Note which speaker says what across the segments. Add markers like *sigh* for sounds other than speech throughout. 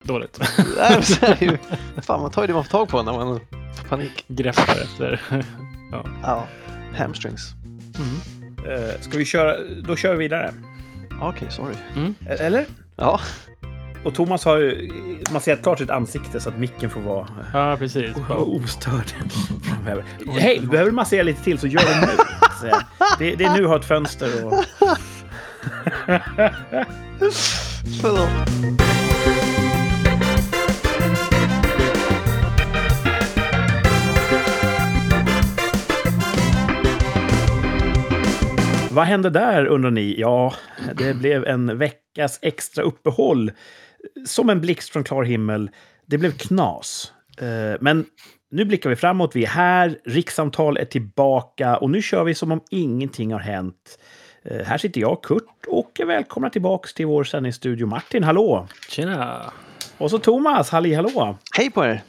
Speaker 1: *laughs* dåligt.
Speaker 2: Nej, så är det ju, fan, man tar ju det man får tag på när man får panik.
Speaker 1: Greppar efter.
Speaker 2: Ja. Hamstrings.
Speaker 3: Eh, Ska vi köra? Då kör vi vidare.
Speaker 2: Okej, sorry.
Speaker 3: E- Eller?
Speaker 2: Ja,
Speaker 3: Och Thomas har ju... Man ser helt klart sitt ansikte så att micken får vara
Speaker 1: *laughs* Ja, precis.
Speaker 3: eh, *laughs* ostörd framöver. Hej, du behöver massera lite till så gör det nu. Så, eh, Det, det är nu har ett fönster och...
Speaker 2: förlåt.
Speaker 3: Vad hände där undrar ni? Ja,
Speaker 2: *clears throat*
Speaker 3: det blev en veckas extra uppehåll. Som en blixt från klar himmel. Det blev knas. Eh, Men nu blickar vi framåt. Vi är här. Rikssamtal är tillbaka och nu kör vi som om ingenting har hänt. Eh, Här sitter jag, Kurt, och är välkomna tillbaka till vår sändningsstudio. Martin, hallå!
Speaker 1: Tjena!
Speaker 3: Och så Thomas, halli hallå! *clears throat*
Speaker 2: Hej på er!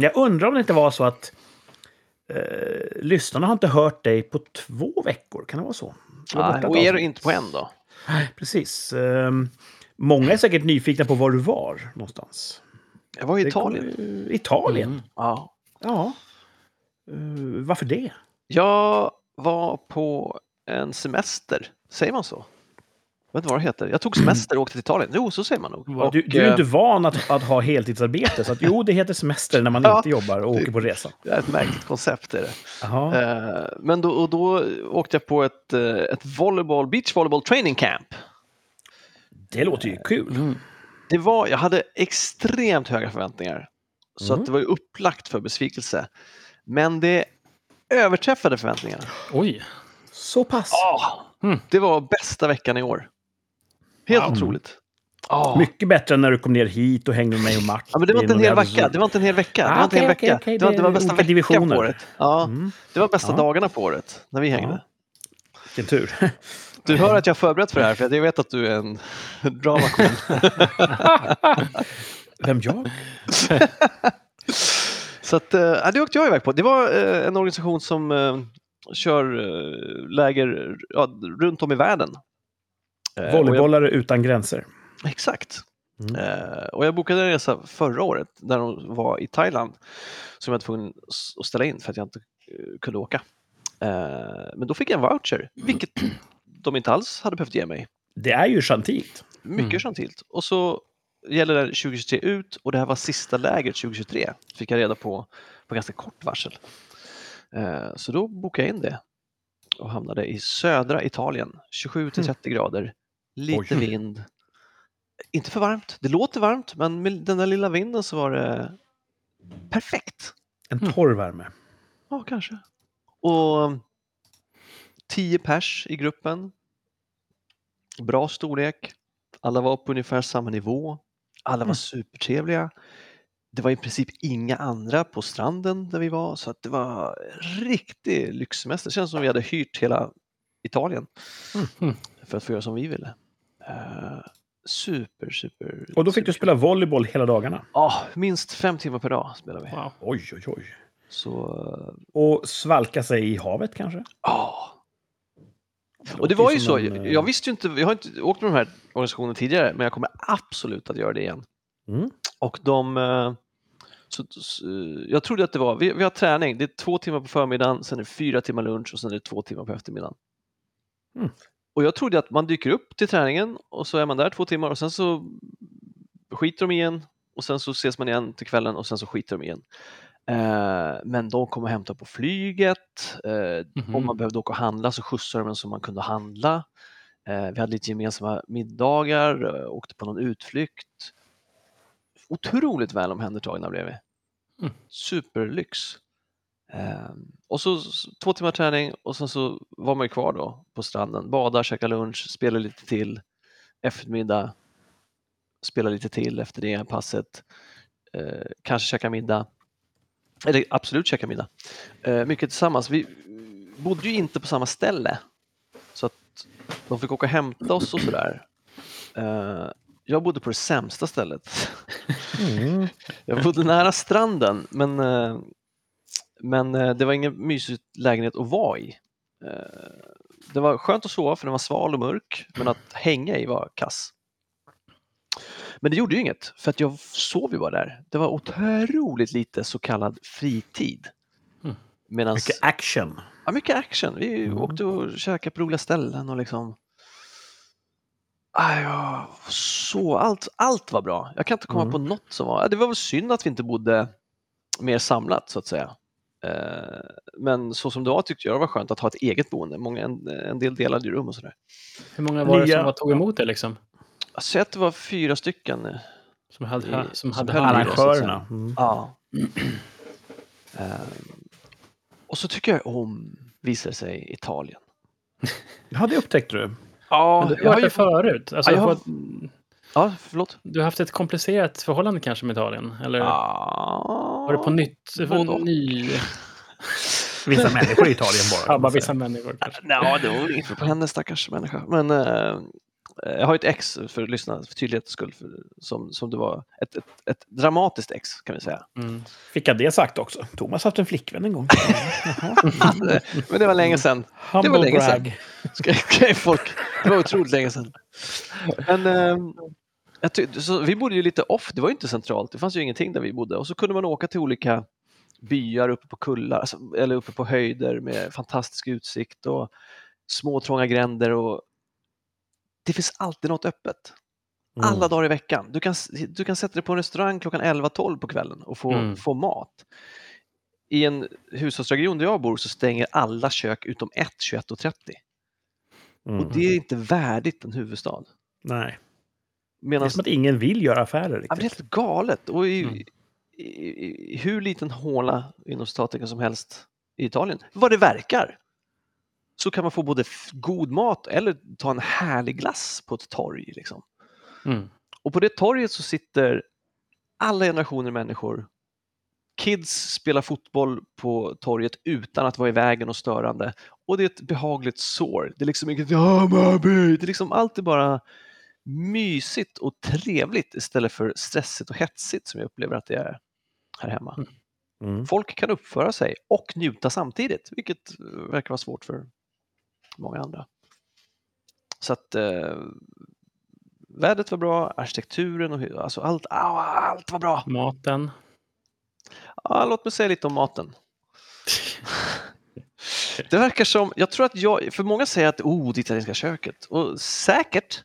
Speaker 3: Jag undrar om det inte var så att eh, lyssnarna har inte hört dig på två veckor. Kan det vara så? Du var
Speaker 2: Nej, Ah,
Speaker 3: borta ett
Speaker 2: och er
Speaker 3: avsnitt.
Speaker 2: inte på en då?
Speaker 3: Precis. Ehm, Många är säkert nyfikna på var du var någonstans.
Speaker 2: Jag var i
Speaker 3: Det kom-
Speaker 2: Italien. Mm.
Speaker 3: eh, Italien?
Speaker 1: Mm.
Speaker 2: Ja.
Speaker 3: Ja. Eh, varför det?
Speaker 2: Jag var på en semester. Säger man så? Jag vet inte vad det heter. Jag tog semester och åkte till Italien. Jo, så säger man nog.
Speaker 1: Wow.
Speaker 2: Och,
Speaker 3: Du, du är
Speaker 2: eh,
Speaker 3: ju inte van att, att ha heltidsarbete, så att, jo, det heter semester när
Speaker 2: *laughs*
Speaker 3: man
Speaker 2: Ja.
Speaker 3: inte jobbar och åker på resa.
Speaker 2: Det är ett märkligt koncept. Är det.
Speaker 3: Jaha.
Speaker 2: Eh, Men då, och då åkte jag på ett, eh, ett volleyboll, beachvolleyboll training camp.
Speaker 3: Det låter ju kul.
Speaker 2: mm.
Speaker 1: Mm.
Speaker 2: Det var, jag hade extremt höga förväntningar. Så
Speaker 3: Mm.
Speaker 2: att det var ju upplagt för besvikelse. Men det överträffade förväntningarna.
Speaker 1: Oj!
Speaker 3: Så pass.
Speaker 2: Ah,
Speaker 1: Mm.
Speaker 2: Det var bästa veckan i år. Helt
Speaker 3: Hmm. Wow.
Speaker 2: otroligt. Ah.
Speaker 3: Mycket bättre än när du kom ner hit och hängde med mig och Martin.
Speaker 2: Ja, men det var inte en hel vecka. Det var inte en hel vecka. Det
Speaker 3: Ah,
Speaker 2: var inte en hel
Speaker 3: okej,
Speaker 2: vecka.
Speaker 3: okej, okej.
Speaker 2: Det var, det
Speaker 3: Det
Speaker 2: var
Speaker 3: är
Speaker 2: bästa
Speaker 3: olika
Speaker 2: veckan
Speaker 3: divisioner.
Speaker 2: på året. Ja,
Speaker 3: Mm,
Speaker 2: det var bästa
Speaker 3: Ja.
Speaker 2: dagarna på året när vi hängde.
Speaker 3: vilken tur. *laughs*
Speaker 2: Du hör att jag har förberett för det här för jag vet att du är en *laughs* drama
Speaker 3: Vem
Speaker 2: Eh,
Speaker 3: jag?
Speaker 2: Så att, eh, ja, det åkte jag iväg på. Det var eh, en organisation som eh, kör eh, läger ja, runt om i världen. Eh, och
Speaker 3: Volleybollare utan gränser.
Speaker 2: Jag, exakt.
Speaker 3: Mm.
Speaker 2: Eh, och jag bokade en resa förra året när de var i Thailand som jag var tvungen s- att ställa in för att jag inte eh, kunde åka. Eh, men då fick jag en voucher, vilket de inte alls hade behövt ge mig.
Speaker 3: Det är ju gentilt.
Speaker 2: Mycket
Speaker 1: Mm.
Speaker 2: gentilt. Och så gäller det 2023 ut och det här var sista lägret 2023. Fick jag reda på på ganska kort varsel. Eh, Så då bokade jag in det och hamnade i södra Italien. 27 till 30 grader, lite
Speaker 3: Oj.
Speaker 2: vind. Inte för varmt. Det låter varmt, men med den där lilla vinden så var det perfekt.
Speaker 3: En
Speaker 1: Mm.
Speaker 3: torr värme.
Speaker 2: Ja, kanske. Och 10 pers i gruppen. Bra storlek. Alla var på ungefär samma nivå. Alla var
Speaker 3: Mm.
Speaker 2: supertrevliga. Det var i princip inga andra på stranden där vi var, så att det var riktig lyxsemester. Det känns som vi hade hyrt hela Italien
Speaker 1: Mm.
Speaker 2: för att få göra som vi ville. Eh, super, super.
Speaker 3: Och då fick du
Speaker 2: super-
Speaker 3: spela volleyboll hela dagarna.
Speaker 2: Ja, minst fem timmar per dag spelade vi.
Speaker 1: Wow.
Speaker 3: Oj, oj, oj.
Speaker 2: Så eh,
Speaker 3: Och svalka sig i havet kanske?
Speaker 2: Ja. Och det
Speaker 3: låter
Speaker 2: var ju så.
Speaker 3: som en, eh,
Speaker 2: jag visste ju inte. Jag har inte åkt med de här organisationerna tidigare, men jag kommer absolut att göra det igen.
Speaker 3: Mm.
Speaker 2: Och de... eh, Så, så, eh, jag trodde att det var... Vi, vi har träning. Det är två timmar på förmiddagen, sen är det fyra timmar lunch och sen är det två timmar på eftermiddagen.
Speaker 3: Mm.
Speaker 2: Och jag trodde att man dyker upp till träningen och så är man där två timmar och sen så skiter de igen och sen så ses man igen till kvällen och sen så skiter de igen. Eh, men de kommer hämta på flyget. Eh,
Speaker 1: Mhm.
Speaker 2: om man behövde åka och handla så skjutsade de en som man kunde handla. Eh, vi hade lite gemensamma middagar, eh, åkte på någon utflykt. Otroligt väl omhändertagna blev vi.
Speaker 1: Mm.
Speaker 2: Superlyx. Eh, och så s- två timmar träning och sen så var man ju kvar då på stranden. Badar, käkar lunch, spelar lite till. Eftermiddag, spelar lite till efter det passet. Eh, kanske käka middag. Eller absolut käka middag. Eh, mycket tillsammans. Vi bodde ju inte på samma ställe. Så att de fick åka och hämta oss och sådär. Eh, jag bodde på det sämsta stället. *laughs*
Speaker 3: Mm.
Speaker 2: Jag bodde nära stranden men, eh, men eh, det var ingen mysig lägenhet att vara i. Eh, Det var skönt att sova för den var sval och mörk men att hänga i var kass. Men det gjorde ju inget, för att jag sov ju bara där. Det var otroligt lite så kallad fritid.
Speaker 1: Mm.
Speaker 2: Medan
Speaker 3: Mycket action.
Speaker 2: ja, mycket action. Vi
Speaker 3: Mm.
Speaker 2: åkte och käkade på roliga ställen och liksom... Aj, ja, så allt, allt var bra. Jag kan inte komma
Speaker 3: Mm.
Speaker 2: på något som var... Det var väl synd att vi inte bodde mer samlat så att säga. Eh, Men så som det var tyckte jag det var skönt att ha ett eget boende. Många, en, en del delade ju rum och sådär.
Speaker 1: Hur många var det
Speaker 3: Nya-
Speaker 1: som var, tog emot det liksom?
Speaker 2: Alltså, Jag ser att det var fyra stycken. eh,
Speaker 1: Som hade,
Speaker 2: I-
Speaker 1: som
Speaker 2: som
Speaker 1: hade
Speaker 2: höll
Speaker 1: hand i det, så att säga.
Speaker 3: Arrangörerna. Mm.
Speaker 2: *clears throat* Ja. Ehm, och så tycker jag om, visar sig, Italien.
Speaker 3: Ja, det upptäckte du.
Speaker 2: Ja,
Speaker 1: Men du har
Speaker 2: jag har
Speaker 1: varit där
Speaker 2: ju,
Speaker 1: förut. Alltså,
Speaker 2: Ja, jag
Speaker 1: du, har...
Speaker 2: har- ja förlåt.
Speaker 1: du har haft ett komplicerat förhållande kanske med Italien? Eller
Speaker 2: Ah. Ja.
Speaker 1: var det på nytt? Det var en
Speaker 2: både och.
Speaker 1: ny...
Speaker 3: Vissa människor i Italien bara.
Speaker 1: Ja,
Speaker 3: kan
Speaker 1: bara
Speaker 3: man säga.
Speaker 1: vissa människor kanske.
Speaker 2: Nej, det var väl inget fel på henne stackars människa. Men eh, jag har ett ex, för att lyssna, för tydlighetens skull, för, som, som det var ett, ett, ett dramatiskt ex kan
Speaker 1: *laughs*
Speaker 2: vi säga.
Speaker 1: Mm.
Speaker 3: Fick jag det sagt också? Thomas har haft en
Speaker 2: *laughs*
Speaker 3: flickvän en gång. Jaha.
Speaker 2: Men det var länge sedan.
Speaker 3: Humble
Speaker 2: länge
Speaker 3: brag.
Speaker 2: Ska, ska folk, det var otroligt länge sedan. Men, ehm, jag ty- så vi bodde ju lite off, det var ju inte centralt, det fanns ju ingenting där vi bodde. Och så kunde man åka till olika byar uppe på kullar, alltså, eller uppe på höjder med fantastisk utsikt och små trånga gränder. Och det finns alltid något öppet, alla
Speaker 3: Mm.
Speaker 2: dagar i veckan. Du kan, s- du kan sätta dig på en restaurang klockan 11-12 på kvällen och få,
Speaker 1: Mm.
Speaker 2: få mat. I en hushållsregion där jag bor så stänger alla kök utom ett 21.30.
Speaker 3: Mm.
Speaker 2: Och det är inte värdigt en huvudstad.
Speaker 3: Nej. Det är
Speaker 2: Medan
Speaker 3: som att ingen vill göra
Speaker 2: Ja,
Speaker 3: affärer
Speaker 2: men det är
Speaker 3: riktigt.
Speaker 2: helt galet. Och i,
Speaker 1: Mm.
Speaker 2: i, i, i hur liten håla inom statiken som helst i Italien, vad det verkar, så kan man få både f- god mat eller ta en härlig glass på ett torg. Liksom.
Speaker 1: Mm.
Speaker 2: Och på det torget så sitter alla generationer människor. Kids spelar fotboll på torget utan att vara i vägen och störande. Och det är ett behagligt sår. Det är liksom inget "Ja, Mabby!" Det är liksom alltid bara mysigt och trevligt istället för stressigt och hetsigt som jag upplever att det är här hemma.
Speaker 3: Mm.
Speaker 2: Folk kan uppföra sig och njuta samtidigt, vilket eh, verkar vara svårt för många andra. Så att eh, vädret var bra, arkitekturen och hur- alltså allt, au, allt var bra.
Speaker 1: Maten.
Speaker 2: Ja, låt mig säga lite om maten. Det verkar som, jag tror att jag, för många säger att oh, det italienska köket, och säkert,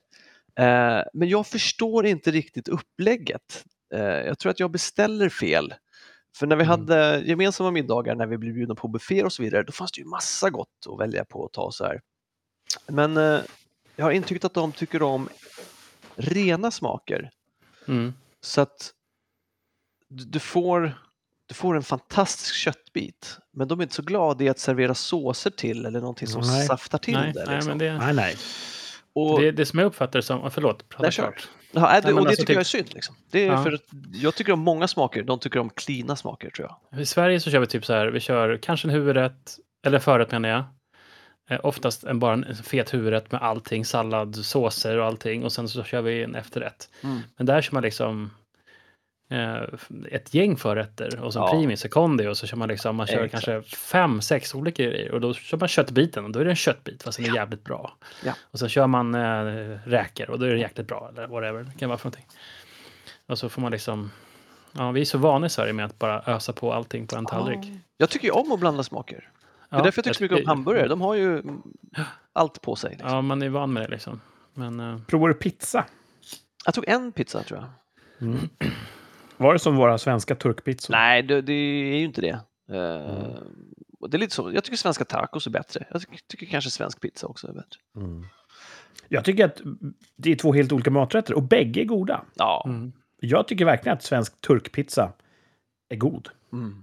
Speaker 2: eh, men jag förstår inte riktigt upplägget. Eh, jag tror att jag beställer fel. För när vi
Speaker 1: Mm.
Speaker 2: hade gemensamma middagar, när vi blev bjudna på bufféer och så vidare, då fanns det ju massa gott att välja på och ta så här. Men eh, jag har intrycket att de tycker om rena smaker.
Speaker 1: Mm.
Speaker 2: Så att du, du, får, du får en fantastisk köttbit, men de är inte så glada i att servera såser till eller någonting som
Speaker 3: Nej.
Speaker 2: saftar till
Speaker 1: Nej,
Speaker 2: det. Liksom.
Speaker 1: nej, men det,
Speaker 3: Nej, nej.
Speaker 2: och,
Speaker 1: det, det som jag uppfattar det som... Förlåt, prata
Speaker 2: Nej, kör.
Speaker 1: klart.
Speaker 2: ja, nej, det,
Speaker 1: men
Speaker 2: och det
Speaker 1: alltså
Speaker 2: tycker jag är
Speaker 1: typ-
Speaker 2: synd. Liksom. Det är
Speaker 1: Ja.
Speaker 2: för att jag tycker om många smaker, de tycker om klina smaker tror jag.
Speaker 1: I Sverige så kör vi typ så här, vi kör kanske en huvudrätt, eller en förrätt menar jag. Eh, Oftast en, bara en fet huvudrätt med allting, sallad, såser och allting. Och sen så kör vi en efterrätt.
Speaker 2: Mm.
Speaker 1: Men där kör man liksom eh, ett gäng förrätter och sen
Speaker 2: Ja.
Speaker 1: primis och kondi och så kör man liksom, man kör
Speaker 2: Exakt.
Speaker 1: kanske fem, sex olika grejer. Och då kör man köttbiten och då är det en köttbit fast den är jävligt bra.
Speaker 2: Ja.
Speaker 1: Och sen kör man eh, räkor och då är det jäkligt bra eller whatever det kan vara för någonting. Och så får man liksom Ja, vi är så vana i Sverige med att bara ösa på allting på en tallrik.
Speaker 2: Jag tycker ju om att blanda smaker.
Speaker 1: Ja,
Speaker 2: det är därför jag tycker så mycket om
Speaker 1: tycker-
Speaker 2: hamburgare, de har ju allt på sig. Liksom.
Speaker 1: Ja, man är van med det liksom. Men eh,
Speaker 3: Provar du pizza?
Speaker 2: Jag tog en pizza tror
Speaker 1: Mm.
Speaker 2: jag.
Speaker 3: Var det som våra svenska turkpizzor?
Speaker 2: Nej, det, det är ju inte det.
Speaker 1: Mm.
Speaker 2: Eh, och det är lite så. Jag tycker svenska tacos är bättre. Jag tycker, tycker kanske svensk pizza också är bättre.
Speaker 3: Mm. Jag tycker att det är två helt olika maträtter och bägge är goda.
Speaker 2: Ja.
Speaker 1: mm.
Speaker 3: Jag tycker verkligen att svensk turkpizza är god.
Speaker 2: Mm.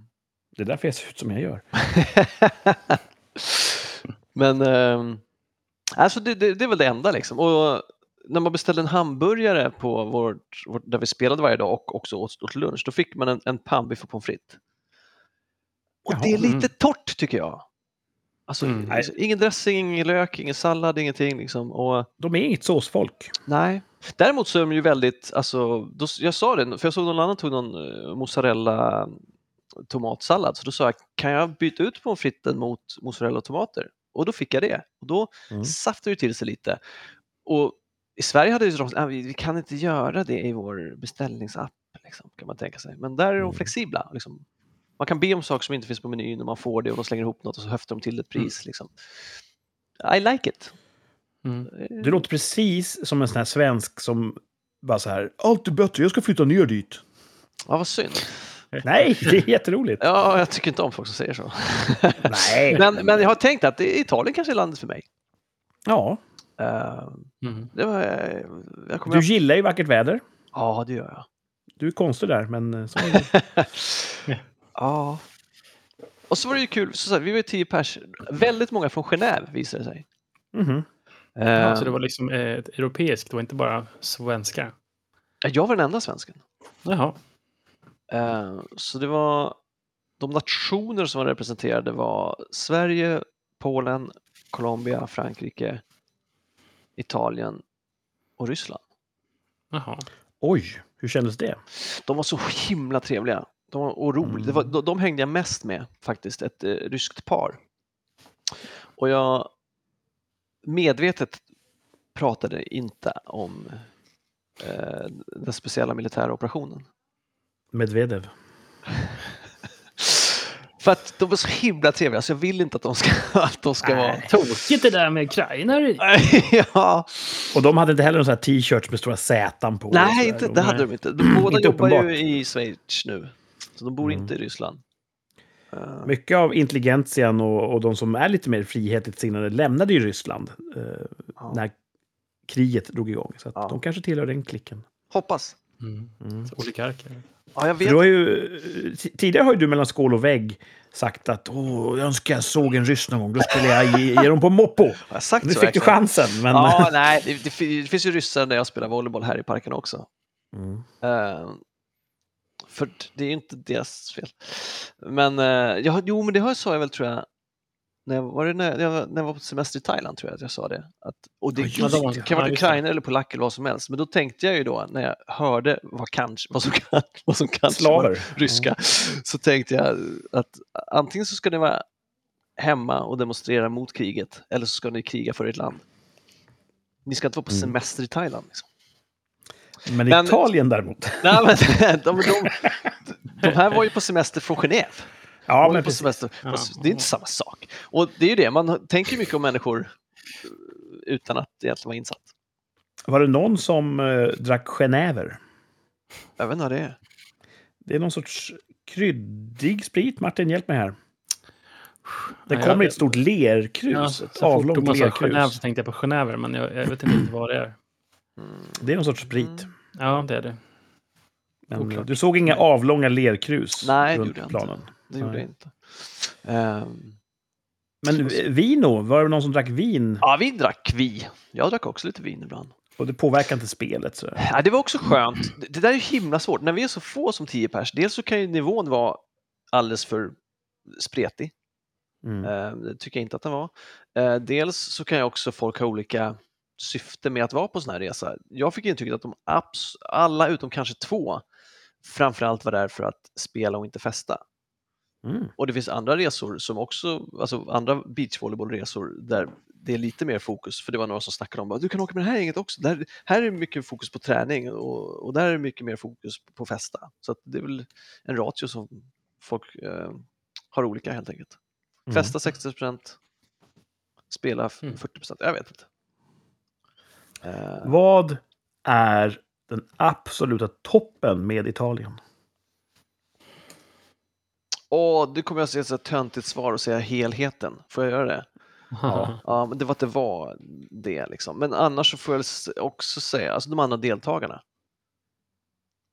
Speaker 3: Det är därför jag ser ut som jag gör.
Speaker 2: Men ehm, alltså det, det, det är väl det enda liksom. Och när man beställde en hamburgare på vårt, vårt, där vi spelade varje dag och också åt, åt lunch, då fick man en, en pannbiff och pommes frites. Och
Speaker 3: Jaha.
Speaker 2: det är lite
Speaker 1: Mm.
Speaker 2: torrt tycker jag. Alltså,
Speaker 1: Mm.
Speaker 2: alltså, ingen dressing, ingen lök, ingen sallad, ingenting liksom. Och,
Speaker 3: De är inget såsfolk.
Speaker 2: Nej. Däremot så är de ju väldigt, alltså, då, jag sa det, för jag såg någon annan tog någon eh, mozzarella eh, tomatsallad, så då sa jag kan jag byta ut pommes fritesen mot mozzarella och tomater? Och då fick jag det. Och då
Speaker 3: Mm.
Speaker 2: saftade det till sig lite. Och I Sverige hade ju de ah, vi, vi kan inte göra det i vår beställningsapp, liksom, kan man tänka sig. Men där är de
Speaker 3: Mm.
Speaker 2: flexibla. Liksom. Man kan be om saker som inte finns på menyn och man får det och de slänger ihop något och så höftar de till ett
Speaker 3: Mm.
Speaker 2: pris. Liksom. I like it.
Speaker 1: Mm.
Speaker 3: Du låter precis som en sån här svensk som bara så här, allt är bättre, jag ska flytta ner dit.
Speaker 2: Ja, vad synd.
Speaker 3: Nej, det är jätteroligt.
Speaker 2: Ja, jag tycker inte om folk som säger så. *laughs*
Speaker 3: Nej.
Speaker 2: Men, men jag har tänkt att det- Italien kanske är landet för mig.
Speaker 3: Ja,
Speaker 2: Eh,
Speaker 1: Mm.
Speaker 2: det var, eh, jag kommer
Speaker 3: du gillar ju vackert väder.
Speaker 2: Ja, det gör jag.
Speaker 3: Du är konstig där, men eh, så är
Speaker 2: *laughs*
Speaker 3: det.
Speaker 2: Ja. Och så var det ju kul, så så här, vi var ju tio pers. Väldigt många från Genève visade det sig.
Speaker 3: Mhm.
Speaker 1: Ja,
Speaker 2: Eh,
Speaker 1: så det var liksom eh, ett europeiskt, det var inte bara svenskar.
Speaker 2: Jag var den enda svensken.
Speaker 1: Jaha.
Speaker 2: Eh, Så det var de nationer som var representerade var Sverige, Polen, Colombia, Frankrike, Italien och Ryssland.
Speaker 1: Jaha.
Speaker 3: Oj, hur kändes det?
Speaker 2: De var så himla trevliga de var, och roliga. Det var,
Speaker 3: Mm.
Speaker 2: de, de hängde jag mest med faktiskt, ett eh, ryskt par. Och jag medvetet pratade inte om eh, den speciella militära operationen.
Speaker 3: Medvedev.
Speaker 2: För att de var så himla trevliga så jag vill inte att de ska, *laughs* att de ska vara...
Speaker 1: Tokigt det där med Ukraina.
Speaker 2: *laughs* ja,
Speaker 3: Och de hade inte heller någon sån här t-shirts med stora Z på.
Speaker 2: nej,
Speaker 3: Och
Speaker 2: inte,
Speaker 3: så här.
Speaker 2: det hade de inte. De båda
Speaker 3: Inte
Speaker 2: jobbar
Speaker 3: uppenbart.
Speaker 2: ju i Schweiz nu. Så de bor
Speaker 3: Mm.
Speaker 2: inte i Ryssland. Eh,
Speaker 3: Mycket av intelligentian och, och de som är lite mer frihetligt sinnade lämnade ju Ryssland eh,
Speaker 2: ja.
Speaker 3: när kriget drog igång. Så att
Speaker 2: Ja.
Speaker 3: de kanske tillhör den klicken.
Speaker 2: Hoppas.
Speaker 1: Mm.
Speaker 3: Mm.
Speaker 1: Så Oligarker.
Speaker 2: Ja, jag
Speaker 3: För
Speaker 2: vet.
Speaker 3: du har ju, t- tidigare har ju du mellan skål och vägg sagt att Åh, jag önskar jag såg en ryss någon gång, då skulle jag ge, ge dem på moppo.
Speaker 2: Har jag sagt *laughs*
Speaker 3: Nu
Speaker 2: så
Speaker 3: fick du
Speaker 2: verkligen?
Speaker 3: chansen, men...
Speaker 2: Ja, nej, det, det, fi- det finns ju ryssar när jag spelar volleyboll här i parken också.
Speaker 3: Mm.
Speaker 2: Eh, för det är ju inte deras fel. Men eh, jag, har- jo, men det har jag sa jag väl tror jag. När jag, var det när, jag, var- när jag var på semester i Thailand tror jag att jag sa det. Att, och det
Speaker 3: Ja,
Speaker 2: kan
Speaker 3: just
Speaker 2: vara-
Speaker 1: det.
Speaker 2: kan vara
Speaker 1: Ja, just det.
Speaker 2: ukrainare eller polacker eller vad som helst. Men då tänkte jag ju då när jag hörde vad, kanske, vad som, kan- *laughs* vad som kanske var
Speaker 3: Slaver.
Speaker 2: ryska
Speaker 3: Mm.
Speaker 2: så tänkte jag att antingen så ska ni vara hemma och demonstrera mot kriget eller så ska ni kriga för ert land. Ni ska inte vara på
Speaker 3: Mm.
Speaker 2: semester i Thailand. Liksom.
Speaker 3: Men,
Speaker 2: Men-
Speaker 3: Italien däremot. *laughs*
Speaker 2: Nej, men *laughs* de, de, de här var ju på semester från Genève.
Speaker 3: Ja,
Speaker 2: De var
Speaker 3: men
Speaker 2: på
Speaker 3: precis.
Speaker 2: semester.
Speaker 1: Ja.
Speaker 2: Det är inte samma sak. Och det är ju det, man tänker mycket om människor eh, utan att egentligen vara insatt.
Speaker 3: Var det någon som eh, drack genever?
Speaker 2: Jag vet inte vad det är.
Speaker 3: Det är någon sorts kryddig sprit. Martin, hjälp mig här.
Speaker 1: Ja,
Speaker 3: Det
Speaker 1: jag
Speaker 3: kommer i
Speaker 1: vet.
Speaker 3: ett stort lerkrus.
Speaker 1: Ja, så
Speaker 3: ett
Speaker 1: fort
Speaker 3: avlångt
Speaker 1: Thomas sa
Speaker 3: lerkrus.
Speaker 1: Genève så tänkte jag på Genève, men jag, jag vet inte vad det är.
Speaker 3: Det är någon sorts sprit.
Speaker 2: Mm.
Speaker 1: Ja, det är det.
Speaker 3: Men
Speaker 1: Oklart.
Speaker 3: du såg inga avlånga lerkrus
Speaker 2: Nej, det
Speaker 3: runt
Speaker 2: gjorde jag inte.
Speaker 3: planen?
Speaker 2: Det gjorde
Speaker 3: Nej.
Speaker 2: jag inte. Ehm,
Speaker 3: Men eh, vino, var det någon som drack vin?
Speaker 2: ja, vi drack vi. Jag drack också lite vin ibland.
Speaker 3: Och det påverkar inte spelet. Så.
Speaker 2: Ja, det var också skönt. Det- Det där är himla svårt. När vi är så få som 10 pers, dels så kan ju nivån vara alldeles för spretig.
Speaker 3: Mm.
Speaker 2: Eh, Det tycker jag inte att den var. Eh, Dels så kan jag också folk ha olika syfte med att vara på sån här resa. Jag fick intrycket att de abs- alla utom kanske två framförallt var där för att spela och inte festa.
Speaker 3: Mm.
Speaker 2: Och det finns andra resor som också, alltså andra beachvolleybollresor där det är lite mer fokus, för det var några som snackade om bara, du kan åka med det här gänget också. Där, här är mycket fokus på träning och, och där är mycket mer fokus på festa. Så att det är väl en ratio som folk eh, har olika helt enkelt.
Speaker 3: Mm.
Speaker 2: Festa 60 spela f-
Speaker 1: Mm.
Speaker 2: 40 jag vet inte. Eh,
Speaker 3: Vad är den absoluta toppen med Italien?
Speaker 2: Åh, nu kommer jag att säga så här töntigt svar och säga helheten. Får jag göra det?
Speaker 1: Ja.
Speaker 2: Ja, men det var att det var det liksom. Men annars så får jag s- också säga, alltså de andra deltagarna.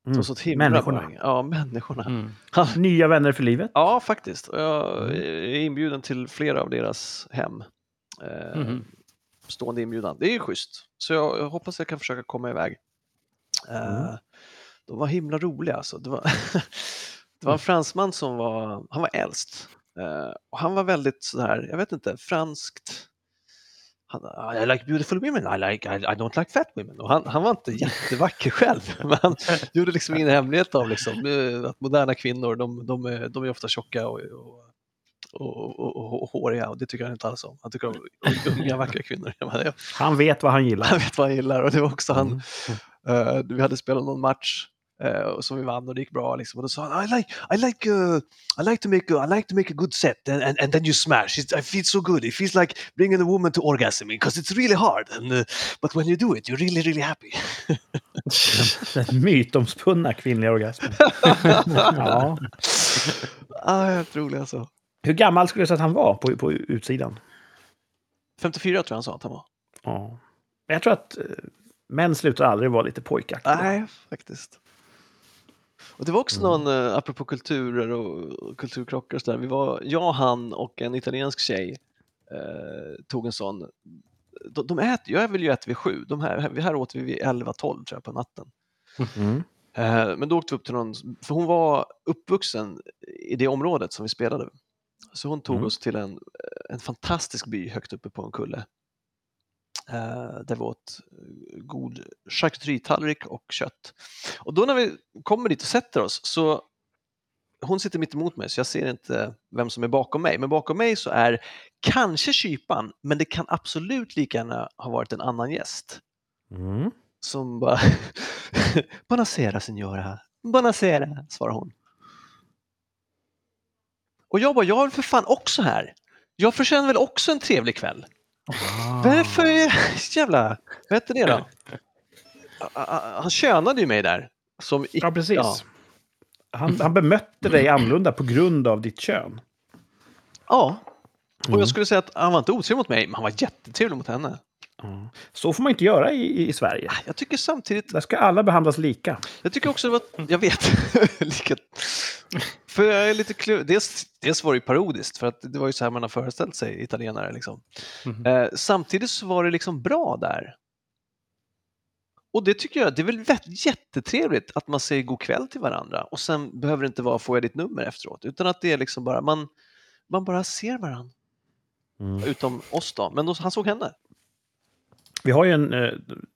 Speaker 3: Mm.
Speaker 2: De som så himla
Speaker 3: Människorna.
Speaker 2: många- Ja, människorna.
Speaker 1: Mm.
Speaker 3: Nya vänner för livet?
Speaker 2: Ja, faktiskt. Och
Speaker 3: Mm.
Speaker 2: Jag är inbjuden till flera av deras hem. Eh,
Speaker 3: Mm-hmm.
Speaker 1: Mhm.
Speaker 2: Stående inbjudan. Det är ju schysst. Så jag, jag hoppas jag kan försöka komma iväg. Eh,
Speaker 3: Mm.
Speaker 2: De var himla roliga alltså. Det var, *laughs* det var en fransman som var, han var äldst. Eh, och han var väldigt sådär, jag vet inte, franskt. Han, "Ah, I like beautiful women, I, like, I, I don't like fat women. Och han, han var inte jättevacker själv, men han gjorde liksom ingen hemlighet av liksom, eh, att moderna kvinnor, de, de, är- de är ofta tjocka och, och och, och, och, och håriga och det tycker han inte alls om. Han tycker om unga vackra kvinnor. *laughs* Jag bara, jag,
Speaker 3: Han vet vad han gillar.
Speaker 2: han vet vad han gillar och det var också han. eh, vi hade spelat någon match eh, och som vi vann och det gick bra liksom. och då sa han I like, I like, uh, I like to make, a, I like to make a good set and, and, and then you smash. It, I feel so good. It feels like bringing a woman to orgasm because it's really hard. And, uh, but when you do it, you're really, really happy.
Speaker 3: Den mytomspunna
Speaker 2: *laughs*
Speaker 3: kvinnliga orgasmen. ja.
Speaker 2: ah, helt rolig alltså.
Speaker 3: Hur gammal skulle du säga att han var på, på utsidan?
Speaker 2: 54 tror jag han sa att han var.
Speaker 3: Ja. Men jag tror att eh, män slutar aldrig vara lite pojkaktiga.
Speaker 2: Nej, faktiskt. Och det var också någon, eh, apropå kulturer och och kulturkrockar och sådär, vi var, jag, han och en italiensk tjej eh, tog en sån. De, de äter, jag vill ju äta vid sju, de här, här åt vi vid 11-12 tror jag på natten.
Speaker 3: Mm.
Speaker 2: Eh, Men då åkte vi upp till någon, för hon var uppvuxen i det området som vi spelade. Så hon tog
Speaker 3: Mm.
Speaker 2: oss till en, eh, en fantastisk by högt uppe på en kulle. Eh, Där vi åt eh, god charkuteritallrik och kött. Och då när vi kommer dit och sätter oss så hon sitter mitt emot mig så jag ser inte vem som är bakom mig. Men bakom mig så är kanske kypan, men det kan absolut lika gärna ha varit en annan gäst
Speaker 3: Mm.
Speaker 2: som bara *laughs* Bonacera signora, Bonacera, svarar hon. Och jag bara, jag är väl för fan också här. Jag förtjänar väl också en trevlig kväll.
Speaker 3: Ah.
Speaker 2: Varför är jävla, vad heter det
Speaker 3: *laughs*
Speaker 2: då? Ah, ah, ah, Han könade ju mig där. Som i,
Speaker 3: Ja, precis.
Speaker 2: Ja.
Speaker 3: Han, han bemötte dig annorlunda på grund av ditt kön.
Speaker 2: ja. Och
Speaker 3: Mm.
Speaker 2: jag skulle säga att han var inte otrevlig mot mig, men han var jättetrevlig mot henne.
Speaker 3: Så får man inte göra i, i Sverige.
Speaker 2: Jag tycker samtidigt
Speaker 3: Där ska alla behandlas lika.
Speaker 2: Jag tycker också det var, jag vet, *laughs* lika, för jag är lite klurig. Dels, dels var det ju parodiskt, för att det var ju så här man har föreställt sig italienare. Liksom.
Speaker 1: Mhm.
Speaker 2: Eh, samtidigt så var det liksom bra där. Och det tycker jag, det är väl vett- jättetrevligt att man säger god kväll till varandra och sen behöver det inte vara får jag ditt nummer efteråt, utan att det är liksom bara, man, man bara ser varandra. Utom oss då, men då, han såg henne.
Speaker 3: Vi har ju en, eh,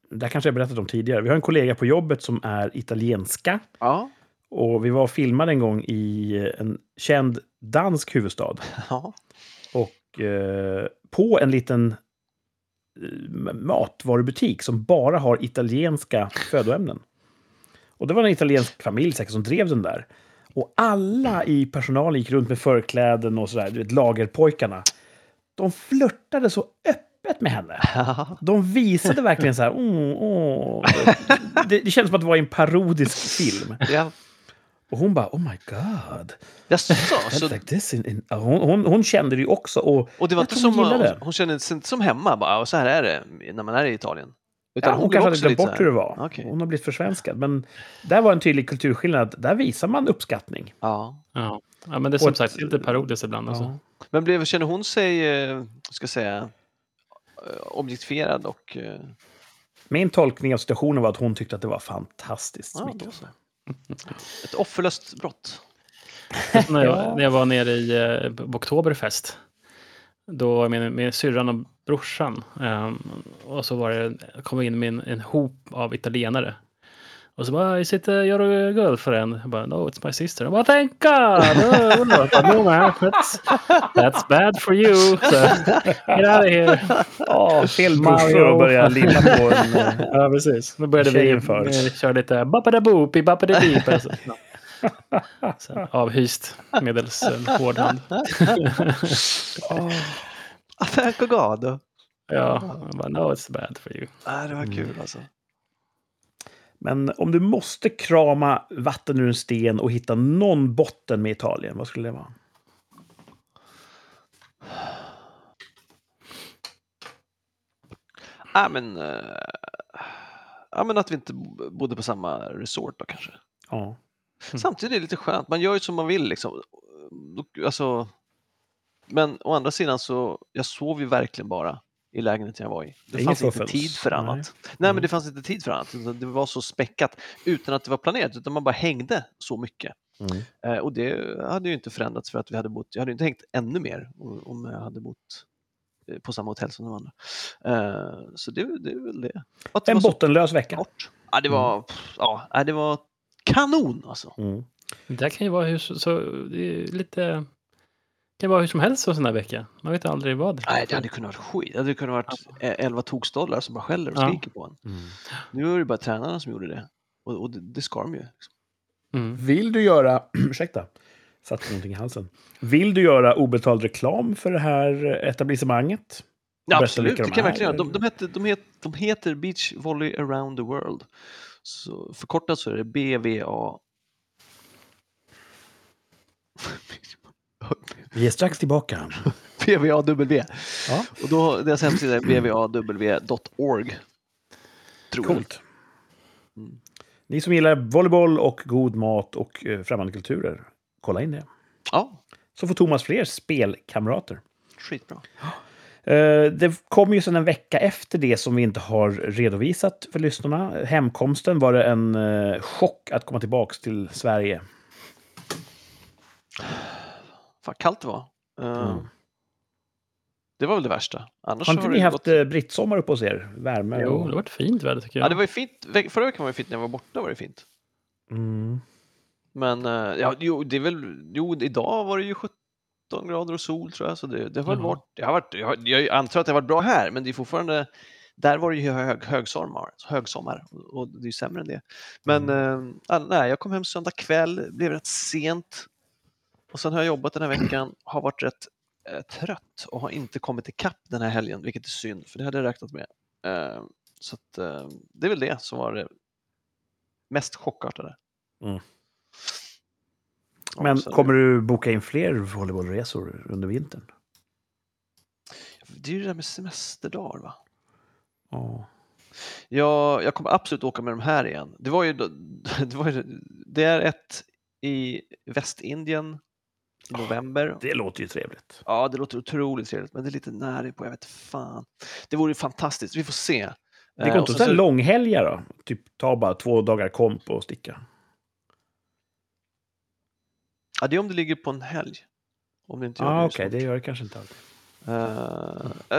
Speaker 3: det här kanske jag berättat om tidigare, vi har en kollega på jobbet som är italienska.
Speaker 2: Ja.
Speaker 3: Och vi var och filmade en gång i en känd dansk huvudstad.
Speaker 2: *laughs* ja.
Speaker 3: Och eh, på en liten eh, matvarubutik som bara har italienska födoämnen. Och det var en italiensk familj säkert som drev den där. Och alla i personalen gick runt med förkläden och sådär, du vet lagerpojkarna. De flörtade så öppet med henne. De visade verkligen så här... "Åh, åh." Det, det kändes som att det var i en parodisk film.
Speaker 2: ja.
Speaker 3: Och hon bara, oh my god.
Speaker 2: Jag sa,
Speaker 3: That's
Speaker 2: så
Speaker 3: like this in, in. Ja, Hon, hon, hon kände det ju också. Och,
Speaker 2: Och det var
Speaker 3: Jag
Speaker 2: inte
Speaker 3: tror
Speaker 2: som,
Speaker 3: hon gillar
Speaker 2: hon,
Speaker 3: det.
Speaker 2: hon kände sig inte som hemma bara, och så här är det när man är i Italien. Utan
Speaker 3: ja, hon
Speaker 2: blev
Speaker 3: kanske hade
Speaker 2: också
Speaker 3: glömt
Speaker 2: lite
Speaker 3: bort hur det
Speaker 2: så
Speaker 3: var.
Speaker 2: här, okej.
Speaker 3: Hon har blivit försvenskad. Men där var en tydlig kulturskillnad. Där visar man uppskattning.
Speaker 2: Ja.
Speaker 1: Ja. ja, men det är som
Speaker 3: Och ett-
Speaker 1: sagt lite parodiskt ibland. Alltså.
Speaker 3: Ja.
Speaker 2: Men blev, kände hon sig, eh, ska jag säga, eh, objektifierad och... eh,
Speaker 3: Min tolkning av situationen var att hon tyckte att det var fantastiskt
Speaker 2: Ja,
Speaker 3: smickrande.
Speaker 2: då så. Ett offerlöst brott.
Speaker 1: Typ När, jag,
Speaker 3: Ja.
Speaker 1: när jag var nere i eh, på Oktoberfest, då var jag med, med syrran och brorsan. ehm, och så var det, kom jag in med en, en hop av italienare. Och så bara, is it uh, your girlfriend? Jag bara, no, it's my sister. De bara, thank God! Oh, oh, no, that's, that's bad for you. Så, get out of here.
Speaker 3: Ja, fel brorsor och börja
Speaker 2: *laughs*
Speaker 3: lilla på en... eh,
Speaker 1: Ja, precis. Då började vi
Speaker 3: Tjejen först.
Speaker 1: eh, köra lite bappadaboop i bappadabeep. Alltså. Ja. Sen Avhyst medels eh, en hård hand.
Speaker 2: Ah, Tack och god.
Speaker 1: Ja, jag bara, no it's bad for you.
Speaker 2: Ah, det var
Speaker 3: Mm.
Speaker 2: kul alltså.
Speaker 3: Men om du måste krama vatten ur en sten och hitta någon botten med Italien, vad skulle det vara?
Speaker 2: Ah, men, eh, ah, men att vi inte bo- bodde på samma resort då kanske.
Speaker 3: Ja.
Speaker 2: Samtidigt är det lite skönt, man gör ju som man vill. Liksom. Då- Alltså, men å andra sidan så, jag sov ju verkligen bara i lägenheten jag var i. Det
Speaker 3: Inget
Speaker 2: fanns inte
Speaker 3: fuffens.
Speaker 2: tid för
Speaker 3: Nej.
Speaker 2: annat. Nej, Mm. men det fanns inte tid för annat. utan Det var så späckat utan att det var planerat, utan man bara hängde så mycket.
Speaker 3: Mm.
Speaker 2: Eh, och det hade ju inte förändrats för att vi hade bott, jag hade ju inte hängt ännu mer o- om jag hade bott eh, på samma hotell som de andra. Eh, så det, det är väl det. Och Att det
Speaker 3: En
Speaker 2: var så
Speaker 3: bottenlös vecka.
Speaker 2: kort. Ja, det var, pff, ja, nej, det var kanon alltså.
Speaker 3: Mm.
Speaker 1: Det där kan ju vara hur, så, så, det är lite kan vara hur som helst en sån här vecka. Man vet aldrig vad.
Speaker 2: Nej, det hade kunnat vara skit. Det hade kunnat vara
Speaker 1: Alltså.
Speaker 2: 11 tokstollar som bara skäller och
Speaker 1: Ja.
Speaker 2: skriker på en. Nu var det bara tränarna som gjorde det. Och, och det, det ska de ju. liksom.
Speaker 1: Mm.
Speaker 3: Vill du göra... *clears throat* ursäkta. Satte någonting i halsen. Vill du göra obetald reklam för det här etablissemanget?
Speaker 2: Ja,
Speaker 3: Berätta
Speaker 2: absolut,
Speaker 3: vilka
Speaker 2: det
Speaker 3: de
Speaker 2: kan jag
Speaker 3: är,
Speaker 2: verkligen göra. de,
Speaker 3: eller?
Speaker 2: de, heter, de, heter, de heter Beach Volley Around the World. Så förkortat så är det *laughs* BVA.
Speaker 3: Vi är strax tillbaka.
Speaker 2: BVAW.
Speaker 3: Ja.
Speaker 2: Och då, deras hemsida är bvaw.org. Tror jag.
Speaker 3: Coolt. Mm. Ni som gillar volleyboll och god mat och eh, främmande kulturer, kolla in det.
Speaker 2: Ja,
Speaker 3: Så får Thomas fler spelkamrater.
Speaker 2: skitbra.
Speaker 3: Eh, Det kom ju sen en vecka efter det som vi inte har redovisat för lyssnarna. Hemkomsten var det en eh, chock att komma tillbaka till Sverige.
Speaker 2: Fan, kallt det var. Eh,
Speaker 3: Mm.
Speaker 2: Det var väl det värsta. Annars
Speaker 3: Har
Speaker 2: så
Speaker 3: inte
Speaker 2: har
Speaker 3: ni
Speaker 2: det
Speaker 3: haft
Speaker 2: gått-
Speaker 3: eh, brittsommar upp hos er? Värme?
Speaker 1: Jo, det
Speaker 3: och...
Speaker 1: har varit fint väder tycker
Speaker 2: Ja,
Speaker 1: jag.
Speaker 2: det var ju fint. Ve- Förra veckan var det fint när jag var borta. var det fint.
Speaker 3: Mm.
Speaker 2: Men eh, ja, jo, det är väl, jo, idag var det ju 17 grader och sol tror jag. Så det, det har väl
Speaker 1: Jaha.
Speaker 2: varit, det har varit, jag, har- jag antar att det har varit bra här, men det är fortfarande, där var det ju hög, högsommar, högsommar och, och det är ju sämre än det. Men eh, all- nej, jag kom hem söndag kväll, blev rätt sent och sen har jag jobbat den här veckan, har varit rätt eh, trött och har inte kommit ikapp den här helgen, vilket är synd, för det hade jag räknat med. Eh, så att, eh, det är väl det som var det mest chockartade.
Speaker 3: Mm.
Speaker 2: Ja,
Speaker 3: Men
Speaker 2: sen-
Speaker 3: kommer du boka in fler volleybollresor under vintern?
Speaker 2: Det är ju det där med semesterdagar va?
Speaker 3: Ja.
Speaker 2: Jag, jag kommer absolut åka med de här igen. Det var ju, *laughs* det, var ju, det är ett i Västindien i
Speaker 3: Ah,
Speaker 2: november.
Speaker 3: Det låter ju trevligt.
Speaker 2: Ja, det låter otroligt trevligt, men det är lite nära på, jag vet fan. Det vore ju fantastiskt, vi får se.
Speaker 3: Det
Speaker 2: Eh,
Speaker 3: går
Speaker 2: och
Speaker 3: inte att
Speaker 2: sen
Speaker 3: ta
Speaker 2: så-
Speaker 3: långhelga då? Typ ta bara två dagar komp och sticka.
Speaker 2: Ja, det är om det ligger på en helg. Om det inte
Speaker 3: Ja,
Speaker 2: gör
Speaker 3: ah,
Speaker 2: det
Speaker 3: okej.
Speaker 2: just nu.
Speaker 3: Det gör det kanske inte alltid.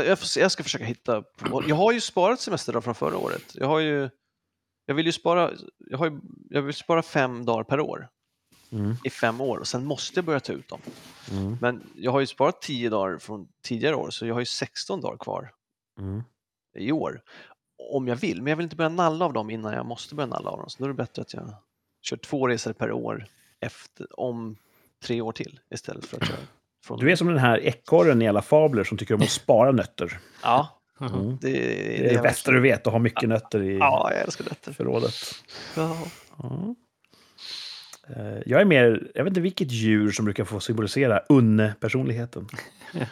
Speaker 2: Eh, jag, får se, jag ska försöka hitta. På, jag har ju sparat semesterdagar från förra året. Jag har ju, jag vill ju spara, jag har ju, jag vill spara fem dagar per år
Speaker 3: Mm.
Speaker 2: i fem år och sen måste jag börja ta ut dem. Men jag har ju sparat 10 dagar från tidigare år så jag har ju 16 dagar kvar
Speaker 3: Mm.
Speaker 2: i år om jag vill. Men jag vill inte börja nalla av dem innan jag måste börja nalla av dem. Så då är det bättre att jag kör två resor per år efter, om tre år till istället för att köra från...
Speaker 3: Du är som den här ekorren i alla fabler som tycker om att spara nötter.
Speaker 2: Ja,
Speaker 1: Jaha.
Speaker 3: Mm.
Speaker 2: det,
Speaker 3: Det är det bästa du vet, att ha mycket nötter i
Speaker 2: Ja, jag älskar detta.
Speaker 3: förrådet.
Speaker 2: Ja.
Speaker 3: Ja. Eh, Jag är mer, jag vet inte vilket djur som brukar få symbolisera unne-personligheten.
Speaker 2: Eh,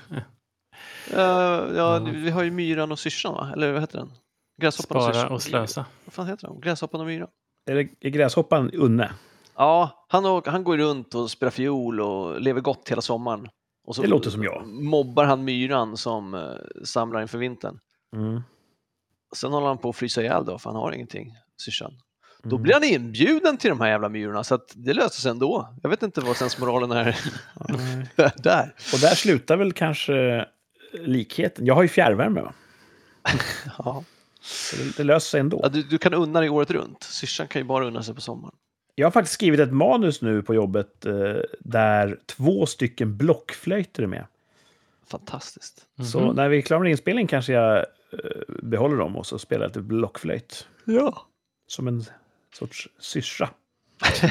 Speaker 2: ja,
Speaker 1: Ja.
Speaker 2: vi har ju myran och syrsan, va? eller vad heter den? Gräshoppan och
Speaker 1: Spara
Speaker 2: syrsan.
Speaker 1: och slösa.
Speaker 2: Vad fan heter de? Gräshoppan och myran.
Speaker 3: Är, det, är gräshoppan unne?
Speaker 2: Ja, han, åker, han går runt och spelar fiol och lever gott hela sommaren. Och så
Speaker 3: Det låter som jag.
Speaker 2: mobbar han myran som eh, samlar inför vintern.
Speaker 3: Mm,
Speaker 2: Sen håller han på att frysa ihjäl då, för han har ingenting, syrsan. Då
Speaker 1: Mm.
Speaker 2: blir han inbjuden till de här jävla myrorna, så att det löser sig ändå. Jag vet inte vad sensmoralen är
Speaker 3: Nej.
Speaker 2: *laughs* där.
Speaker 3: mm. Och där slutar väl kanske likheten. Jag har ju fjärrvärme, va?
Speaker 2: Ja.
Speaker 3: så det, det löser sig
Speaker 2: Ja,
Speaker 3: ändå.
Speaker 2: du, du kan unna dig året runt. Syrsan kan ju bara unna sig på sommaren.
Speaker 3: Jag har faktiskt skrivit ett manus nu på jobbet eh, där två stycken blockflöjter är med.
Speaker 2: Fantastiskt.
Speaker 3: Så när vi är klara med inspelningen kanske jag eh, behåller dem och så spelar jag lite blockflöjt.
Speaker 2: Ja.
Speaker 3: Som en sorts syrsa. *laughs*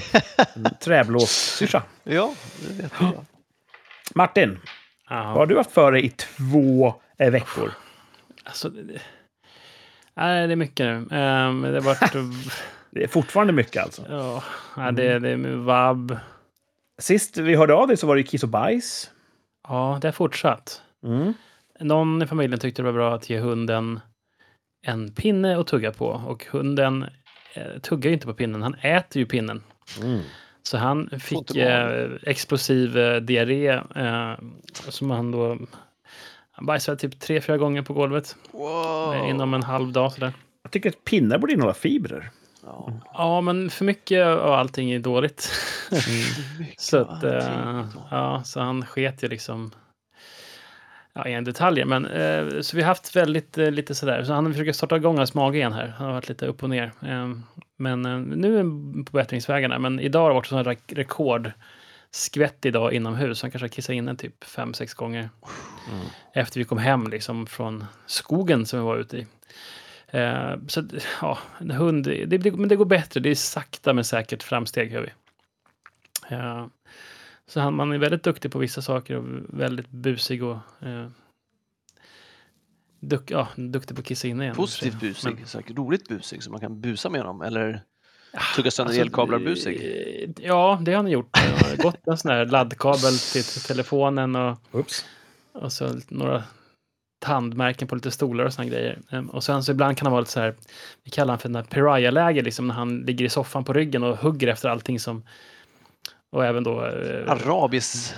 Speaker 3: En träblåssyrsa.
Speaker 2: Ja, det vet jag.
Speaker 3: Martin, vad har
Speaker 1: Ja.
Speaker 3: du haft för dig i två eh, veckor?
Speaker 1: Alltså, det- det- Nej, det är mycket nu. Ehm, det har *laughs* varit...
Speaker 3: Det är fortfarande mycket alltså.
Speaker 1: ja, ja, det, det är vab.
Speaker 3: Sist vi hörde av dig så var det ju kiss och bajs.
Speaker 1: Ja, det har fortsatt.
Speaker 3: Mm.
Speaker 1: Någon i familjen tyckte det var bra att ge hunden en pinne att tugga på. Och hunden eh, tuggar ju inte på pinnen, han äter ju pinnen.
Speaker 3: Mm.
Speaker 1: Så han
Speaker 2: inte
Speaker 1: fick
Speaker 2: vara.
Speaker 1: eh, explosiv eh, diarré eh, som han då... Han bajsade typ tre, fyra gånger på golvet
Speaker 2: Wow.
Speaker 1: eh, inom en halv dag. Sådär.
Speaker 3: Jag tycker att pinnar borde innehålla fibrer.
Speaker 2: Ja.
Speaker 1: Ja, men för mycket av allting är dåligt. så, att, eh, ja, så han sket ju liksom... Ja, inga detaljer, men eh, så vi har haft väldigt eh, lite sådär. Så han försöker starta igång hans mage igen här. Han har varit lite upp och ner. Eh, men eh, nu är han på bättringsvägarna. Men idag har det varit sådana rekord skvätt idag inomhus. Han kanske har kissat inne typ fem, sex gånger
Speaker 3: Mm.
Speaker 1: efter vi kom hem liksom, från skogen som vi var ute i. Eh, så att, ja, en hund, det, det, men det går bättre. Det är sakta men säkert framsteg gör vi. Eh, så han, man är väldigt duktig på vissa saker och väldigt busig och eh, duk, ja, duktig på att kissa inne igen.
Speaker 2: Positivt
Speaker 1: eh, Men-
Speaker 2: busig, säkert roligt busig som man kan busa med dem. Eller tugga sönder
Speaker 1: Alltså,
Speaker 2: elkablar
Speaker 1: eh,
Speaker 2: busig.
Speaker 1: Ja, det har ni gjort. Det har gått en sån här laddkabel till till telefonen och,
Speaker 3: Oops.
Speaker 1: och så Alltså, några tandmärken på lite stolar och såna grejer. Ehm, Och sen så ibland kan han vara lite så här, vi kallar han för den här pariah-läge, liksom när han ligger i soffan på ryggen och hugger efter allting som, och även då eh,
Speaker 2: Arabiskt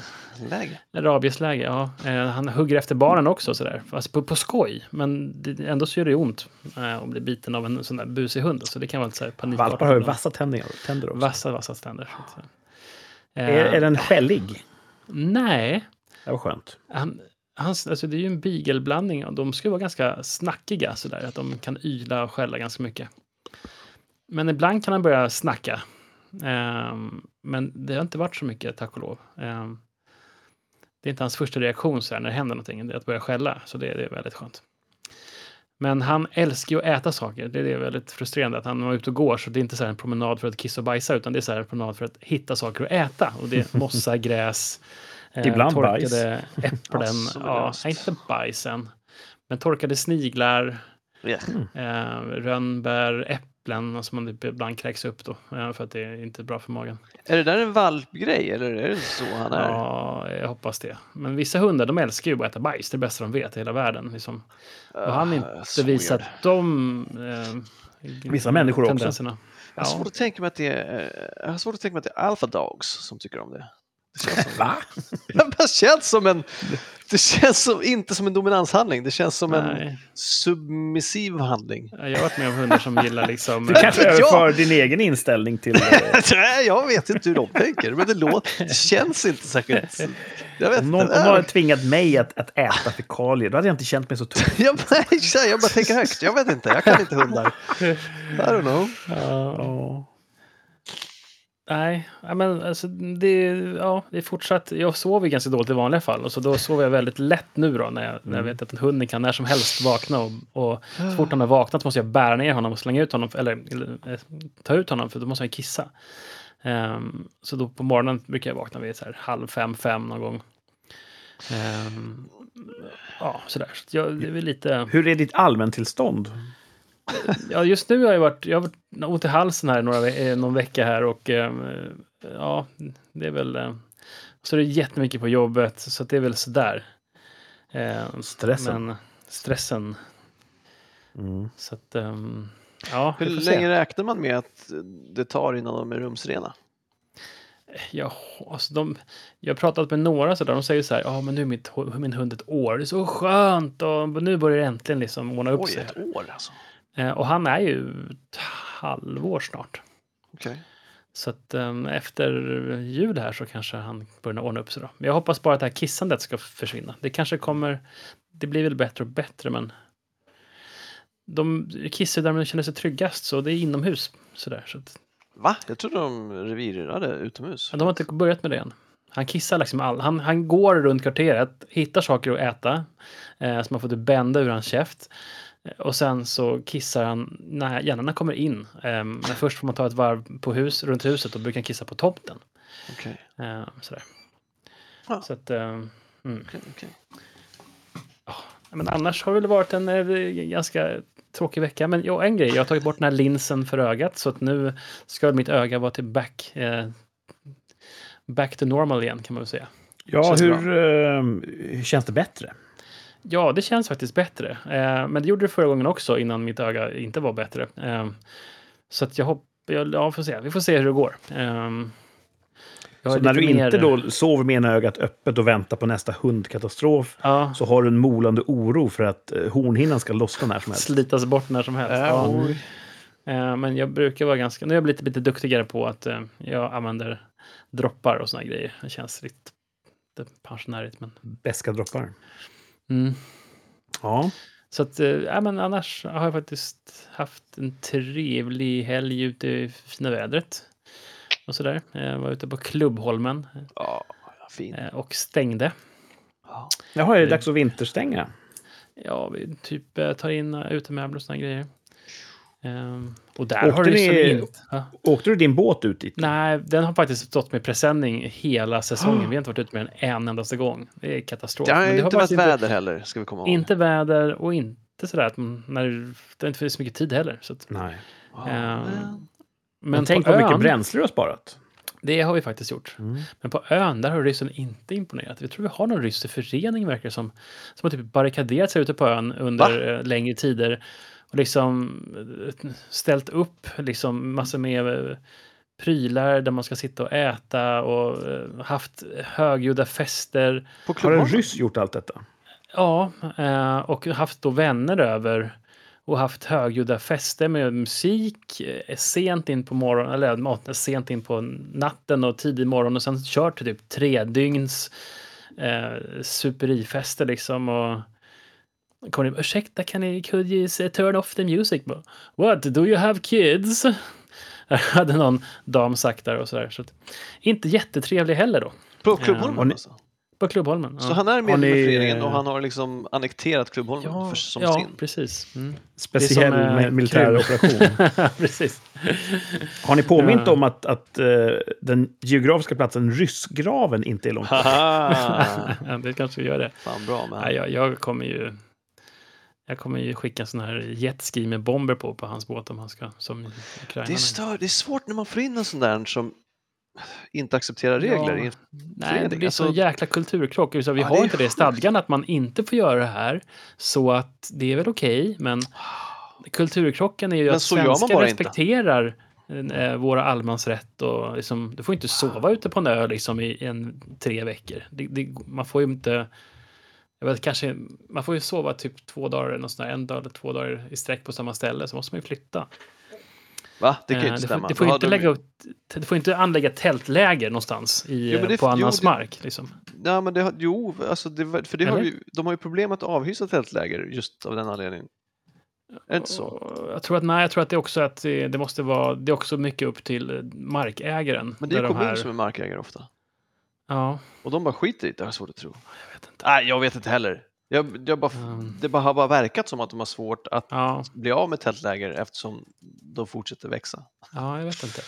Speaker 2: läge.
Speaker 1: rabiesläge, ja. Eh, han hugger efter barnen också sådär, alltså på, på skoj, men det, ändå så gör det ont eh, att bli biten av en sån där busig hund, så det kan vara lite så här panikartat.
Speaker 3: Valpar har ju
Speaker 1: ibland.
Speaker 3: vassa tänder, tänder också.
Speaker 1: Vassa, vassa ständer. Så att säga.
Speaker 3: Är,
Speaker 1: Eh,
Speaker 3: är den skällig?
Speaker 1: Nej,
Speaker 3: Det var skönt.
Speaker 1: han, hans, alltså det är ju en beagleblandning och de ska ju vara ganska snackiga sådär, att de kan yla och skälla ganska mycket. Men ibland kan han börja snacka. Ehm, men det har inte varit så mycket, tack och lov. Ehm, det är inte hans första reaktion så här, när det händer någonting, det är att börja skälla, så det, det är väldigt skönt. Men han älskar ju att äta saker, det är det väldigt frustrerande att han var ute och går, så det är inte så här en promenad för att kissa och bajsa, utan det är så här en promenad för att hitta saker att äta, och det är mossa, *laughs* gräs, eh,
Speaker 3: Ibland
Speaker 1: torkade
Speaker 3: bajs.
Speaker 1: äpplen,
Speaker 2: Alltså, vad
Speaker 1: ja,
Speaker 2: löst.
Speaker 1: nej, inte bajsen, men torkade sniglar,
Speaker 2: Ja.
Speaker 1: eh, rönnbär, äpplen som man typ ibland kräks upp då, eh, för att det är inte bra för magen.
Speaker 2: Är det där en valpgrej eller är det så han är?
Speaker 1: Ja, jag hoppas det. Men vissa hundar, de älskar ju bara att äta bajs, det är det bästa de vet i hela världen. Liksom. Och han har
Speaker 2: Ah,
Speaker 1: inte
Speaker 2: så
Speaker 1: visat
Speaker 2: weird.
Speaker 1: de eh,
Speaker 3: Vissa människor också.
Speaker 1: tendenserna.
Speaker 2: Jag har
Speaker 1: Ja,
Speaker 2: svårt att tänka mig att det är, eh, jag har svårt att tänka mig att det är alpha dogs som tycker om det. *laughs* Det känns som,
Speaker 3: Va?
Speaker 2: det bara känns som en... Det känns som, inte som en dominanshandling, det känns som en
Speaker 1: nej.
Speaker 2: submissiv handling.
Speaker 1: Jag har varit med om hundar som gillar
Speaker 2: *laughs*
Speaker 1: liksom...
Speaker 3: Du *laughs* kanske
Speaker 2: Ja.
Speaker 3: överför din egen inställning
Speaker 2: *laughs*
Speaker 3: till... eh,
Speaker 2: Nej, jag vet inte hur de tänker, men det, låter, det känns inte särskilt... Jag vet
Speaker 3: Om någon, om
Speaker 2: inte.
Speaker 3: någon hade tvingat mig att, att äta fekalier, då hade jag inte känt mig så tuff.
Speaker 2: Jag, *laughs* nej, så här, jag bara tänker högt. Jag vet inte, jag kan inte hundar. I don't know.
Speaker 1: eh, Ja.
Speaker 3: Ja.
Speaker 1: Nej, ja, men alltså, det, ja, det är fortsatt... Jag sover ju ganska dåligt i vanliga fall, och så då sover jag väldigt lätt nu då, när jag, när jag vet att hunden kan när som helst vakna. Och, och så fort han har vaknat så måste jag bära ner honom och slänga ut honom, eller, eller eh, ta ut honom, för då måste han kissa. Ehm, så då på morgonen brukar jag vakna vid så här halv fem, fem någon gång. Ehm, ja, sådär. Så att jag, det är väl lite...
Speaker 3: Hur är ditt allmäntillstånd?
Speaker 1: Ja, just nu har jag varit, jag har varit ont i halsen här några, ve- eh, någon vecka här och eh, ja, det är väl... Eh, så är det jättemycket på jobbet, så att det är väl sådär. Eh,
Speaker 3: Stressen.
Speaker 1: Men stressen.
Speaker 3: Mm.
Speaker 1: Så att, ehm, ja,
Speaker 2: Hur
Speaker 1: vi får
Speaker 2: länge räknar man med att det tar innan de är rumsrena?
Speaker 1: se. Ja, alltså de, jag har pratat med några sådär, de säger så här, ja men nu är mitt, hu- min hund ett år, det är så skönt och nu börjar det äntligen liksom ordna upp
Speaker 2: Oj,
Speaker 1: sig.
Speaker 2: ett år alltså.
Speaker 1: Eh, och han är ju ett halvår snart.
Speaker 2: Okej.
Speaker 1: Så att ehm, efter jul här så kanske han börjar ordna upp sig då. Men jag hoppas bara att det här kissandet ska försvinna. Det kanske kommer, det blir väl bättre och bättre men de kissar där de känner sig tryggast så det är inomhus sådär. Så att,
Speaker 2: Va? Jag trodde de revirade utomhus.
Speaker 1: men de har inte börjat med det än. Han kissar liksom all, han, han går runt kvarteret, hittar saker att äta eh, som man får typ bända ur hans käft. Eh, Och sen så kissar han när gärna när han kommer in. Eh, men först får man ta ett varv på hus, runt huset och brukar han kissa på tomten.
Speaker 2: Okej.
Speaker 1: Eh, sådär.
Speaker 2: Ja.
Speaker 1: Så att, eh, mm.
Speaker 2: okej, okej.
Speaker 1: Men annars har det väl varit en eh, ganska tråkig vecka. Men jo, en grej, jag har tagit bort den här linsen för ögat så att nu ska mitt öga vara till back, eh, back to normal igen kan man väl säga.
Speaker 3: Ja,
Speaker 2: Känns
Speaker 3: hur eh, känns det bättre?
Speaker 1: Ja, det känns faktiskt bättre. Eh, men det gjorde det förra gången också innan mitt öga inte var bättre. Eh, så att jag hoppas, ja, får se. vi får se hur det går. Eh, jag har
Speaker 3: Så
Speaker 1: lite
Speaker 3: när du
Speaker 1: mer-
Speaker 3: inte då sover med ena ögat öppet och väntar på nästa hundkatastrof
Speaker 1: ja,
Speaker 3: så har du en molande oro för att eh, hornhinnan ska lossna när som helst.
Speaker 1: slitas bort när som helst. Ja.
Speaker 2: Äh, oj.
Speaker 1: Eh, Men jag brukar vara ganska, nu är jag blivit lite duktigare på att eh, jag använder droppar och såna grejer. Det känns lite lite pensionärigt. Men,
Speaker 3: Beska droppar.
Speaker 1: mm.
Speaker 3: Ja.
Speaker 1: Så att, eh, ja, men annars har jag faktiskt haft en trevlig helg ute i fina vädret. och sådär. Jag var ute på Klubbholmen
Speaker 2: Ja, fint.
Speaker 1: eh, och stängde.
Speaker 2: Ja.
Speaker 3: Jaha, är det dags att vinterstänga?
Speaker 1: Ja, vi typ eh, tar in eh, utemöbler och såna grejer. Ehm, och där
Speaker 3: Åkte
Speaker 1: har det
Speaker 3: ni-
Speaker 1: som inte... Ja.
Speaker 3: Åkte du din båt ut dit?
Speaker 1: Nej, den har faktiskt stått med presenning hela säsongen. Vi har inte varit ute mer än en endaste gång. Det är katastrof.
Speaker 2: Det har
Speaker 1: Men
Speaker 2: ju inte
Speaker 1: faktiskt
Speaker 2: varit väder heller, ska vi komma ihåg.
Speaker 1: Inte väder och inte sådär att man, när det, det har inte finns så mycket tid heller. Så att,
Speaker 3: Nej.
Speaker 2: Ja.
Speaker 1: Ehm,
Speaker 2: Men-
Speaker 1: men
Speaker 3: Men tänk
Speaker 1: på
Speaker 3: vad
Speaker 1: ön,
Speaker 3: mycket bränsle du har sparat.
Speaker 1: det har vi faktiskt gjort.
Speaker 3: Mm.
Speaker 1: Men på ön, där har ryssen inte imponerat. Jag tror vi har någon rysk förening, verkar det som, som har typ barrikaderat sig ute på ön under eh, längre tider och liksom eh, ställt upp liksom massor med eh, prylar där man ska sitta och äta och eh, haft högljudda fester.
Speaker 2: På
Speaker 3: Har en
Speaker 2: klubben?
Speaker 3: ryss gjort allt detta?
Speaker 1: Ja, eh, och haft då vänner över och haft högljudda fester med musik eh, sent in på morgonen, eller mat- sent in på natten och tidig morgon och sen kört typ tre dygns eh, superifester liksom och kommer in, ursäkta kan ni, could you say, turn off the music? Bara, What, do you have kids? *laughs* hade någon dam sagt där och sådär. Så att, inte jättetrevlig heller då,
Speaker 2: På
Speaker 1: Ehm,
Speaker 2: Klubbholmen alltså?
Speaker 1: på Klubbholmen.
Speaker 2: Så
Speaker 1: ja.
Speaker 2: han är medlem
Speaker 3: Har ni-
Speaker 2: i föreningen och han har liksom annekterat Klubbholmen för, som
Speaker 1: ja
Speaker 2: sin?
Speaker 1: precis. Mm.
Speaker 3: Speciell
Speaker 1: Det är som, eh,
Speaker 3: mi- militär
Speaker 1: kul.
Speaker 3: operation.
Speaker 1: *laughs* Precis. *laughs*
Speaker 3: Har ni påmint
Speaker 1: Ja.
Speaker 3: om att, att eh, den geografiska platsen Ryssgraven inte är långt bort?
Speaker 2: Haha!
Speaker 1: det kanske gör det.
Speaker 2: *laughs* Fan bra man.
Speaker 1: Nej, jag, jag kommer ju... Jag kommer ju skicka en sån här jetski med bomber på på hans båt om han ska som Ukraina.
Speaker 2: Det är, stör, det är svårt när man får in en sån där som inte accepterar
Speaker 1: Ja.
Speaker 2: regler. i-
Speaker 1: Nej, det
Speaker 2: förening,
Speaker 1: blir så
Speaker 2: alltså-
Speaker 1: jäkla kulturkrock. Så vi
Speaker 2: Ja, det
Speaker 1: har
Speaker 2: är
Speaker 1: inte det i
Speaker 2: sjukt.
Speaker 1: stadgan att man inte får göra det här. Så att det är väl okej, men kulturkrocken är ju
Speaker 2: Men
Speaker 1: att
Speaker 2: så gör man
Speaker 1: svenskar
Speaker 2: bara inte.
Speaker 1: respekterar eh, våra allemansrätt och liksom, du får
Speaker 2: Ah.
Speaker 1: inte sova ute på en ö liksom i en, tre veckor. Det, det, man får ju inte, jag vet kanske, man får ju sova typ två dagar eller något sånt där, en dag eller två dagar i sträck på samma ställe, så måste man ju flytta.
Speaker 2: Va? Det kan ju
Speaker 1: Eh,
Speaker 2: inte
Speaker 1: det
Speaker 2: stämma.
Speaker 1: får, det får ju
Speaker 2: Ja,
Speaker 1: inte
Speaker 2: de-
Speaker 1: lägga upp, det får inte anlägga tältläger någonstans i,
Speaker 2: Jo, men det-
Speaker 1: på annans
Speaker 2: jo, det-
Speaker 1: mark. Liksom.
Speaker 2: Ja, men det, har- jo, alltså det, var- för det har
Speaker 1: Eller?
Speaker 2: ju, de har ju problem att avhysa tältläger just av den anledningen. Är det inte så?
Speaker 1: Och Jag tror att, nej, jag tror att det är också att det, det måste vara, det är också mycket upp till eh, markägaren.
Speaker 2: Men det är
Speaker 1: där
Speaker 2: ju
Speaker 1: de
Speaker 2: kommun
Speaker 1: här-
Speaker 2: som är markägare ofta.
Speaker 1: Ja,
Speaker 2: Och de bara skiter i det, har jag svårt att tro.
Speaker 1: jag vet inte.
Speaker 2: Nej, jag vet inte heller. Jag, jag bara,
Speaker 1: Mm.
Speaker 2: Det bara, har bara verkat som att de har svårt att
Speaker 1: Ja,
Speaker 2: bli av med tältläger eftersom de fortsätter växa.
Speaker 1: ja jag vet inte.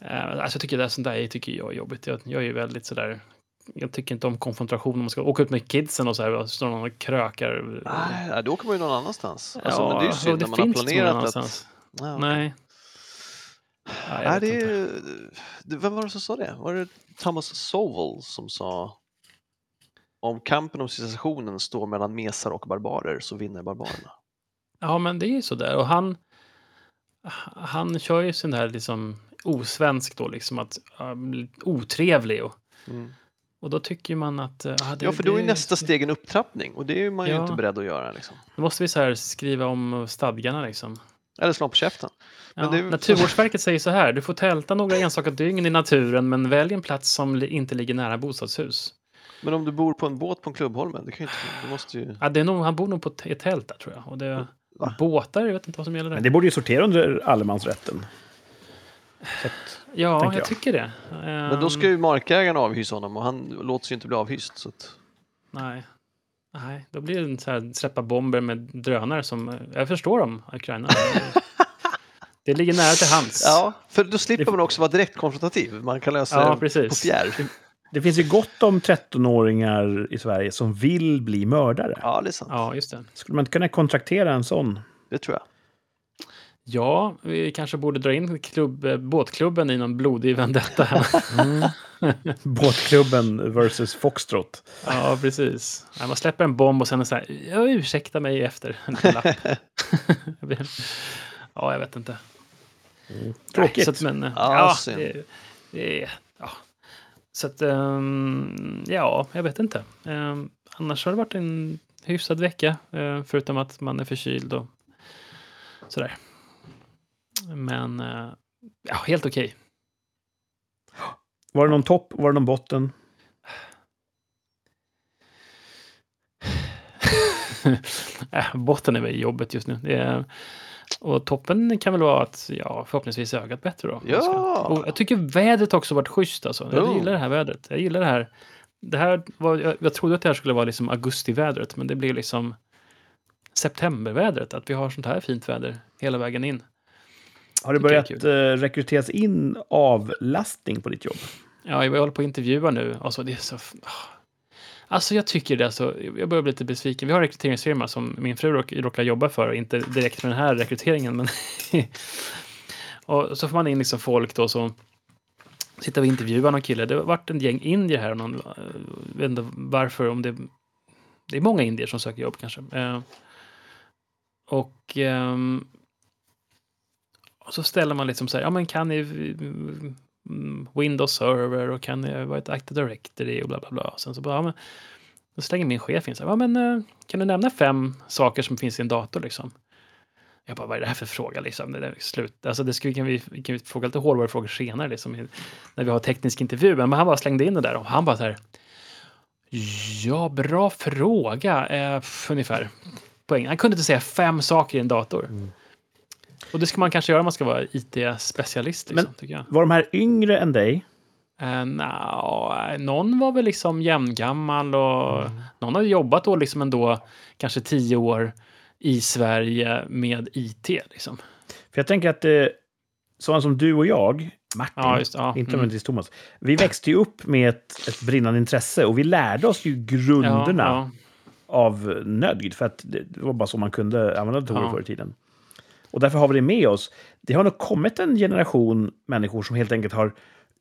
Speaker 1: Eh, Alltså jag tycker det är sånt där tycker jag är jobbigt. Jag, jag är ju väldigt sådär, jag tycker inte om konfrontation om man ska åka ut med kidsen och så här, och så står någon och krökar.
Speaker 2: Nej, ja, då kommer man ju någon annanstans. Alltså, Ah, men det är ju
Speaker 1: och
Speaker 2: synd när man har
Speaker 1: finns inte någon
Speaker 2: planerat att...
Speaker 1: annanstans.
Speaker 2: Ja.
Speaker 1: Nej. Ja, jag vet
Speaker 2: Nej, det är,
Speaker 1: inte.
Speaker 2: ju- det- vem var det som sa det? Var det Thomas Sowell som sa om kampen om civilisationen står mellan mesar och barbarer så vinner barbarerna.
Speaker 1: Ja, men det är ju sådär. Och han, han kör ju sån här liksom osvensk då, liksom att ja, bli otrevlig. Och, och då tycker man att... eh, ah, det,
Speaker 2: Mm. ja, för då är
Speaker 1: det-
Speaker 2: nästa steg en upptrappning och det är man ju
Speaker 1: Ja.
Speaker 2: inte beredd att göra. Liksom.
Speaker 1: Då måste vi så här skriva om stadgarna liksom.
Speaker 2: Eller slå på käften. Men
Speaker 1: Ja,
Speaker 2: det är ju-
Speaker 1: Naturvårdsverket säger så här, du får tälta några enstaka dygn i naturen men välj en plats som li- inte ligger nära bostadshus.
Speaker 2: Men om du bor på en båt på en klubbholmen, det kan ju inte, du måste ju...
Speaker 1: Ja, det är nog, han bor nog på t- ett tält där tror jag. Och det,
Speaker 2: Va?
Speaker 1: båtar, jag vet inte vad som gäller där.
Speaker 3: Men det borde ju sortera under allemansrätten.
Speaker 1: ja, jag,
Speaker 3: tänker jag.
Speaker 1: tycker det.
Speaker 2: Men då ska ju
Speaker 1: Ehm.
Speaker 2: markägaren avhysa honom och han låter sig ju inte bli avhyst. Så att...
Speaker 1: Nej. Nej, då blir det en så här, släppa bomber med drönare som... eh, Jag förstår dem,
Speaker 2: *laughs*
Speaker 1: Ukraina. det ligger nära till hands.
Speaker 2: Ja, för då slipper man också vara direkt konfrontativ. Man kan lösa
Speaker 1: Ja,
Speaker 2: det på
Speaker 1: precis.
Speaker 2: fjärr.
Speaker 3: Det finns ju gott om 13-åringar i Sverige som vill bli mördare.
Speaker 2: Ja, det är sant.
Speaker 1: Ja, just det.
Speaker 3: Skulle man inte kunna kontraktera en sån?
Speaker 2: Det tror jag.
Speaker 1: Ja, vi kanske borde dra in klubb, eh, båtklubben i någon blodig vendetta.
Speaker 2: *laughs*
Speaker 1: här.
Speaker 3: Båtklubben versus Foxtrot.
Speaker 1: ja, precis. Nej, Man släpper en bomb och sen är det så här, "Ja, ursäkta mig efter. En liten
Speaker 2: *laughs*
Speaker 1: lapp. *laughs* ja, jag vet inte.
Speaker 3: Tråkigt.
Speaker 1: Så att, men, eh,
Speaker 2: Ja,
Speaker 1: ja,
Speaker 2: synd.
Speaker 1: det, det, ja. Så att, ehm, ja, jag vet inte. Ehm, annars har det varit en hyfsad vecka, eh, förutom att man är förkyld och sådär. Men, eh, ja, helt okej. *laughs*
Speaker 3: Var det någon topp? Var det någon botten?
Speaker 1: Äh, botten är väl jobbet just nu. Det är, Och toppen kan väl vara att ja, förhoppningsvis är ögat bättre då.
Speaker 2: Ja!
Speaker 1: Och jag tycker vädret också varit schysst alltså. Jag
Speaker 2: Jo.
Speaker 1: gillar det här vädret. Jag gillar det här. Det här var, jag, jag trodde att det här skulle vara liksom augustivädret, men det blir liksom septembervädret. Att vi har sånt här fint väder hela vägen in.
Speaker 3: Har det
Speaker 1: Tycker jag är
Speaker 3: börjat eh, rekryteras in avlastning på ditt jobb?
Speaker 1: Ja, jag håller på att intervjua nu. Alltså, det är så... ah. Alltså jag tycker det, alltså, jag börjar bli lite besviken. Vi har en rekryteringsfirma som min fru råk, råkar jobba för, inte direkt med den här rekryteringen, men... *laughs* och så får man in liksom folk då som sitter och intervjuar någon kille. Det har varit en gäng indier här, och någon, eh, vet inte varför, om det... Det är många indier som söker jobb kanske. Eh, och... ehm, och så ställer man liksom så här, ja men kan ni mm, Windows server och kan jag vara ett Active Directory och bla bla bla. Sen så bara, ja, men, då slänger min chef in så här, ja, men eh, kan du nämna fem saker som finns i en dator liksom? Jag bara, vad är det här för fråga liksom? Det där är slut. Alltså det skulle, kan, vi, kan vi fråga lite hårdare frågor senare liksom, i- när vi har teknisk intervju. Men han bara slängde in det där och han bara så här, ja, bra fråga, eh, f- ungefär. Poäng. Han kunde inte säga fem saker i en dator. Och det ska man kanske göra om man ska vara IT-specialist, liksom,
Speaker 3: Men-
Speaker 1: tycker jag.
Speaker 3: Var de här yngre än dig?
Speaker 1: Eh, nja, någon var väl liksom jämngammal och någon har jobbat då liksom ändå kanske tio år i Sverige med IT. Liksom.
Speaker 3: För jag tänker att eh, sådana som du och jag, Martin,
Speaker 1: Ja, just, ja.
Speaker 3: inte
Speaker 1: mm.
Speaker 3: nödvändigtvis Thomas, vi växte ju upp med ett, ett brinnande intresse och vi lärde oss ju
Speaker 1: ja,
Speaker 3: grunderna
Speaker 1: ja.
Speaker 3: av nödgd, för att det det var bara så man kunde använda datorer
Speaker 1: Ja.
Speaker 3: förr i tiden. Och därför har vi det med oss. Det har nog kommit en generation människor som helt enkelt har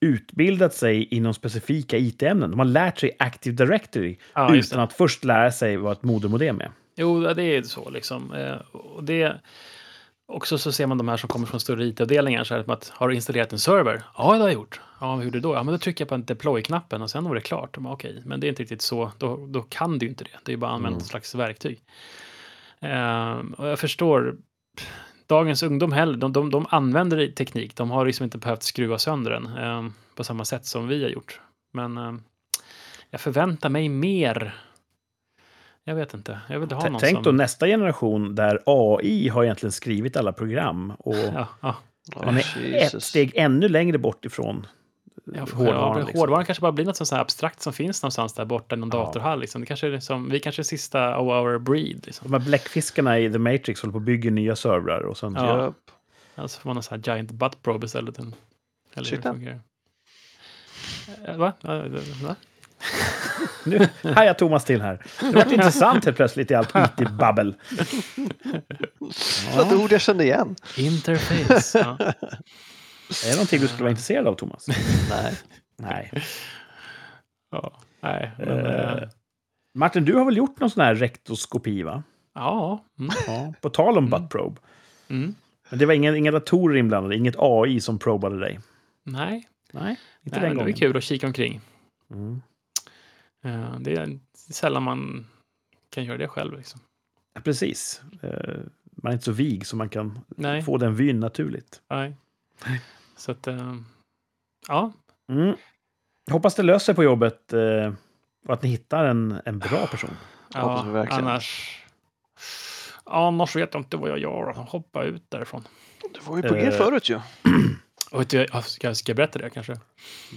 Speaker 3: utbildat sig inom specifika IT-ämnen. De har lärt sig Active Directory
Speaker 1: Ja, just
Speaker 3: utan att först lära sig vad ett modermodem är.
Speaker 1: Jo, ja, det är så liksom. Eh, Och det, också så ser man de här som kommer från större IT-avdelningar, så här som att har du installerat en server? Ja, det har jag gjort. Ja, hur gjorde du då? Ja, men då trycker jag på en deploy-knappen och sen var det klart. Och man, Okej, men det är inte riktigt så. Då, då kan du ju inte det. Det är bara att använda
Speaker 3: Mm.
Speaker 1: ett slags verktyg. Ehm, och jag förstår. pff, Dagens ungdom heller, de, de, de använder teknik. De har liksom inte behövt skruva sönder den ehm, på samma sätt som vi har gjort. Men ehm, jag förväntar mig mer. Jag vet inte. Jag vill ha
Speaker 3: T-
Speaker 1: någon
Speaker 3: Tänk
Speaker 1: som...
Speaker 3: då nästa generation där AI har egentligen skrivit alla program och
Speaker 1: Ja, ja.
Speaker 2: Ja,
Speaker 3: man är ett
Speaker 2: Jesus.
Speaker 3: steg ännu längre bort ifrån
Speaker 1: Ja, för
Speaker 3: hårdvaran,
Speaker 1: hårdvaran,
Speaker 3: liksom.
Speaker 1: hårdvaran kanske bara blir något sånt här abstrakt som finns någonstans där borta i någon
Speaker 3: Ja.
Speaker 1: datorhall. Liksom. Det kanske är liksom, vi kanske är sista of our breed. Liksom.
Speaker 3: De här bläckfiskarna i The Matrix håller på och bygger nya servrar och sen...
Speaker 1: Ja.
Speaker 2: Japp.
Speaker 1: Alltså får man en sån här giant butt probe istället. Eller hur det
Speaker 2: Ursäkta?
Speaker 1: fungerar. Eh, Va? Va? Va?
Speaker 3: Nu hajar Thomas till här. Det var intressant helt plötsligt i allt
Speaker 1: *laughs*
Speaker 3: IT-babbel.
Speaker 2: Det var ett ord jag kände igen.
Speaker 1: Interface. *laughs* ja.
Speaker 3: Är det någonting du skulle vara intresserad av, Thomas?
Speaker 2: Nej.
Speaker 3: Nej.
Speaker 1: Ja. Nej, men, eh,
Speaker 3: Eh. Martin, du har väl gjort någon sån här rektoskopi, va?
Speaker 1: ja. Mm,
Speaker 3: Ja. På tal om butt probe.
Speaker 1: mm.
Speaker 3: Men det var ingen, inga datorer inblandade, inget AI som probade dig.
Speaker 1: Nej,
Speaker 3: Nej,
Speaker 1: Nej
Speaker 3: inte
Speaker 1: men
Speaker 3: den
Speaker 1: det är
Speaker 3: gången.
Speaker 1: kul att kika omkring.
Speaker 3: Mm.
Speaker 1: Eh, Det är sällan man kan göra det själv. Liksom.
Speaker 3: Ja, Precis. Eh, Man är inte så vig så man kan
Speaker 1: Nej,
Speaker 3: få den vyn naturligt.
Speaker 1: nej. Så att, eh, ja,
Speaker 3: Mm. Jag hoppas det löser sig på jobbet eh, och att ni hittar en, en bra person.
Speaker 2: Hoppas vi verkligen.
Speaker 1: Annars... Annars vet jag inte vad jag gör. Hoppa ut därifrån.
Speaker 2: Du var ju på G
Speaker 3: Eh.
Speaker 2: förut ju.
Speaker 1: Och vet du, jag ska, ska jag berätta det kanske?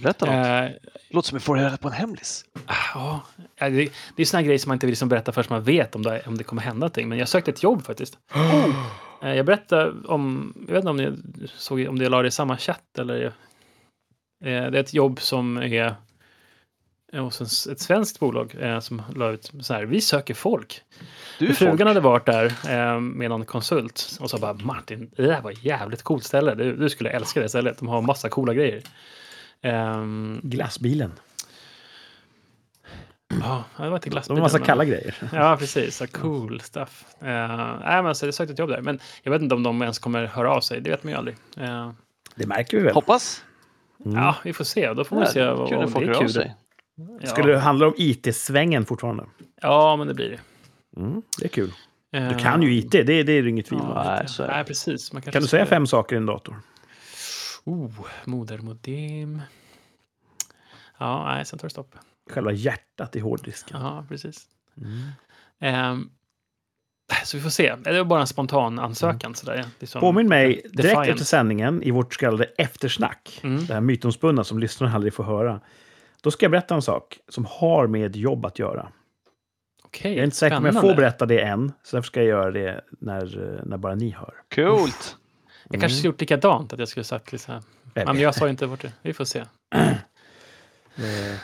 Speaker 2: Berätta något.
Speaker 1: Eh,
Speaker 2: Låter som vi får reda på en hemlis.
Speaker 1: ja, det, det är såna här grejer som man inte vill liksom berätta förrän man vet om det, om det kommer hända någonting. Men jag sökte ett jobb *gasps* faktiskt. Eh, jag berättade om, jag vet inte om ni såg om det jag la det i samma chatt eller... Eh, det är ett jobb som är eh, hos en, ett svenskt bolag eh, som la ut så här, vi söker folk.
Speaker 2: Du är folk.
Speaker 1: Frugan hade varit där eh, med någon konsult och sa bara Martin, det där var ett jävligt coolt ställe. Du, du skulle älska det stället. De har massa coola grejer. Ehm,
Speaker 3: Glassbilen.
Speaker 1: Ja, det var inte
Speaker 3: Det
Speaker 1: glassbilen.
Speaker 3: var en massa
Speaker 1: men-
Speaker 3: kalla grejer.
Speaker 1: Ja, precis. Så cool stuff. Uh, nej, men så jag sökte ett jobb där. Men jag vet inte om de ens kommer höra av sig. Det vet man ju aldrig. Eh,
Speaker 3: Det märker vi väl.
Speaker 2: Hoppas.
Speaker 1: Ja, vi får se. Då får man
Speaker 2: Ja,
Speaker 1: se vad,
Speaker 2: kul när
Speaker 1: om det
Speaker 2: folk
Speaker 1: är
Speaker 2: hör av
Speaker 1: kul.
Speaker 2: sig.
Speaker 1: Ja.
Speaker 3: Skulle det handla om IT-svängen fortfarande? Mm,
Speaker 1: ja, men det blir det.
Speaker 3: det är kul. Du
Speaker 1: Eh,
Speaker 3: kan ju IT, det, det är det inget tvivel om.
Speaker 1: Ja,
Speaker 2: Nej,
Speaker 1: lite.
Speaker 2: så är det.
Speaker 1: Nej, precis. Man kanske
Speaker 3: Kan du säga
Speaker 1: skulle-
Speaker 3: fem saker i en dator?
Speaker 1: Oh, modermodem. Ja, nej, sen tar det stopp.
Speaker 3: Själva hjärtat i hårddisken.
Speaker 1: Ja, precis.
Speaker 3: Mm.
Speaker 1: Ehm, Så vi får se. Det var bara en spontan ansökan. Sådär. liksom. Det är som-
Speaker 3: Påminn mig direkt
Speaker 1: Defiant.
Speaker 3: efter sändningen i vårt så kallade eftersnack,
Speaker 1: Mm.
Speaker 3: det här mytomspunna som lyssnarna aldrig får höra. Då ska jag berätta en sak som har med jobb att göra.
Speaker 1: Okej,
Speaker 3: Jag är inte säker om jag
Speaker 1: spännande.
Speaker 3: får berätta det än, så därför ska jag göra det när, eh, när bara ni hör.
Speaker 2: Coolt!
Speaker 1: Jag kanske skulle gjort likadant, att jag skulle sagt lite så här.
Speaker 3: Jag
Speaker 1: Men
Speaker 3: vet.
Speaker 1: jag sa ju inte vart det... Vi får se.
Speaker 3: Eh,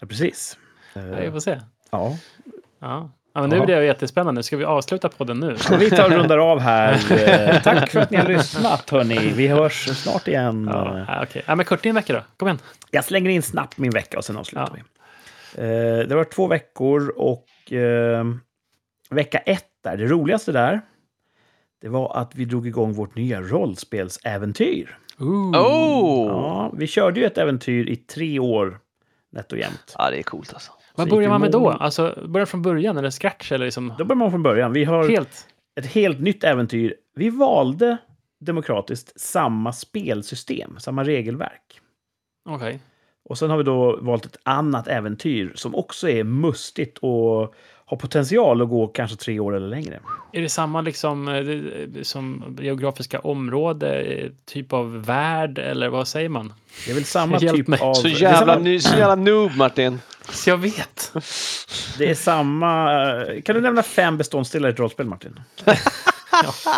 Speaker 3: Ja, precis. Eh,
Speaker 1: Ja, vi får se.
Speaker 3: Ja.
Speaker 1: Ja. Ja, men nu
Speaker 3: Jaha.
Speaker 1: blir det ju jättespännande. Ska vi avsluta podden nu?
Speaker 3: Så vi tar och rundar
Speaker 1: *laughs*
Speaker 3: av här. Eh, Tack för att ni har lyssnat, hörni. Vi hörs snart igen.
Speaker 1: Ja,
Speaker 3: Eh,
Speaker 1: ja, okej. ja, men Kurt, din vecka då? Kom igen.
Speaker 3: Jag slänger in snabbt min vecka och sen avslutar
Speaker 1: Ja.
Speaker 3: vi. Eh, Det var två veckor och eh, vecka ett där, det roligaste där, det var att vi drog igång vårt nya rollspelsäventyr.
Speaker 1: Ooh.
Speaker 2: Oh! Ja.
Speaker 3: Ja, vi körde ju ett äventyr i tre år nätt och jämnt.
Speaker 2: det är coolt alltså.
Speaker 1: Vad
Speaker 3: Så gick
Speaker 1: börjar
Speaker 3: vi
Speaker 1: man med då?
Speaker 3: mål.
Speaker 1: Alltså, börjar från början eller scratch eller liksom
Speaker 3: Då börjar man från början. Vi har
Speaker 1: helt?
Speaker 3: ett helt nytt äventyr. Vi valde demokratiskt samma spelsystem, samma regelverk.
Speaker 1: Okej.
Speaker 3: Och sen har vi då valt ett annat äventyr som också är mustigt och har potential att gå kanske tre år eller längre.
Speaker 1: Är det samma liksom, eh, det- som geografiska område, eh, typ av värld eller vad säger man?
Speaker 3: Det är väl samma
Speaker 1: Hjälp
Speaker 3: typ
Speaker 1: mig.
Speaker 3: av...
Speaker 2: Så
Speaker 3: det, är
Speaker 2: jävla,
Speaker 3: samma,
Speaker 2: ny, så jävla noob Martin.
Speaker 1: Så Alltså, jag vet.
Speaker 3: det är samma... eh, Kan du nämna fem beståndsdelar i ett rollspel, Martin?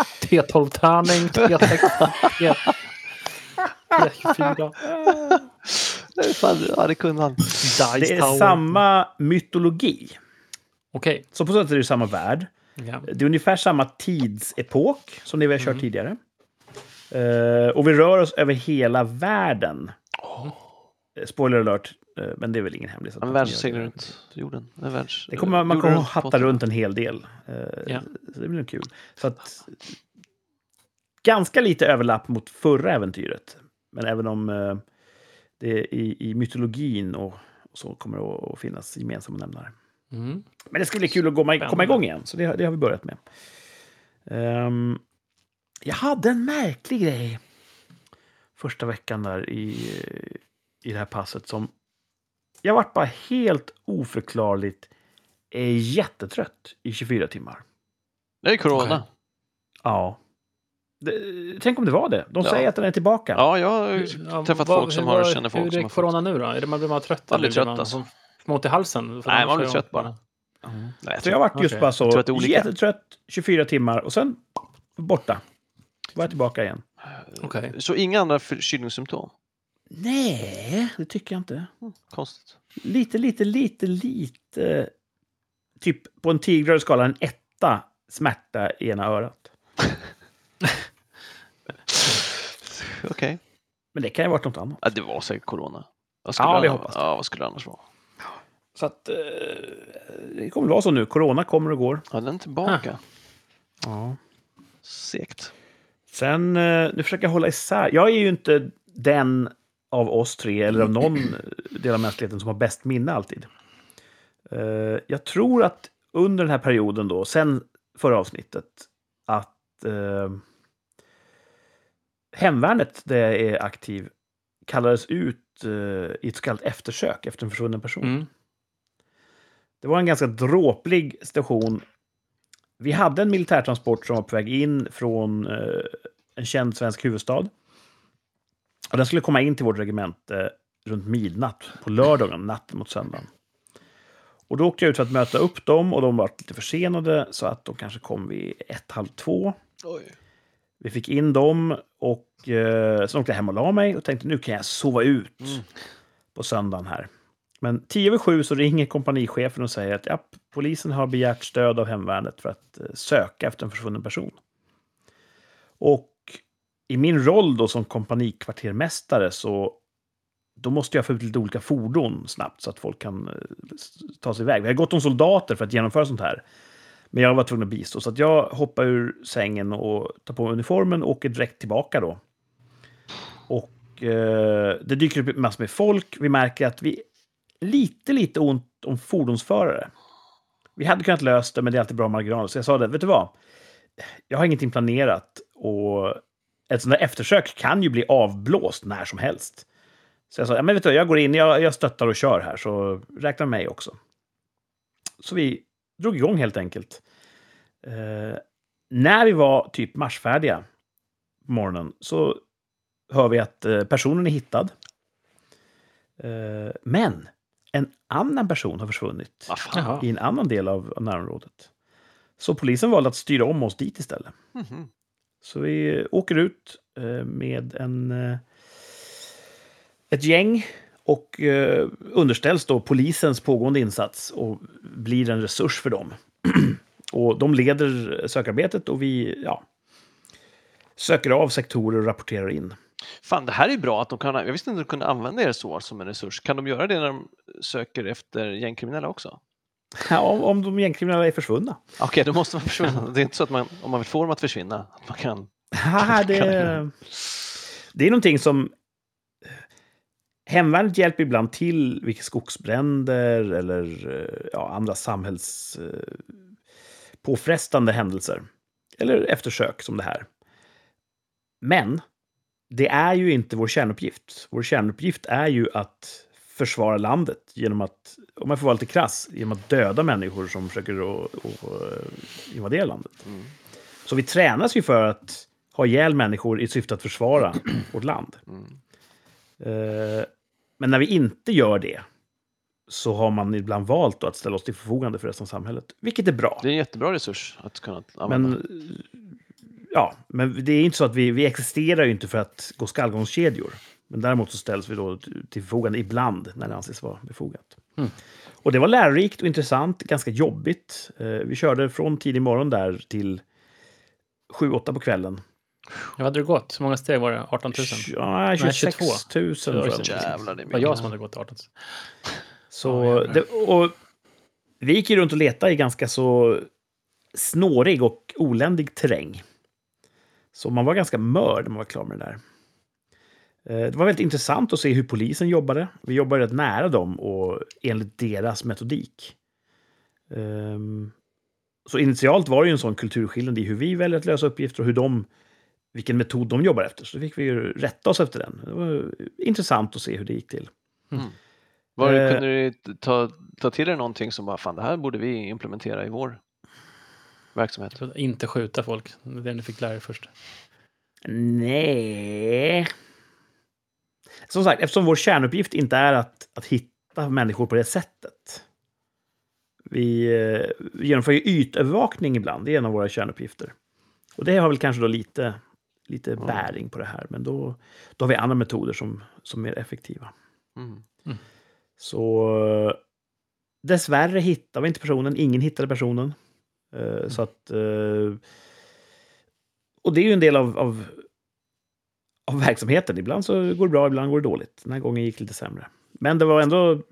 Speaker 1: T12-tärning, T6, T... T24,
Speaker 2: Det är Fan, ja, det kunde han.
Speaker 1: Dice
Speaker 3: Det är
Speaker 1: Tower.
Speaker 3: samma mytologi.
Speaker 1: Okej.
Speaker 3: Så på så sätt är det samma värld.
Speaker 1: Ja.
Speaker 3: Det är ungefär samma tidsepok som det vi har kört tidigare. Eh, och vi rör oss över hela världen. Eh, Spoiler alert, eh, men det är väl ingen hemlis. att
Speaker 2: En
Speaker 3: man
Speaker 2: värld
Speaker 3: gör
Speaker 2: som seglar
Speaker 3: det.
Speaker 2: runt jorden. En världs,
Speaker 3: Det kommer, man
Speaker 2: jorden
Speaker 3: kommer att
Speaker 2: runt
Speaker 3: hatta
Speaker 2: båten.
Speaker 3: runt en hel del. Eh,
Speaker 1: Ja.
Speaker 3: Så det blir nog kul. Så att, ganska lite överlapp mot förra äventyret. Men även om eh, det i, i mytologin och, och så kommer det att- att finnas gemensamma nämnare.
Speaker 1: Mm.
Speaker 3: Men det ska bli kul att komma, komma
Speaker 1: Spännande.
Speaker 3: igång igen, så det, det har vi börjat med. Ehm, jag hade en märklig grej första veckan där i, i det här passet som... Jag vart bara helt oförklarligt eh, jättetrött i 24 timmar.
Speaker 2: Det är corona.
Speaker 1: Okej.
Speaker 3: Ja. Det, tänk om det var det. De
Speaker 2: Ja.
Speaker 3: säger att den är tillbaka.
Speaker 2: Ja, jag har ju
Speaker 1: Ja,
Speaker 2: träffat
Speaker 1: vad-
Speaker 2: folk som
Speaker 1: hur
Speaker 2: har,
Speaker 1: var-
Speaker 2: känner folk
Speaker 1: Hur
Speaker 2: som
Speaker 1: är
Speaker 2: har fått.
Speaker 1: corona nu då? Är det man blir man trött?
Speaker 2: Man blir
Speaker 1: eller
Speaker 2: trött,
Speaker 1: man
Speaker 2: alltså.
Speaker 1: smått i halsen? För
Speaker 2: Nej,
Speaker 1: annars
Speaker 2: man blir
Speaker 1: har
Speaker 2: trött bara.
Speaker 1: jag-
Speaker 2: Nej, jag
Speaker 3: Så
Speaker 2: tror-
Speaker 3: jag vart just
Speaker 1: Okej.
Speaker 3: bara
Speaker 2: Mm. Jag tror att det är
Speaker 3: så
Speaker 2: olika.
Speaker 3: jättetrött 24 timmar och sen borta. Var jag tillbaka igen.
Speaker 1: Okej.
Speaker 2: Så inga andra förkylningssymptom?
Speaker 3: Nej, det tycker jag inte.
Speaker 2: Konstigt.
Speaker 3: lite, lite, lite, lite... Typ på en tigradig skala, en etta smärta i ena örat.
Speaker 2: Okej.
Speaker 3: Men det kan ju ha varit något annat.
Speaker 2: Ja, det var säkert corona. Vad
Speaker 3: Ja,
Speaker 2: det
Speaker 3: vi
Speaker 2: annars-
Speaker 3: hoppas det.
Speaker 2: Ja, vad skulle det annars vara?
Speaker 3: Så att eh, det kommer vara så nu. Corona kommer och går.
Speaker 2: Ja, den är tillbaka.
Speaker 3: Ja.
Speaker 2: Segt.
Speaker 3: Sen, eh, nu försöker jag hålla isär. Jag är ju inte den av oss tre, eller av någon del av mänskligheten, som har bäst minne alltid. Eh, jag tror att under den här perioden då, sen förra avsnittet, att eh, hemvärnet där jag är aktiv kallades ut eh, i ett så kallat eftersök efter en försvunnen person.
Speaker 1: Mm.
Speaker 3: Det var en ganska dråplig situation. Vi hade en militärtransport som var på väg in från eh, en känd svensk huvudstad. Och den skulle komma in till vårt regemente eh, runt midnatt på lördagen, natten mot söndagen. Och då åkte jag ut för att möta upp dem och de var lite försenade så att de kanske kom vid ett, halv två.
Speaker 2: Oj.
Speaker 3: Vi fick in dem och eh, sen åkte jag hem och la mig och tänkte nu kan jag sova ut
Speaker 2: Mm.
Speaker 3: på söndagen här. Men tio över sju så ringer kompanichefen och säger att ja, polisen har begärt stöd av hemvärnet för att eh, söka efter en försvunnen person. Och i min roll då som kompanikvartermästare så då måste jag få ut lite olika fordon snabbt så att folk kan eh, s- ta sig iväg. Vi har gått om soldater för att genomföra sånt här. Men jag var tvungen att bistå, så att jag hoppar ur sängen och tar på mig uniformen och åker direkt tillbaka då. Och eh, det dyker upp massor med folk. Vi märker att vi lite, lite ont om fordonsförare. Vi hade kunnat lösa det, men det är alltid bra marginaler. Så jag sa det, vet du vad? Jag har ingenting planerat och ett sånt där eftersök kan ju bli avblåst när som helst. Så jag sa, ja, men vet du, vad, jag går in, jag, jag stöttar och kör här, så räkna med mig också. Så vi drog igång helt enkelt. Eh, när vi var typ marsfärdiga på morgonen så hör vi att eh, personen är hittad. Eh, men en annan person har försvunnit
Speaker 2: Ah, fan.
Speaker 1: Jaha.
Speaker 3: i en annan del av av närområdet. Så polisen valde att styra om oss dit istället.
Speaker 2: Mhm.
Speaker 3: Så vi åker ut eh, med en, eh, ett gäng och eh, underställs då polisens pågående insats och blir en resurs för dem. *clears throat* och de leder sökarbetet och vi ja, söker av sektorer och rapporterar in. *laughs*
Speaker 2: Fan, det här är bra att de kan, jag visste inte att de kunde använda er så som en resurs. Kan de göra det när de söker efter gängkriminella också?
Speaker 3: Ja, om, om de gängkriminella är försvunna.
Speaker 2: Okej, då måste man försvinna. Det är inte så att man, om man vill få dem att försvinna, att man kan...
Speaker 3: *laughs* Haha, det, det är någonting som... Hemvärnet hjälper ibland till vid skogsbränder eller eh, ja, andra samhälls... eh, påfrestande händelser. Eller eftersök som det här. Men det är ju inte vår kärnuppgift. Vår kärnuppgift är ju att försvara landet genom att, om jag får vara lite krass, genom att döda människor som försöker att- att eh, invadera landet.
Speaker 2: Mm.
Speaker 3: Så vi tränas ju för att ha ihjäl människor i syfte
Speaker 2: *clears throat*
Speaker 3: att försvara vårt land.
Speaker 2: Mm.
Speaker 3: Eh, Men när vi inte gör det så har man ibland valt då att ställa oss till förfogande för resten av samhället, vilket är bra.
Speaker 2: Det är en jättebra resurs att kunna använda.
Speaker 3: Men, eh, ja, men det är inte så att vi, vi existerar ju inte för att gå skallgångskedjor. Men däremot så ställs vi då till förfogande ibland när det anses vara befogat.
Speaker 1: Mm.
Speaker 3: Och det var lärorikt och intressant, ganska jobbigt. Eh, Vi körde från tidig morgon där till 7-8 på kvällen.
Speaker 1: Hur hade det gått? Hur många steg var det? 18 000?
Speaker 3: Ja, 26
Speaker 1: 22.
Speaker 3: 000 tror
Speaker 1: Oj,
Speaker 3: jag.
Speaker 2: Jävlar, det
Speaker 1: Det
Speaker 2: är
Speaker 1: var
Speaker 2: mycket.
Speaker 1: jag som hade gått 18 000.
Speaker 3: Så det, och vi gick ju runt och letade i ganska så snårig och oländig terräng. Så man var ganska mör när man var klar med det där. Eh, Det var väldigt intressant att se hur polisen jobbade. Vi jobbade rätt nära dem och enligt deras metodik. Ehm, Så initialt var det ju en sån kulturskillnad i hur vi väljer att lösa uppgifter och hur de, vilken metod de jobbar efter. Så då fick vi ju rätta oss efter den. Det var intressant att se hur det gick till.
Speaker 2: Var,
Speaker 3: Eh.
Speaker 2: kunde du ta, ta till dig någonting som bara, fan, det här borde vi implementera i vår verksamhet?
Speaker 1: Så att Inte skjuta folk. Det är det ni fick lära er först.
Speaker 3: Nej. Som sagt, eftersom vår kärnuppgift inte är att, att hitta människor på det sättet. Vi eh, genomför ju ytövervakning ibland, det är en av våra kärnuppgifter. Och det har väl kanske då lite, lite
Speaker 2: Ja.
Speaker 3: bäring på det här, men då, då har vi andra metoder som, som är effektiva.
Speaker 2: Mm.
Speaker 3: Så eh, dessvärre hittade vi inte personen. Ingen hittade personen. Eh, Så att... eh, Och det är ju en del av, av, av verksamheten. Ibland så går det bra, ibland går det dåligt. Den här gången gick det lite sämre. Men det var ändå...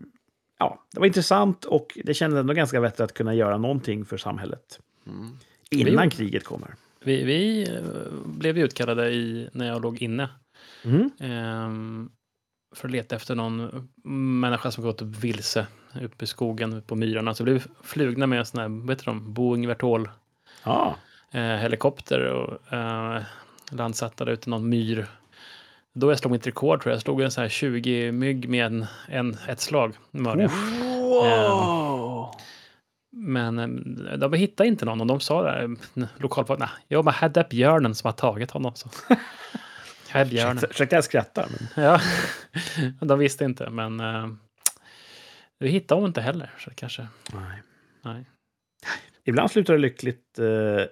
Speaker 3: Ja, det var intressant och det kändes ändå ganska vettigt att kunna göra någonting för samhället
Speaker 2: Mm.
Speaker 3: innan
Speaker 1: gjorde-
Speaker 3: kriget kommer.
Speaker 1: Vi, vi eh, blev ju utkallade i, när jag låg inne
Speaker 3: Mm.
Speaker 1: ehm, för att leta efter någon människa som gått vilse uppe i skogen, uppe på myrarna. Så blev vi flugna med en sån här, vad heter de, Boeing Vertol
Speaker 3: Ja.
Speaker 1: eh, helikopter och eh, landsatta där ute i någon myr. Då jag slog mitt rekord tror jag. Jag slog en sån här 20 mygg med en, en, ett slag. mördade jag.
Speaker 2: Wow!
Speaker 1: Men eh, de hittade inte någon och de sa där, eh, lokalfolk, nej, jag bara hade björnen som har tagit honom. Så. *laughs* Här är björnen.
Speaker 3: Ursäkta- Ursäkta, jag skrattar. Men...
Speaker 1: Ja, *laughs* de visste inte, men eh, vi hittade dem inte heller. Så det kanske,
Speaker 3: Nej.
Speaker 1: nej.
Speaker 3: Ibland slutar det lyckligt. eh,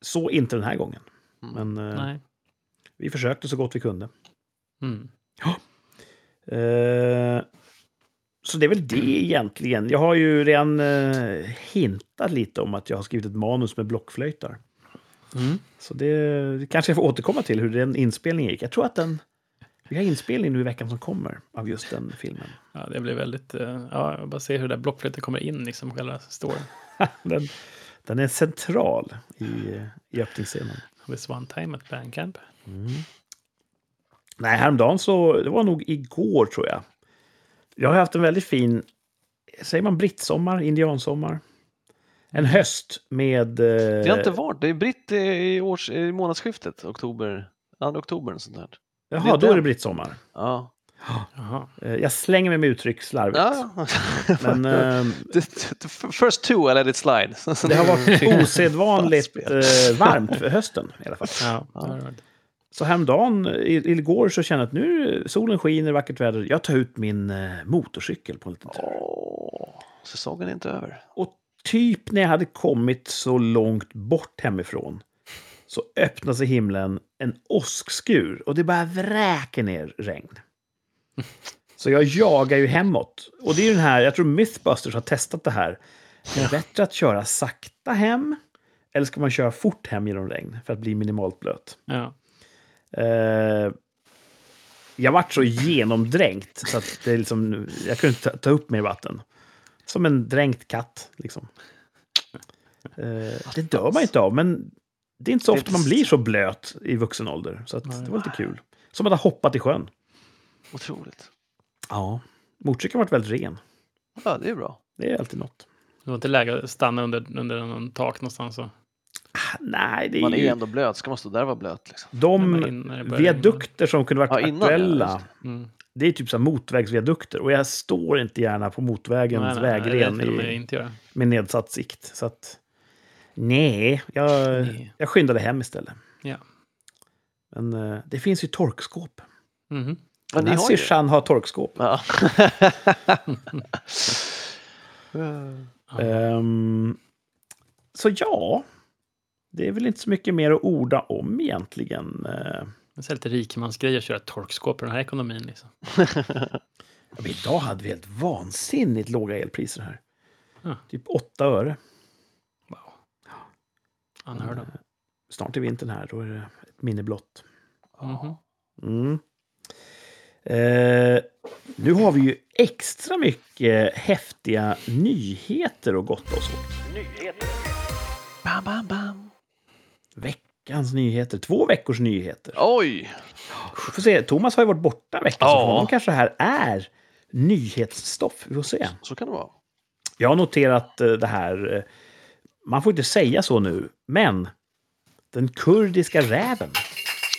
Speaker 3: Så inte den här gången. Men, eh,
Speaker 1: Mm. nej.
Speaker 3: Vi försökte så gott vi kunde.
Speaker 1: Mm.
Speaker 3: Eh, så det är väl
Speaker 1: Mm.
Speaker 3: det egentligen. Jag har ju redan eh, hintat lite om att jag har skrivit ett manus med blockflöjtar.
Speaker 1: Mm.
Speaker 3: Så det, det kanske jag får återkomma till hur den inspelningen gick. Jag tror att den... Vi har inspelning nu i veckan som kommer av just den filmen.
Speaker 1: Ja, det blir väldigt, eh, ja, jag bara se hur det där blockflöjten kommer in, liksom själva storyn.
Speaker 3: Den, den är central i, eh, i öppningsscenen.
Speaker 1: This one time at Bandcamp.
Speaker 3: Mm. Nej, häromdagen så, det var nog igår tror jag. Jag har haft en väldigt fin, säger man brittsommar, indiansommar? En höst med...
Speaker 2: Mm.
Speaker 3: eh,
Speaker 2: Det har inte varit, det är britt i, års, i månadsskiftet, oktober, andra oktober. och Sånt där.
Speaker 3: Jaha,
Speaker 2: det
Speaker 3: då är
Speaker 2: den.
Speaker 3: det brittsommar.
Speaker 2: Ja.
Speaker 1: Jaha.
Speaker 3: Eh, Jag slänger mig med uttryck slarvigt.
Speaker 2: Ja. *laughs*
Speaker 3: Men ehm,
Speaker 2: The- the First two I let it slide. *laughs*
Speaker 3: det har varit osedvanligt
Speaker 2: Fast
Speaker 3: eh,
Speaker 2: *laughs*
Speaker 3: varmt för hösten i alla fall.
Speaker 1: Ja,
Speaker 2: Ja.
Speaker 1: det har det varit.
Speaker 3: Så häromdagen, i- igår, så kände jag att nu solen skiner, vackert väder. Jag tar ut min eh, motorcykel på en liten tur.
Speaker 2: Åh, säsongen är inte över.
Speaker 3: Och typ när jag hade kommit så långt bort hemifrån så öppnar sig himlen en åskskur och det bara vräker ner regn. Så jag jagar ju hemåt. Och det är ju den här, jag tror Mythbusters har testat det här. Är det bättre att köra sakta hem eller ska man köra fort hem genom regn för att bli minimalt blöt?
Speaker 1: Ja.
Speaker 3: Eh, jag vart så genomdränkt så att det är liksom, jag kunde inte ta, ta upp mer vatten. Som en dränkt katt. Liksom. Eh, det dör man inte av, men det är inte så
Speaker 2: Det är
Speaker 3: ofta man
Speaker 2: inte-
Speaker 3: blir så blöt i vuxen ålder. Så att det var lite kul. Som att ha hoppat i sjön.
Speaker 2: Otroligt.
Speaker 3: Ja. Motorcykeln har varit väldigt ren.
Speaker 2: Ja, det är bra.
Speaker 3: Det är alltid något.
Speaker 1: Det var inte läge att stanna under, under någon tak någonstans. Och,
Speaker 3: Ah, Nej, det är
Speaker 2: Man
Speaker 3: ju...
Speaker 2: är ändå blöt. Ska man stå där och vara blöt? Liksom?
Speaker 1: när
Speaker 3: De
Speaker 1: man- innan det börjar
Speaker 3: viadukter som kunde varit
Speaker 2: Ja, innan, ja,
Speaker 3: aktuella.
Speaker 2: just
Speaker 1: regna. Mm.
Speaker 3: Det är typ så här motorvägsviadukter och jag står inte gärna på motorvägens vägren
Speaker 1: det vill jag
Speaker 3: i,
Speaker 1: inte göra.
Speaker 3: med nedsatt sikt. Så att, nej, jag,
Speaker 1: Nej.
Speaker 3: jag skyndade hem istället.
Speaker 1: Ja.
Speaker 3: Men eh, det finns ju torkskåp.
Speaker 1: Mhm.
Speaker 2: Men
Speaker 3: Den här
Speaker 2: ju-
Speaker 3: syrsan har torkskåp. *laughs*
Speaker 2: Ja.
Speaker 1: Ja.
Speaker 3: Ehm, så ja, det är väl inte så mycket mer att orda om egentligen. Eh,
Speaker 1: Det är så här lite rikemansgrej att köra torkskåp i den här ekonomin. Liksom.
Speaker 3: men idag hade vi helt vansinnigt låga elpriser här.
Speaker 1: Ja.
Speaker 3: Typ 8 öre. Eh,
Speaker 1: Wow. Unheard of.
Speaker 3: Snart är vintern här, då är det ett minne blott.
Speaker 1: Mhm.
Speaker 3: Mm. Eh, nu har vi ju extra mycket häftiga nyheter att gotta oss åt.
Speaker 2: bam, bam, bam.
Speaker 3: Veckans nyheter, två veckors nyheter.
Speaker 2: Oj!
Speaker 3: Vi får se, Thomas har ju varit borta en vecka, så
Speaker 2: Ja.
Speaker 3: för honom kanske det här är nyhetsstoff. Vi får se.
Speaker 2: Så kan det vara.
Speaker 3: Jag har noterat eh, det här, eh, man får inte säga så nu, men den kurdiska räven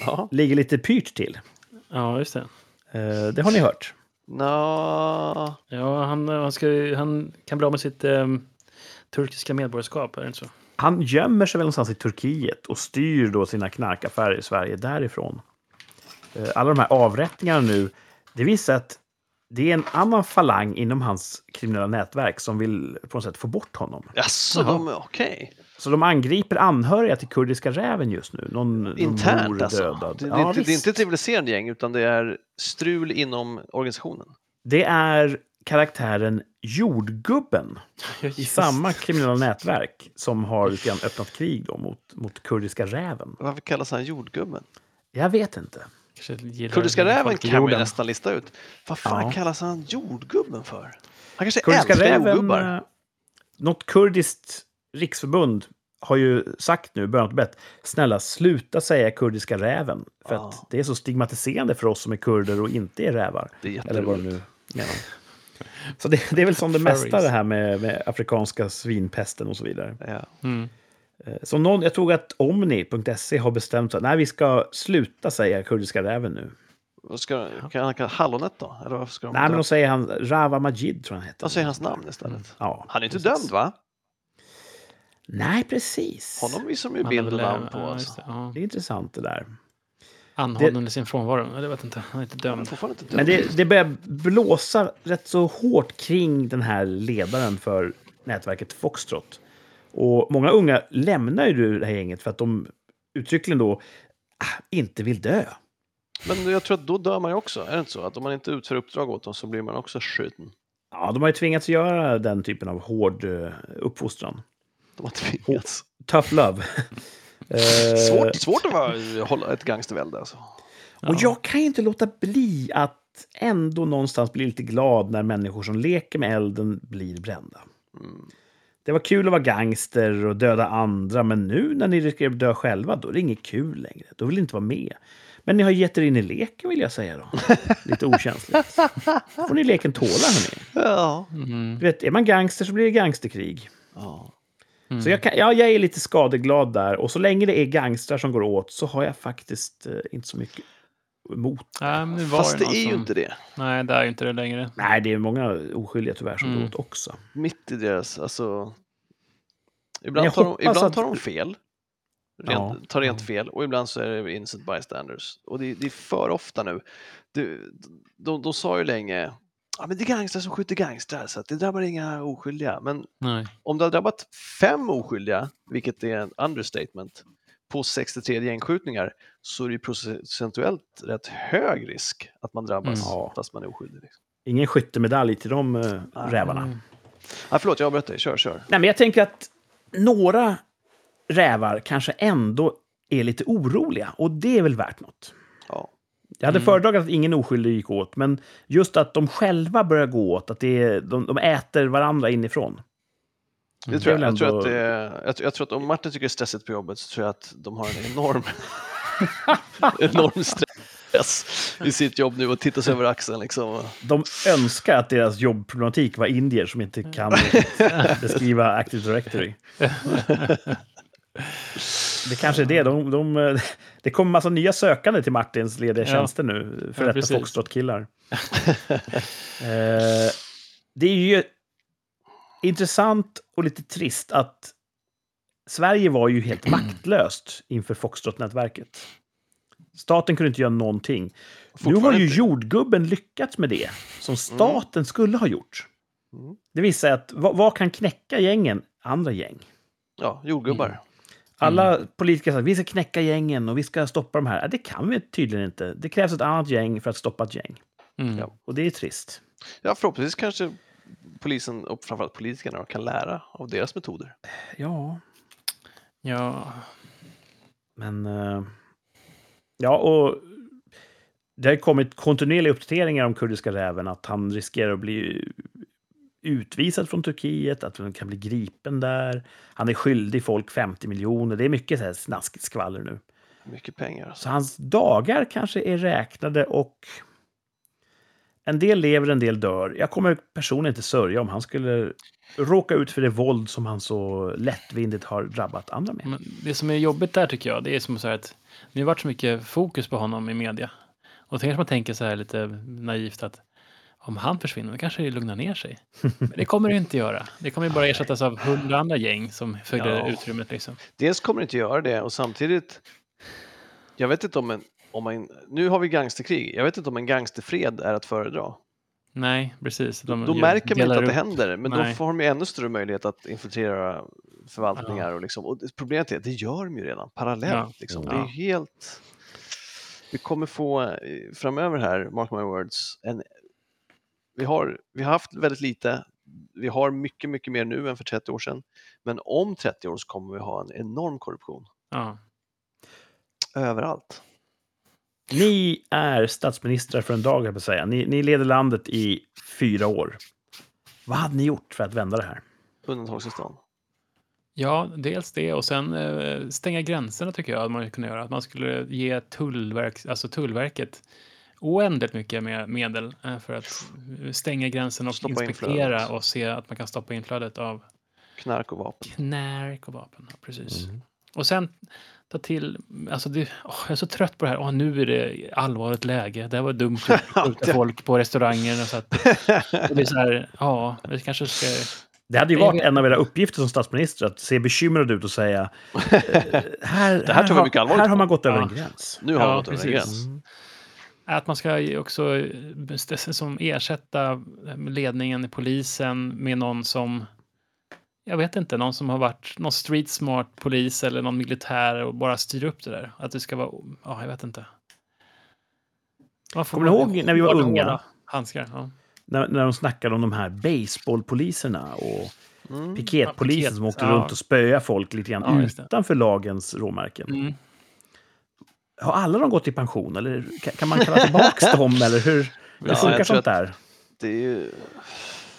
Speaker 2: Ja.
Speaker 3: ligger lite pyrt till.
Speaker 1: Ja, just det.
Speaker 3: Eh, det har ni hört.
Speaker 2: Nå.
Speaker 1: Ja, han, eh, han, ska, ju- han kan bli av med sitt ehm, turkiska medborgarskap, är det inte så?
Speaker 3: Han gömmer sig väl någonstans i Turkiet och styr då sina knarkaffärer i Sverige därifrån. Eh, Alla de här avrättningarna nu, det visar att det är en annan falang inom hans kriminella nätverk som vill på något sätt få bort honom.
Speaker 2: Jaså, de, okej.
Speaker 3: Så de angriper anhöriga till kurdiska räven just nu. Någon, någon mor
Speaker 2: Internt alltså.
Speaker 3: dödad.
Speaker 2: Det, det,
Speaker 3: ja,
Speaker 2: det, det är
Speaker 3: visst.
Speaker 2: inte ett rivaliserande gäng, utan det är strul inom organisationen.
Speaker 3: det är karaktären Jordgubben i samma kriminella nätverk som har lite grann öppnat krig då mot, mot kurdiska räven.
Speaker 2: Varför kallas han jordgubben?
Speaker 3: Jag vet inte.
Speaker 1: Kanske gillar
Speaker 2: Kurdiska räven
Speaker 1: folk i
Speaker 2: kan vi
Speaker 1: jorden.
Speaker 2: nästan lista ut. Vad fan
Speaker 3: Ja.
Speaker 2: kallas han jordgubben för? Han kanske
Speaker 3: Kurdiska
Speaker 2: älskar
Speaker 3: räven...
Speaker 2: jordgubbar.
Speaker 3: eh, Något kurdiskt riksförbund har ju sagt nu, i början på bett, snälla sluta säga kurdiska räven. För
Speaker 2: Ja.
Speaker 3: att det är så stigmatiserande för oss som är kurder och inte är rävar.
Speaker 2: Det är
Speaker 3: Eller vad de
Speaker 2: jätteroligt.
Speaker 3: nu menar. Så det, det är väl som det
Speaker 1: Furries.
Speaker 3: mesta det här med, med afrikanska svinpesten och så vidare.
Speaker 2: Ja.
Speaker 1: Mm.
Speaker 3: Eh, Så någon, jag tror att Omni.se har bestämt att nej, vi ska sluta säga kurdiska räven nu.
Speaker 2: Vad Ska, kan han kalla hallonet då? Eller varför ska de
Speaker 3: Nej, men
Speaker 2: dö-
Speaker 3: då säger han Rava Majid, tror jag han heter.
Speaker 2: de säger hans namn istället.
Speaker 3: Ja.
Speaker 2: Han är inte
Speaker 3: Mm. precis.
Speaker 2: dömd va?
Speaker 3: Nej, precis.
Speaker 2: Honom visar de ju
Speaker 1: Han
Speaker 2: bild
Speaker 1: hade
Speaker 2: och
Speaker 1: väl, eh,
Speaker 2: namn på.
Speaker 1: ja,
Speaker 2: Alltså.
Speaker 1: just det, ja.
Speaker 3: Det är intressant det där.
Speaker 1: Anhållen
Speaker 3: Det-
Speaker 1: under sin frånvaro. Ja, Det vet jag inte. Han är inte
Speaker 2: Han är
Speaker 1: dömd.
Speaker 2: fortfarande inte dömd.
Speaker 3: Men det, det börjar blåsa rätt så hårt kring den här ledaren för nätverket Foxtrot. Och många unga lämnar ju det här gänget för att de uttryckligen då ah, inte vill dö.
Speaker 2: Men jag tror att då dör man ju också. Är det inte så? Att om man inte utför uppdrag åt dem så blir man också skjuten.
Speaker 3: Ja, de har ju tvingats göra den typen av hård eh, uppfostran.
Speaker 2: De har tvingats.
Speaker 3: Tough love. *laughs* Eh,
Speaker 2: Svårt, svårt att vara, hålla ett gangstervälde alltså.
Speaker 3: Och jag kan ju inte låta bli att ändå någonstans bli lite glad när människor som leker med elden blir brända.
Speaker 2: Mm.
Speaker 3: Det var kul att vara gangster och döda andra, men nu när ni riskerar att dö själva, då är det inget kul längre. Då vill ni inte vara med. Men ni har gett er in i leken, vill jag säga då.
Speaker 1: *laughs*
Speaker 3: Lite okänsligt. Då får ni leken tåla, hörni.
Speaker 2: Ja.
Speaker 1: Mm.
Speaker 3: Du vet, är man gangster så blir det gangsterkrig.
Speaker 2: ja.
Speaker 1: Mm.
Speaker 3: Så jag, kan, ja, jag är lite skadeglad där. Och så länge det är gangstrar som går åt så har jag faktiskt eh, inte så mycket mot.
Speaker 1: Nej, men nu var
Speaker 2: Fast det
Speaker 1: någon
Speaker 2: är ju
Speaker 1: som-
Speaker 2: inte det.
Speaker 1: Nej, det är ju inte det längre.
Speaker 3: Nej, det är många oskyldiga tyvärr som
Speaker 1: Mm.
Speaker 3: går åt också.
Speaker 2: Mitt i deras, alltså... Ibland,
Speaker 3: jag
Speaker 2: tar de,
Speaker 3: hoppas
Speaker 2: ibland
Speaker 3: att-
Speaker 2: tar de fel. Rent,
Speaker 3: Ja.
Speaker 2: Tar rent
Speaker 3: Ja.
Speaker 2: fel och ibland så är det innocent bystanders. Och det, det är för ofta nu. Du, de, de sa ju länge Ja, men det är gangstrar som skjuter gangstrar, så att det drabbar inga oskyldiga. Men
Speaker 1: Nej.
Speaker 2: om det har drabbat fem oskyldiga, vilket är en understatement, på 63 gängskjutningar så är det ju procentuellt rätt hög risk att man drabbas
Speaker 1: Mm.
Speaker 3: Ja.
Speaker 2: fast man är oskyldig. Liksom.
Speaker 3: Ingen skyttemedalj till de eh, rävarna.
Speaker 1: Mm.
Speaker 2: Ah, förlåt, jag avbröt dig. Kör, kör.
Speaker 3: Nej, men jag tänker att några rävar kanske ändå är lite oroliga och det är väl värt något.
Speaker 2: Ja.
Speaker 3: Jag hade
Speaker 1: Mm.
Speaker 3: föredragit att ingen oskyldig gick åt, men just att de själva börjar gå åt, att det är, de, de äter varandra inifrån.
Speaker 2: Det tror jag.
Speaker 3: Mm. Det är
Speaker 2: Jag tror,
Speaker 3: väl ändå-
Speaker 2: att det, är- jag, tror- jag tror att om Martin tycker det är stressigt på jobbet så tror jag att de har en
Speaker 3: *laughs*
Speaker 2: enorm, enorm stress i sitt jobb nu och tittar sig över axeln. Liksom.
Speaker 3: De önskar att deras jobbproblematik var indier som
Speaker 1: *laughs*
Speaker 3: inte kan beskriva Active Directory. Det kanske är det. De, de, det kommer massa nya sökande till Martins lediga
Speaker 1: Ja.
Speaker 3: tjänster nu, för
Speaker 1: Ja,
Speaker 3: detta
Speaker 1: precis. *laughs*
Speaker 3: Foxtrot-killar. Eh, det är ju intressant och lite trist att Sverige var ju helt maktlöst inför Foxtrot-nätverket. Staten kunde inte göra någonting. Nu har
Speaker 2: Fortfarande
Speaker 3: ju
Speaker 2: inte.
Speaker 3: jordgubben lyckats med det som staten skulle ha gjort.
Speaker 2: Mm.
Speaker 3: Det visar att vad, vad kan knäcka gängen? Andra gäng.
Speaker 2: Ja,
Speaker 3: Mm.
Speaker 2: jordgubbar.
Speaker 3: Alla
Speaker 2: Mm.
Speaker 3: politiker säger att vi ska knäcka gängen och vi ska stoppa de här. Ja, Det kan vi tydligen inte. Det krävs ett annat gäng för att stoppa ett gäng.
Speaker 1: Mm.
Speaker 2: Ja.
Speaker 3: Och det är trist.
Speaker 2: Ja, förhoppningsvis kanske polisen och framförallt politikerna då kan lära av deras metoder.
Speaker 3: Ja,
Speaker 1: Ja.
Speaker 3: men... eh, Ja, och... Det har ju kommit kontinuerliga uppdateringar om kurdiska räven, att han riskerar att bli utvisad från Turkiet, att han kan bli gripen där. Han är skyldig folk 50 miljoner. Det är mycket så här snaskigt skvaller nu.
Speaker 2: Mycket pengar. Alltså.
Speaker 3: Så hans dagar kanske är räknade och en del lever, en del dör. Jag kommer personligen inte sörja om han skulle råka ut för det våld som han så lättvindigt har drabbat andra med.
Speaker 1: Men det som är jobbigt där tycker jag, det är som så här att det har varit så mycket fokus på honom i media. Och då kanske man tänker så här lite naivt att om han försvinner, då kanske det lugnar ner
Speaker 2: *laughs*
Speaker 1: sig. Men det kommer det inte göra. Det kommer ju bara ersättas av hundra andra gäng som fyller
Speaker 2: Ja.
Speaker 1: utrymmet liksom.
Speaker 2: Dels kommer det inte göra det och samtidigt, jag vet inte om en, om en nu har vi gangsterkrig, jag vet inte om en gangsterfred är att föredra.
Speaker 1: Nej, precis. De
Speaker 2: då
Speaker 1: gör-
Speaker 2: märker man
Speaker 1: Mm, delar
Speaker 2: inte att det
Speaker 1: upp.
Speaker 2: händer, men
Speaker 1: Nej.
Speaker 2: då får de ju ännu större möjlighet att infiltrera förvaltningar. Och, liksom. och det- problemet är att det gör de ju redan parallellt.
Speaker 1: Ja.
Speaker 2: Liksom.
Speaker 1: Ja.
Speaker 2: Det är ju helt... Vi kommer få eh, framöver här, mark my words, en... vi, har, vi har haft väldigt lite, vi har mycket, mycket mer nu än för 30 år sedan, men om 30 år så kommer vi ha en enorm korruption
Speaker 1: Ja.
Speaker 2: överallt.
Speaker 3: Ni är statsministrar för en dag, jag vill säga. Ni, ni leder landet i fyra år. Vad hade ni gjort för att vända det här?
Speaker 2: Undantagstillstånd.
Speaker 1: ja, dels det och sen eh, stänga gränserna tycker jag att man kunde göra. Att man skulle ge tullverk, alltså Tullverket oändligt mycket mer medel eh, för att stänga gränsen och
Speaker 2: Stoppa
Speaker 1: inspektera
Speaker 2: inflödet.
Speaker 1: och se att man kan stoppa inflödet av
Speaker 2: Knark och vapen.
Speaker 1: knark och vapen. ja, Precis. Och sen ta till, alltså det, åh, jag är så trött på det här, åh, nu är det allvarligt läge, det här var dumt att skjuta folk på restaurangerna. Så att, det blir så här, ja, vi kanske ska...
Speaker 3: Det hade ju
Speaker 1: Men jag
Speaker 3: varit
Speaker 1: vet-
Speaker 3: en av era uppgifter som statsminister att se bekymrad ut och säga eh, här,
Speaker 2: Det här tar vi
Speaker 3: har,
Speaker 2: mycket allvarligt
Speaker 3: här har
Speaker 2: på."
Speaker 3: man gått över
Speaker 1: Ja.
Speaker 3: en gräns. Mm.
Speaker 2: Nu har
Speaker 1: Ja,
Speaker 2: vi gått över en
Speaker 1: precis.
Speaker 2: gräns.
Speaker 1: Att man ska ju också eh, som ersätta eh, ledningen i polisen med någon som, jag vet inte, någon som har varit någon street smart polis eller någon militär och bara styr upp det där. Att det ska vara, ja, jag vet inte. Man får-
Speaker 3: Kommer ni ihåg när vi var
Speaker 1: Hårda,
Speaker 3: unga?
Speaker 1: hårda Handskar, ja.
Speaker 3: När, när de snackade om de här baseballpoliserna och
Speaker 2: Mm.
Speaker 3: piketpolisen
Speaker 1: Ja, piket,
Speaker 3: som åkte
Speaker 1: ja.
Speaker 3: runt och spöa folk lite grann
Speaker 1: Ja, just det.
Speaker 3: utanför lagens råmärken.
Speaker 1: Mm.
Speaker 3: Har alla de gått i pension eller ka- kan man kalla tillbaka dem eller hur? Hur
Speaker 2: Ja,
Speaker 3: funkar
Speaker 2: jag tror
Speaker 3: sånt där?
Speaker 2: Det är ju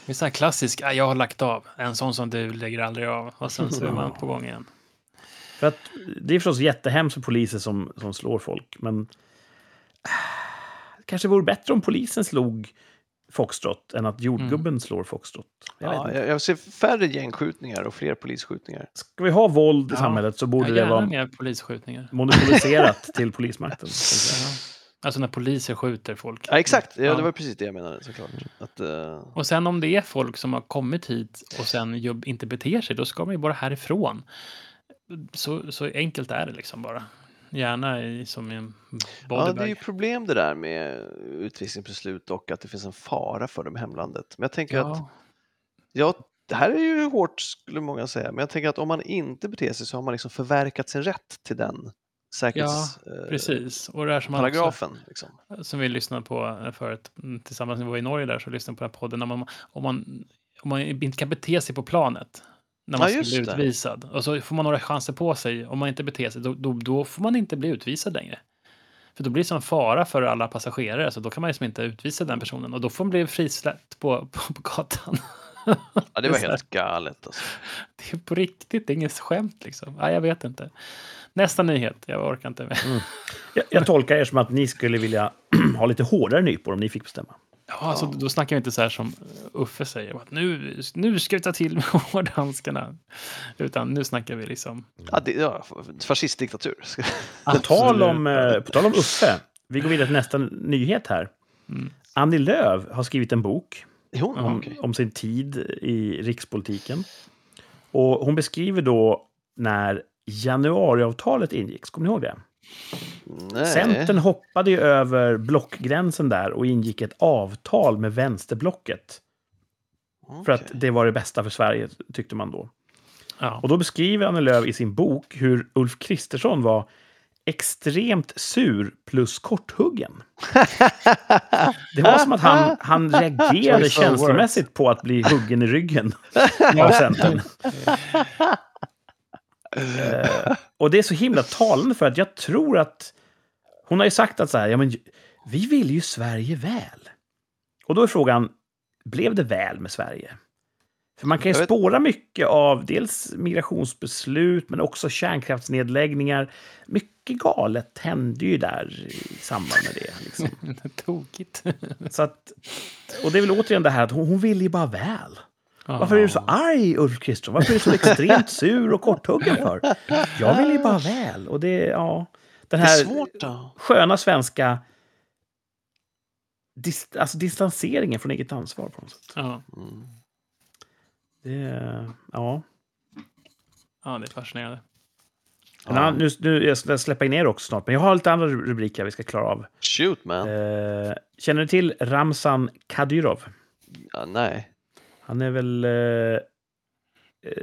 Speaker 1: Det är så här klassisk, "Ah, jag har lagt av. En sån som du lägger aldrig av. Och sen så är man på gång igen.
Speaker 3: För att, det är förstås jättehemskt för poliser som, som slår folk, men äh, det kanske vore bättre om polisen slog Foxtrot än att jordgubben
Speaker 1: Mm.
Speaker 3: slår Foxtrot. Jag vet
Speaker 2: ja,
Speaker 3: inte.
Speaker 2: jag, jag ser färre gängskjutningar och fler polisskjutningar.
Speaker 3: Ska vi ha våld i
Speaker 1: Ja,
Speaker 3: samhället så
Speaker 1: Borde
Speaker 3: borde
Speaker 1: jag
Speaker 3: det
Speaker 1: gärna *laughs*
Speaker 3: vara
Speaker 1: mer polisskjutningar.
Speaker 3: monopoliserat till polismakten.
Speaker 1: Ja. Alltså när poliser skjuter folk.
Speaker 2: Ja, exakt, ja,
Speaker 1: Mm. Ja. Mm.
Speaker 2: det var precis det jag menade såklart. Att, eh,
Speaker 1: Och sen om det är folk som har kommit hit och sen ju- inte beter sig, då ska man ju bara härifrån. Så, så enkelt är det liksom bara. Gärna i, som i en
Speaker 2: ja, det är ju
Speaker 1: bodybag.
Speaker 2: problem det där med utvisningsbeslut och att det finns en fara för dem i hemlandet. Men jag tänker att
Speaker 1: Ja,
Speaker 2: Ja, det här är ju hårt skulle många säga, men jag tänker att om man inte beter sig så har man liksom förverkat sin rätt till den säkerhetsparagrafen.
Speaker 1: precis. Och det här som, man också,
Speaker 2: paragrafen liksom.
Speaker 1: som vi lyssnade på förut, mm, tillsammans när vi var i Norge där, så lyssnade vi på den här podden. När man, om, man, om man inte kan bete sig på planet, när man
Speaker 2: Ja,
Speaker 1: ska
Speaker 2: just
Speaker 1: bli
Speaker 2: det.
Speaker 1: utvisad, och så får man några chanser på sig, om man inte beter sig, då, då, då får man inte bli utvisad längre. För då blir det som fara för alla passagerare, så då kan man liksom inte utvisa den personen. Och då får man bli frisläppt på, på, på gatan. *laughs*
Speaker 2: Ja, det var
Speaker 1: så här.
Speaker 2: helt galet. Alltså.
Speaker 1: Det är på riktigt, det är inget skämt liksom. Nej, jag vet inte. Nästa nyhet, jag orkar inte med.
Speaker 3: Jag, jag tolkar er som att ni skulle vilja *clears throat* ha lite hårdare nypor om ni fick bestämma.
Speaker 1: Ja, alltså, då snackar vi inte så här som eh, Uffe säger, att nu, nu ska vi ta till *laughs* med hårdhandskarna. Utan nu snackar vi liksom...
Speaker 2: Ja, det, ja, fascistdiktatur.
Speaker 3: På tal,
Speaker 1: absolut.
Speaker 3: om, eh, på tal om Uffe, vi går vidare till nästa nyhet här.
Speaker 1: Mm.
Speaker 3: Annie Lööf har skrivit en bok
Speaker 2: *laughs* Jo,
Speaker 3: om,
Speaker 2: Ah, okej.
Speaker 3: om sin tid i rikspolitiken. Och hon beskriver då när januariavtalet ingicks. Kommer ni ihåg det?
Speaker 2: Nej.
Speaker 3: Centern hoppade ju över blockgränsen där och ingick ett avtal med vänsterblocket.
Speaker 2: Okej.
Speaker 3: För att det var det bästa för Sverige, tyckte man då.
Speaker 1: Ja.
Speaker 3: Och då beskriver Annie Lööf i sin bok hur Ulf Kristersson var extremt sur plus korthuggen. Det var som att han, han reagerade
Speaker 1: Choice of words.
Speaker 3: känslomässigt på att bli huggen
Speaker 1: *laughs*
Speaker 3: i ryggen av Centern. Eh, och det är så himla talande för att jag tror att hon har ju sagt att så här, ja men vi vill ju Sverige väl. Och då är frågan, blev det väl med Sverige? För man kan ju
Speaker 2: Jag vet-
Speaker 3: spåra mycket av dels migrationsbeslut men också kärnkraftsnedläggningar. Mycket galet hände ju där i samband med det. Liksom.
Speaker 1: *laughs* Tokigt.
Speaker 3: Så att, och det är väl återigen det här att hon, hon vill ju bara väl.
Speaker 1: Ja.
Speaker 3: Varför är du så arg, Ulf Kristersson? Varför är du
Speaker 2: *laughs*
Speaker 3: så extremt sur och korthuggen för? Jag vill ju bara väl. Och det, ja. Den
Speaker 2: Det är
Speaker 3: här
Speaker 2: svårt då.
Speaker 3: sköna svenska dis, alltså distanseringen från eget ansvar på något sätt.
Speaker 1: Ja.
Speaker 2: Mm.
Speaker 3: Det, ja.
Speaker 1: ja, det är fascinerande.
Speaker 3: En annan, nu, nu, jag ska släppa in er också snart, men jag har lite andra rubriker vi ska klara av.
Speaker 2: Shoot man.
Speaker 3: Eh, känner ni till Ramzan Kadyrov?
Speaker 2: Ja, nej.
Speaker 3: Han är väl eh,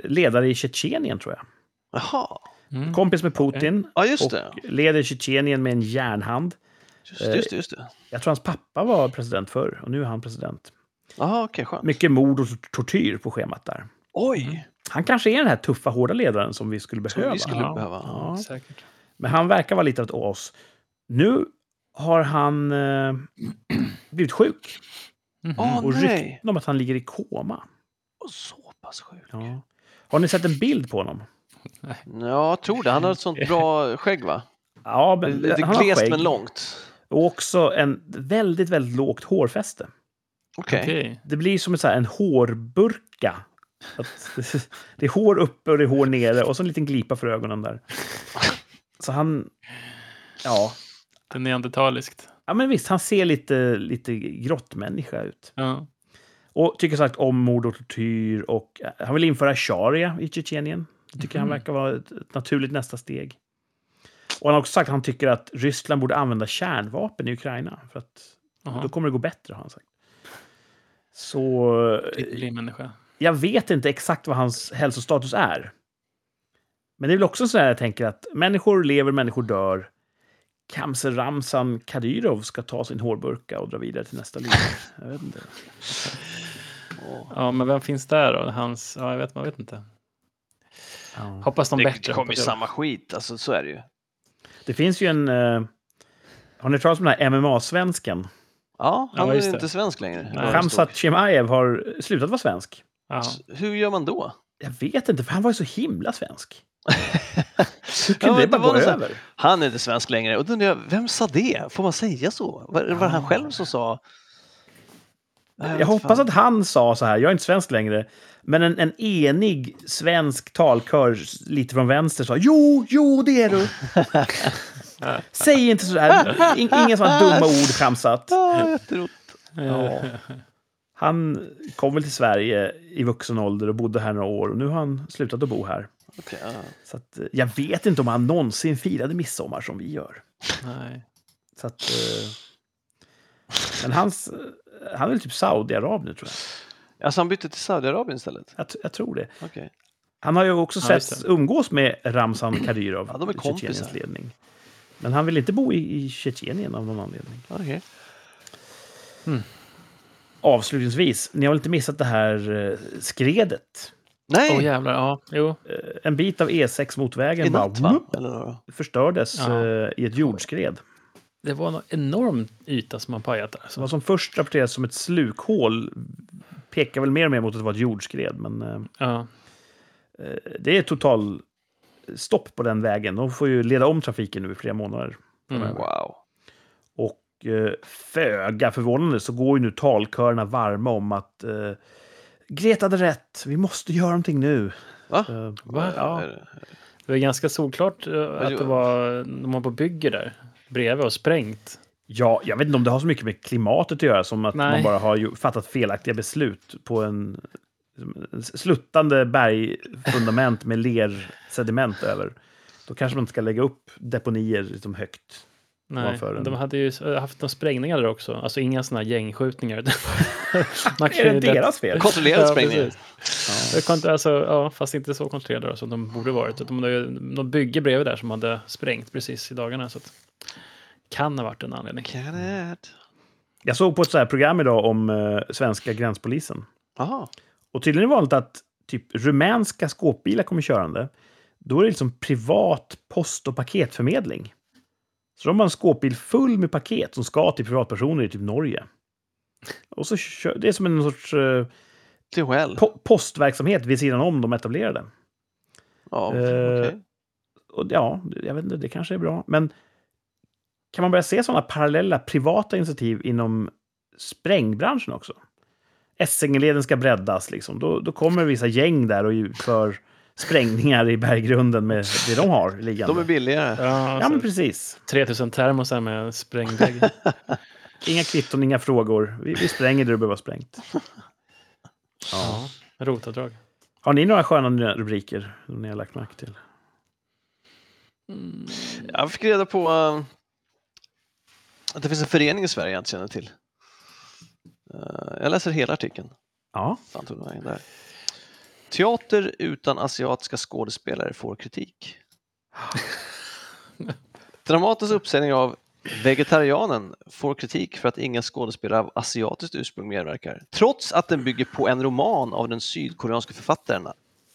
Speaker 3: ledare i Tjetjenien, tror jag.
Speaker 2: Jaha.
Speaker 1: Mm.
Speaker 3: Kompis med Putin
Speaker 2: Ja, just
Speaker 3: och
Speaker 2: det.
Speaker 3: leder Tjetjenien med en järnhand.
Speaker 2: Just,
Speaker 3: eh,
Speaker 2: just det, just det.
Speaker 3: Jag tror hans pappa var president förr, och nu är han president.
Speaker 2: Jaha, okej, skönt.
Speaker 3: Mycket mord och tortyr på schemat där.
Speaker 2: Oj,
Speaker 3: Han kanske är den här tuffa, hårda ledaren som vi skulle
Speaker 2: som
Speaker 3: Mm. behöva.
Speaker 2: vi skulle
Speaker 1: Ja.
Speaker 2: behöva.
Speaker 3: Ja.
Speaker 1: Säkert.
Speaker 3: Men han verkar vara lite åt oss. Nu har han eh, *clears throat* blivit sjuk.
Speaker 1: Mhm.
Speaker 2: Åh,
Speaker 3: Och
Speaker 2: nej.
Speaker 3: rykten om att han ligger i koma.
Speaker 2: Och så pass sjuk.
Speaker 3: Ja. Har ni sett en bild på honom?
Speaker 2: Ja, jag tror det. Han har ett
Speaker 3: *laughs*
Speaker 2: sånt bra skägg va?
Speaker 3: Ja, men
Speaker 2: Lite
Speaker 3: han har
Speaker 2: glest
Speaker 3: skägg.
Speaker 2: men långt.
Speaker 3: Och också en väldigt, väldigt lågt hårfäste.
Speaker 2: Okej.
Speaker 1: Okej.
Speaker 3: Det blir som ett, så här, en hårburka. Att, *laughs* det är hår uppe och det är hår nere och så en liten glipa för ögonen där. Så han... Ja.
Speaker 1: Det är neandertaliskt.
Speaker 3: ja, men visst, han ser lite, lite grottmänniska ut.
Speaker 1: Ja.
Speaker 3: Och tycker sagt om mord och tortyr. Och, eh, han vill införa sharia i Tjetjenien. Det tycker
Speaker 1: Mhm.
Speaker 3: han verkar vara ett ett naturligt nästa steg. Och han har också sagt att han tycker att Ryssland borde använda kärnvapen i Ukraina. För att
Speaker 1: Jaha.
Speaker 3: då kommer det gå bättre, har han sagt. Så eh,
Speaker 1: Ytterlig människa.
Speaker 3: jag vet inte exakt vad hans hälsostatus är. Men det är väl också så här jag tänker att människor lever, människor dör. Kamser Ramzan Kadyrov ska ta sin hårburka och dra vidare till
Speaker 2: *laughs*
Speaker 3: nästa liv. Jag vet inte.
Speaker 2: Åh.
Speaker 1: Ja, men vem finns där då? Hans... Ja, jag vet, man vet inte. Hoppas de
Speaker 2: Det
Speaker 1: bättre.
Speaker 2: kommer ju
Speaker 1: hoppas jag.
Speaker 2: samma skit, alltså så är det ju.
Speaker 3: Det finns ju en... Eh, har ni hört talas om den här MMA-svensken?
Speaker 2: Ja, han
Speaker 1: Ja,
Speaker 2: är
Speaker 1: just
Speaker 2: ju
Speaker 1: det.
Speaker 2: inte svensk längre. vad det
Speaker 3: Khamzat
Speaker 2: stod.
Speaker 3: Chimaev har slutat vara svensk.
Speaker 1: Ja.
Speaker 2: Hur gör man då?
Speaker 3: Jag vet inte, för han var ju så
Speaker 2: *laughs*
Speaker 3: himla svensk. Hur
Speaker 2: Ja,
Speaker 3: kunde det
Speaker 2: det
Speaker 3: bara
Speaker 2: var
Speaker 3: gå
Speaker 2: någon så här-
Speaker 3: över?
Speaker 2: Han är inte svensk längre. Och då undrar jag, vem sa det? Får man säga så? Var, var det han själv som sa? Nej,
Speaker 3: Ah. Jag
Speaker 2: vet
Speaker 3: hoppas
Speaker 2: fan.
Speaker 3: att han sa så här, jag är inte svensk längre, men en, en enig svensk talkör s- lite från vänster sa jo, jo det är du. Säg inte sådär. In, inga sådana dumma ord framsatt.
Speaker 2: Ah, jätteroligt.
Speaker 3: Ja. Han kom väl till Sverige i vuxen ålder och bodde här några år och nu har han slutat att bo här.
Speaker 2: Okej, ah. ja.
Speaker 3: Så att, eh, jag vet inte om han någonsin firade midsommar som vi gör.
Speaker 2: Nej.
Speaker 3: Så att, eh, men hans, eh, han är väl typ Saudiarab nu tror jag.
Speaker 2: Alltså han bytte till Saudiarabien istället?
Speaker 3: jag. t- Jag tror det.
Speaker 2: Okej.
Speaker 3: Han har ju också
Speaker 1: Ja,
Speaker 3: setts
Speaker 1: just det.
Speaker 3: umgås med Ramzan Kadyrov,
Speaker 2: Ja, de är kompisar.
Speaker 3: Tjetjeniens ledning. Men han vill inte bo i, i Tjetjenien av någon anledning.
Speaker 2: ah, okej.
Speaker 3: Avslutningsvis, ni har väl inte missat det här eh, skredet?
Speaker 2: Nej!
Speaker 1: Åh
Speaker 3: Oh,
Speaker 1: jävlar, ja. Jo.
Speaker 3: Eh, En bit av
Speaker 2: I
Speaker 3: E6-motvägen bara
Speaker 2: natt va?
Speaker 3: whoop,
Speaker 2: Eller då?
Speaker 3: förstördes
Speaker 1: Ja.
Speaker 3: eh, i ett jordskred.
Speaker 1: Det var en enorm yta som man pajat där.
Speaker 3: Vad
Speaker 1: Så,
Speaker 3: som först rapporterades som ett slukhål pekar väl mer och mer mot att det var ett jordskred. Men eh,
Speaker 1: ja.
Speaker 3: det är total stopp på den vägen. De får ju leda om trafiken nu i flera månader.
Speaker 1: Mm.
Speaker 2: Wow.
Speaker 3: Och eh, föga förvånande så går ju nu talkörerna varma om att eh, Greta hade rätt, vi måste göra någonting nu.
Speaker 2: Va?
Speaker 3: Eh,
Speaker 1: Va?
Speaker 3: Ja,
Speaker 2: Är-
Speaker 1: Det var ganska solklart eh, att det var de var på bygge där bredvid och sprängt.
Speaker 3: ja, jag vet inte om det har så mycket med klimatet att göra som att
Speaker 1: Nej.
Speaker 3: man bara har ju fattat felaktiga beslut på en en sluttande bergfundament med lersediment över. Då kanske man inte ska lägga upp deponier liksom högt.
Speaker 1: Nej,
Speaker 3: Ovanför den.
Speaker 1: de hade ju s- haft några sprängningar där också. Alltså inga sådana här gängskjutningar. *laughs* Man kan
Speaker 3: *laughs* Är det
Speaker 1: ju lätt-
Speaker 3: deras fel?
Speaker 1: *laughs*
Speaker 2: Kontrollerad
Speaker 1: Ja,
Speaker 2: sprängning.
Speaker 1: precis. Jag kan inte- Alltså, ja, fast inte så kontrollerade då, som de borde varit. Utan de hade ju något bygge bredvid där som hade sprängt precis i dagarna. Så att, kan ha varit en anledning.
Speaker 2: Can it?
Speaker 3: Jag såg på ett så här program idag om eh, svenska gränspolisen.
Speaker 2: Jaha.
Speaker 3: Och tydligen är det vanligt att typ rumänska skåpbilar kommer körande. Då är det liksom privat post och paketförmedling. Så de har en skåpbil full med paket som ska till privatpersoner i typ Norge. Och så kör, det är som en sorts eh,
Speaker 2: Till Well.
Speaker 3: po- postverksamhet vid sidan om de etablerade.
Speaker 2: Ja,
Speaker 3: eh,
Speaker 2: okej.
Speaker 3: Och ja, jag vet inte, det kanske är bra. Men kan man börja se sådana parallella privata initiativ inom sprängbranschen också? Essingeleden ska breddas, liksom. då, då kommer vissa gäng där och utför sprängningar i berggrunden med det de har liggande.
Speaker 2: De är billigare.
Speaker 1: Ja,
Speaker 3: Ja, men
Speaker 1: alltså,
Speaker 3: precis.
Speaker 1: 3000 termosar med
Speaker 3: *laughs*
Speaker 1: sprängdeg.
Speaker 3: Inga kvitton, inga frågor. Vi, vi spränger det du behöver vara sprängt. Ja.
Speaker 1: ja, rotavdrag.
Speaker 3: Har ni några sköna nya rubriker som ni har lagt märke till?
Speaker 2: Jag fick reda på eh, att det finns en förening i Sverige jag inte känner till. Eh, jag läser hela artikeln.
Speaker 3: Ja,
Speaker 2: Fan tog den vägen där. Teater utan asiatiska skådespelare får kritik. Dramatens uppsägning av Vegetarianen får kritik för att inga skådespelare av asiatiskt ursprung medverkar, trots att den bygger på en roman av den sydkoreanske författaren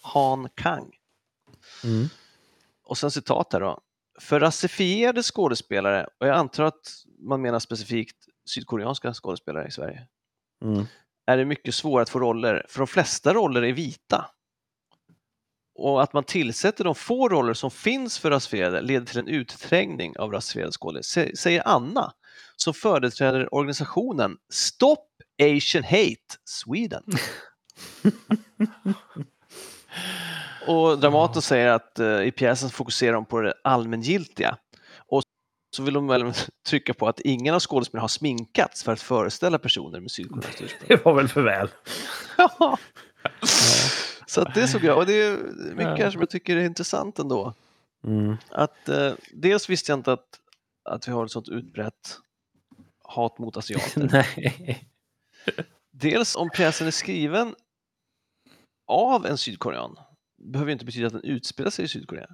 Speaker 2: Han Kang.
Speaker 3: Mm.
Speaker 2: Och sen citat här då. För rasifierade skådespelare, och jag antar att man menar specifikt sydkoreanska skådespelare i Sverige,
Speaker 3: mm.
Speaker 2: är det mycket svårare att få roller, för de flesta roller är vita. Och att man tillsätter de få roller som finns för rasifierade leder till en utträngning av rasifierade skådespelare, sä- säger Anna som företräder organisationen Stop Asian Hate Sweden. och Dramaten säger att eh, i pjäsen fokuserar de på det allmängiltiga och så vill de väl trycka på att ingen av skådespelarna har sminkats för att föreställa personer med sydkoreanskt ursprung.
Speaker 3: det var väl för väl.
Speaker 2: Ja. *laughs* Så att det såg jag. Och det är mycket här
Speaker 1: Ja.
Speaker 2: som jag tycker är intressant ändå.
Speaker 3: Mm.
Speaker 2: Att, eh, dels visste jag inte att, att vi har ett sånt utbrett hat mot asiater.
Speaker 1: *laughs* Nej.
Speaker 2: dels om pjäsen är skriven av en sydkorean behöver ju inte betyda att den utspelar sig i Sydkorea.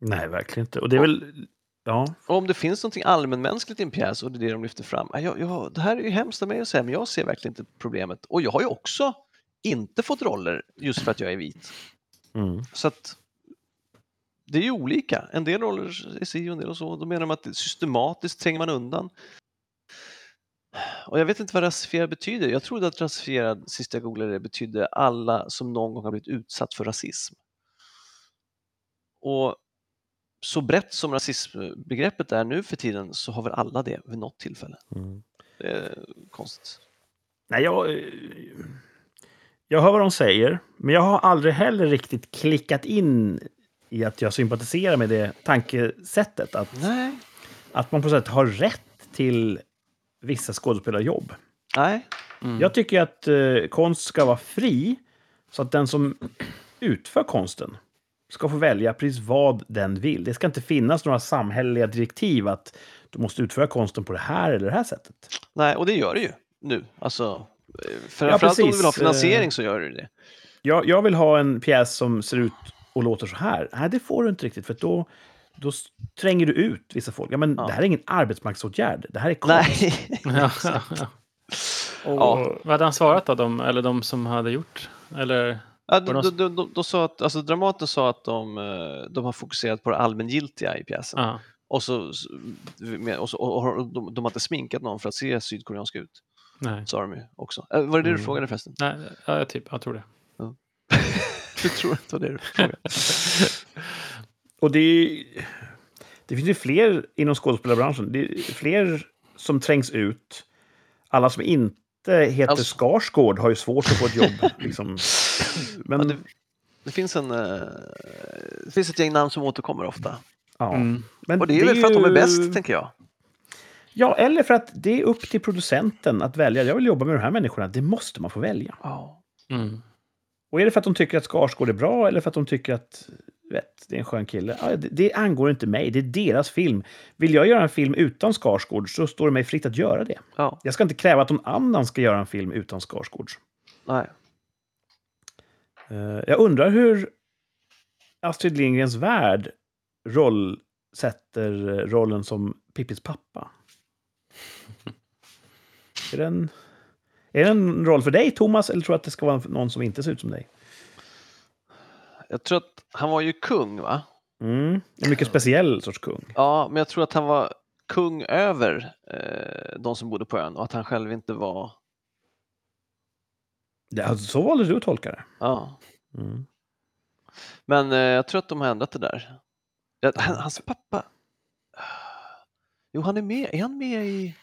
Speaker 3: Nej, verkligen inte. Och det är väl... Ja,
Speaker 2: Och om det finns någonting allmänmänskligt i en pjäs och det är det de lyfter fram. "Ah, Jag, jag, det här är ju hemskt av mig att säga, men jag ser verkligen inte problemet. Och jag har ju också inte fått roller just för att jag är vit.
Speaker 3: Mm.
Speaker 2: Så att det är ju olika. En del roller är si och en del och så. Då menar de att systematiskt tränger man undan. Och jag vet inte vad rasifierad betyder. Jag trodde att rasifierad, sist jag googlade det, betydde alla som någon gång har blivit utsatt för rasism. Och så brett som rasismbegreppet är nu för tiden så har väl alla det vid något tillfälle. Det är konstigt.
Speaker 3: Nej, jag... eh, Jag hör vad de säger, men jag har aldrig heller riktigt klickat in i att jag sympatiserar med det tankesättet. Att,
Speaker 2: Nej.
Speaker 3: att man på något sätt har rätt till vissa skådespelarjobb.
Speaker 2: Nej.
Speaker 3: Jag tycker att eh, konst ska vara fri, så att den som utför konsten ska få välja precis vad den vill. Det ska inte finnas några samhälleliga direktiv att du måste utföra konsten på det här eller det här sättet.
Speaker 2: Nej, och det gör det ju nu. Alltså, eh, framförallt om du
Speaker 3: precis.
Speaker 2: vill ha finansiering
Speaker 3: Eh,
Speaker 2: så gör du *laughs* det.
Speaker 3: Jag, jag vill ha en pjäs som ser ut och låter så här. Nej, det får du inte riktigt, för då, då s- tränger du ut vissa folk. Ja, men
Speaker 2: Ja.
Speaker 3: det här är ingen arbetsmarknadsåtgärd, det här är konst.
Speaker 2: Nej.
Speaker 1: *laughs* Ja. Och,
Speaker 2: Ja.
Speaker 1: Vad hade han svarat då, de, eller de som hade gjort? Eller, Var
Speaker 2: Ja, de,
Speaker 1: det
Speaker 2: de, de, de, sa att, alltså Dramaten sa att de, eh, de har fokuserat på det allmängiltiga i pjäsen.
Speaker 1: ja.
Speaker 2: Och, så, med- och, så, och har- de, de har inte sminkat någon för att se sydkoreansk ut,
Speaker 1: Nej.
Speaker 2: sa de ju också. Eh, Var det det du
Speaker 3: Mm.
Speaker 2: frågade *laughs* förresten?
Speaker 1: Nej, ja, jag typ, jag tror det.
Speaker 2: Du tror att det var det du frågade?
Speaker 3: Och det, är ju- det finns ju fler inom skådespelarbranschen. Det är fler som trängs ut. Alla som inte heter
Speaker 2: Alltså-
Speaker 3: Skarsgård har ju svårt att få
Speaker 2: *laughs*
Speaker 3: ett jobb. liksom. Men,
Speaker 2: Ja,
Speaker 3: ja,
Speaker 2: det, det, finns en, eh, det finns ett gäng namn som återkommer ofta.
Speaker 1: Mm.
Speaker 3: men
Speaker 2: mm. Och det är väl för att de är bäst, tänker jag.
Speaker 3: Ja, eller för att det är upp till producenten att välja. Jag vill jobba med de här människorna. Det måste man få välja.
Speaker 2: Ja.
Speaker 1: Mm.
Speaker 3: Och är det för att de tycker att Skarsgård är bra eller för att de tycker att du vet, det är en skön kille? Ja, det, det angår inte mig. Det är deras film. Vill jag göra en film utan Skarsgård så står det mig fritt att göra det.
Speaker 2: ja.
Speaker 3: Jag ska inte kräva att någon annan ska göra en film utan Skarsgård.
Speaker 2: Nej.
Speaker 3: Eh, Jag undrar hur Astrid Lindgrens värld roll sätter eh, rollen som Pippis pappa. *laughs* Är det, en, är det en roll för dig, Thomas, eller tror du att det ska vara någon som inte ser ut som dig?
Speaker 2: Jag tror att han var ju kung, va?
Speaker 3: Mm. En mycket speciell sorts kung.
Speaker 2: Ja, men jag tror att han var kung över eh, de som bodde på ön och att han själv inte var...
Speaker 3: Det, alltså, så valde du att tolka det.
Speaker 2: Ja.
Speaker 3: Mm.
Speaker 2: Men eh, jag tror att de har ändrat det där. Ja, han, hans pappa... Jo, han är med. Är han med i